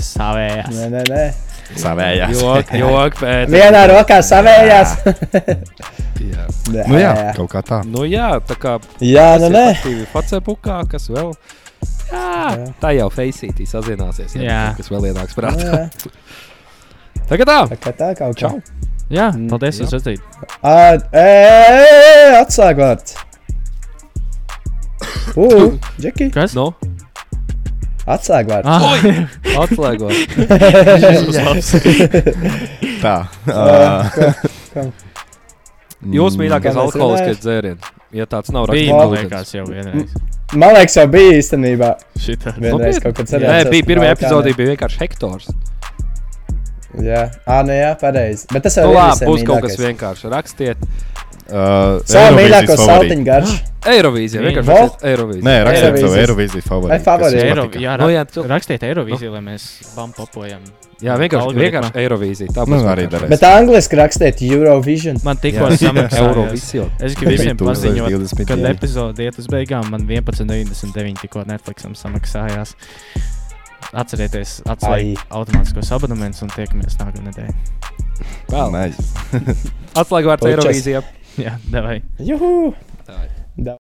[SPEAKER 2] Savējās.
[SPEAKER 3] Nē, nē, nē.
[SPEAKER 8] Savējās.
[SPEAKER 1] Jok, jok, pēc.
[SPEAKER 3] Vienā rokā savējās.
[SPEAKER 1] Jā.
[SPEAKER 8] Nu jā, kaut kā tā.
[SPEAKER 1] Nu jā, tā kā
[SPEAKER 3] Jā, nu nē.
[SPEAKER 1] aktīvi Facebookā, kas vēl. Jā, tā jau Faceitī sazināsies, ja
[SPEAKER 2] Jā.
[SPEAKER 1] kaut kas vēl ienāks prātā.
[SPEAKER 3] Jā,
[SPEAKER 1] [LAUGHS] Tagad tā.
[SPEAKER 3] Tā kā tā kaut kā.
[SPEAKER 1] Čau.
[SPEAKER 2] Jā, paldies,
[SPEAKER 1] jā.
[SPEAKER 2] jūs redzējāt.
[SPEAKER 3] Ā, ē, Atsāk vārds. Ugh, Džeki,
[SPEAKER 2] Kas?
[SPEAKER 1] Nu,
[SPEAKER 3] atsāk vārds.
[SPEAKER 2] [LAUGHS] Ah,
[SPEAKER 1] atslēgo.
[SPEAKER 3] [LAUGHS]
[SPEAKER 8] Tā. Ā, Mm,
[SPEAKER 1] Jūs mīļākais
[SPEAKER 3] Kā mēs
[SPEAKER 1] alkoholiskais
[SPEAKER 3] runājam?
[SPEAKER 1] dzēriens. Ja tāds nav rakstīt
[SPEAKER 2] bija, man
[SPEAKER 1] ūdens.
[SPEAKER 2] liekas, jau vienreiz.
[SPEAKER 3] [LAUGHS] Man liekas, jau bija īstenībā.
[SPEAKER 2] Šitā.
[SPEAKER 3] Vienreiz kaut kad cerēju.
[SPEAKER 1] Nu, Nē, bija pirmā epizode, bija vienkārši hektors.
[SPEAKER 3] Jā, ah, nē, jā, pareizi. Bet tas
[SPEAKER 1] Nu,
[SPEAKER 3] jau
[SPEAKER 1] labi, būs kaut kas vienkārši. Rakstiet,
[SPEAKER 8] ā,
[SPEAKER 3] Savu
[SPEAKER 8] Eirovīzijas
[SPEAKER 3] mīļāko
[SPEAKER 8] favorīti.
[SPEAKER 3] saltiņu garšu.
[SPEAKER 1] Eirovīzija. Vienkārši
[SPEAKER 3] Vol?
[SPEAKER 1] rakstiet Eirovīzija.
[SPEAKER 8] Nē, rakstiet savu
[SPEAKER 3] Eirovīzijas.
[SPEAKER 8] Eirovīziju
[SPEAKER 3] Vai
[SPEAKER 8] favorītu.
[SPEAKER 3] favorīti?
[SPEAKER 8] kas jums
[SPEAKER 2] Eiro,
[SPEAKER 8] patika.
[SPEAKER 2] jā,
[SPEAKER 1] Nu,
[SPEAKER 2] ra
[SPEAKER 1] jā, tu-
[SPEAKER 2] rakstiet Eirovīziju, lai mēs bampopojam.
[SPEAKER 1] Jā, vienkārši,
[SPEAKER 2] Algoritmā.
[SPEAKER 1] vienkārši Eirovīzija. Tā
[SPEAKER 8] Nu,
[SPEAKER 1] būs
[SPEAKER 8] arī
[SPEAKER 1] vienkārši.
[SPEAKER 8] darēs.
[SPEAKER 3] Bet angliski rakstiet Eurovision.
[SPEAKER 2] Man tikko [LAUGHS] samaksājās.
[SPEAKER 1] Eirovīzija.
[SPEAKER 2] Es gribu visiem
[SPEAKER 8] 2022.
[SPEAKER 2] paziņot, kad epizode iet uz beigām. Man 11,99 tikko Netflixam samaksājās. Atcerieties, atslēgt automātiskos abonementus un tiekamies nākamā nedēļa.
[SPEAKER 1] Vēl.
[SPEAKER 8] Nice.
[SPEAKER 1] Atslēgvārds
[SPEAKER 3] Pučas.
[SPEAKER 1] Eirovīzija.
[SPEAKER 2] [LAUGHS] Jā, devai.
[SPEAKER 3] Juhu!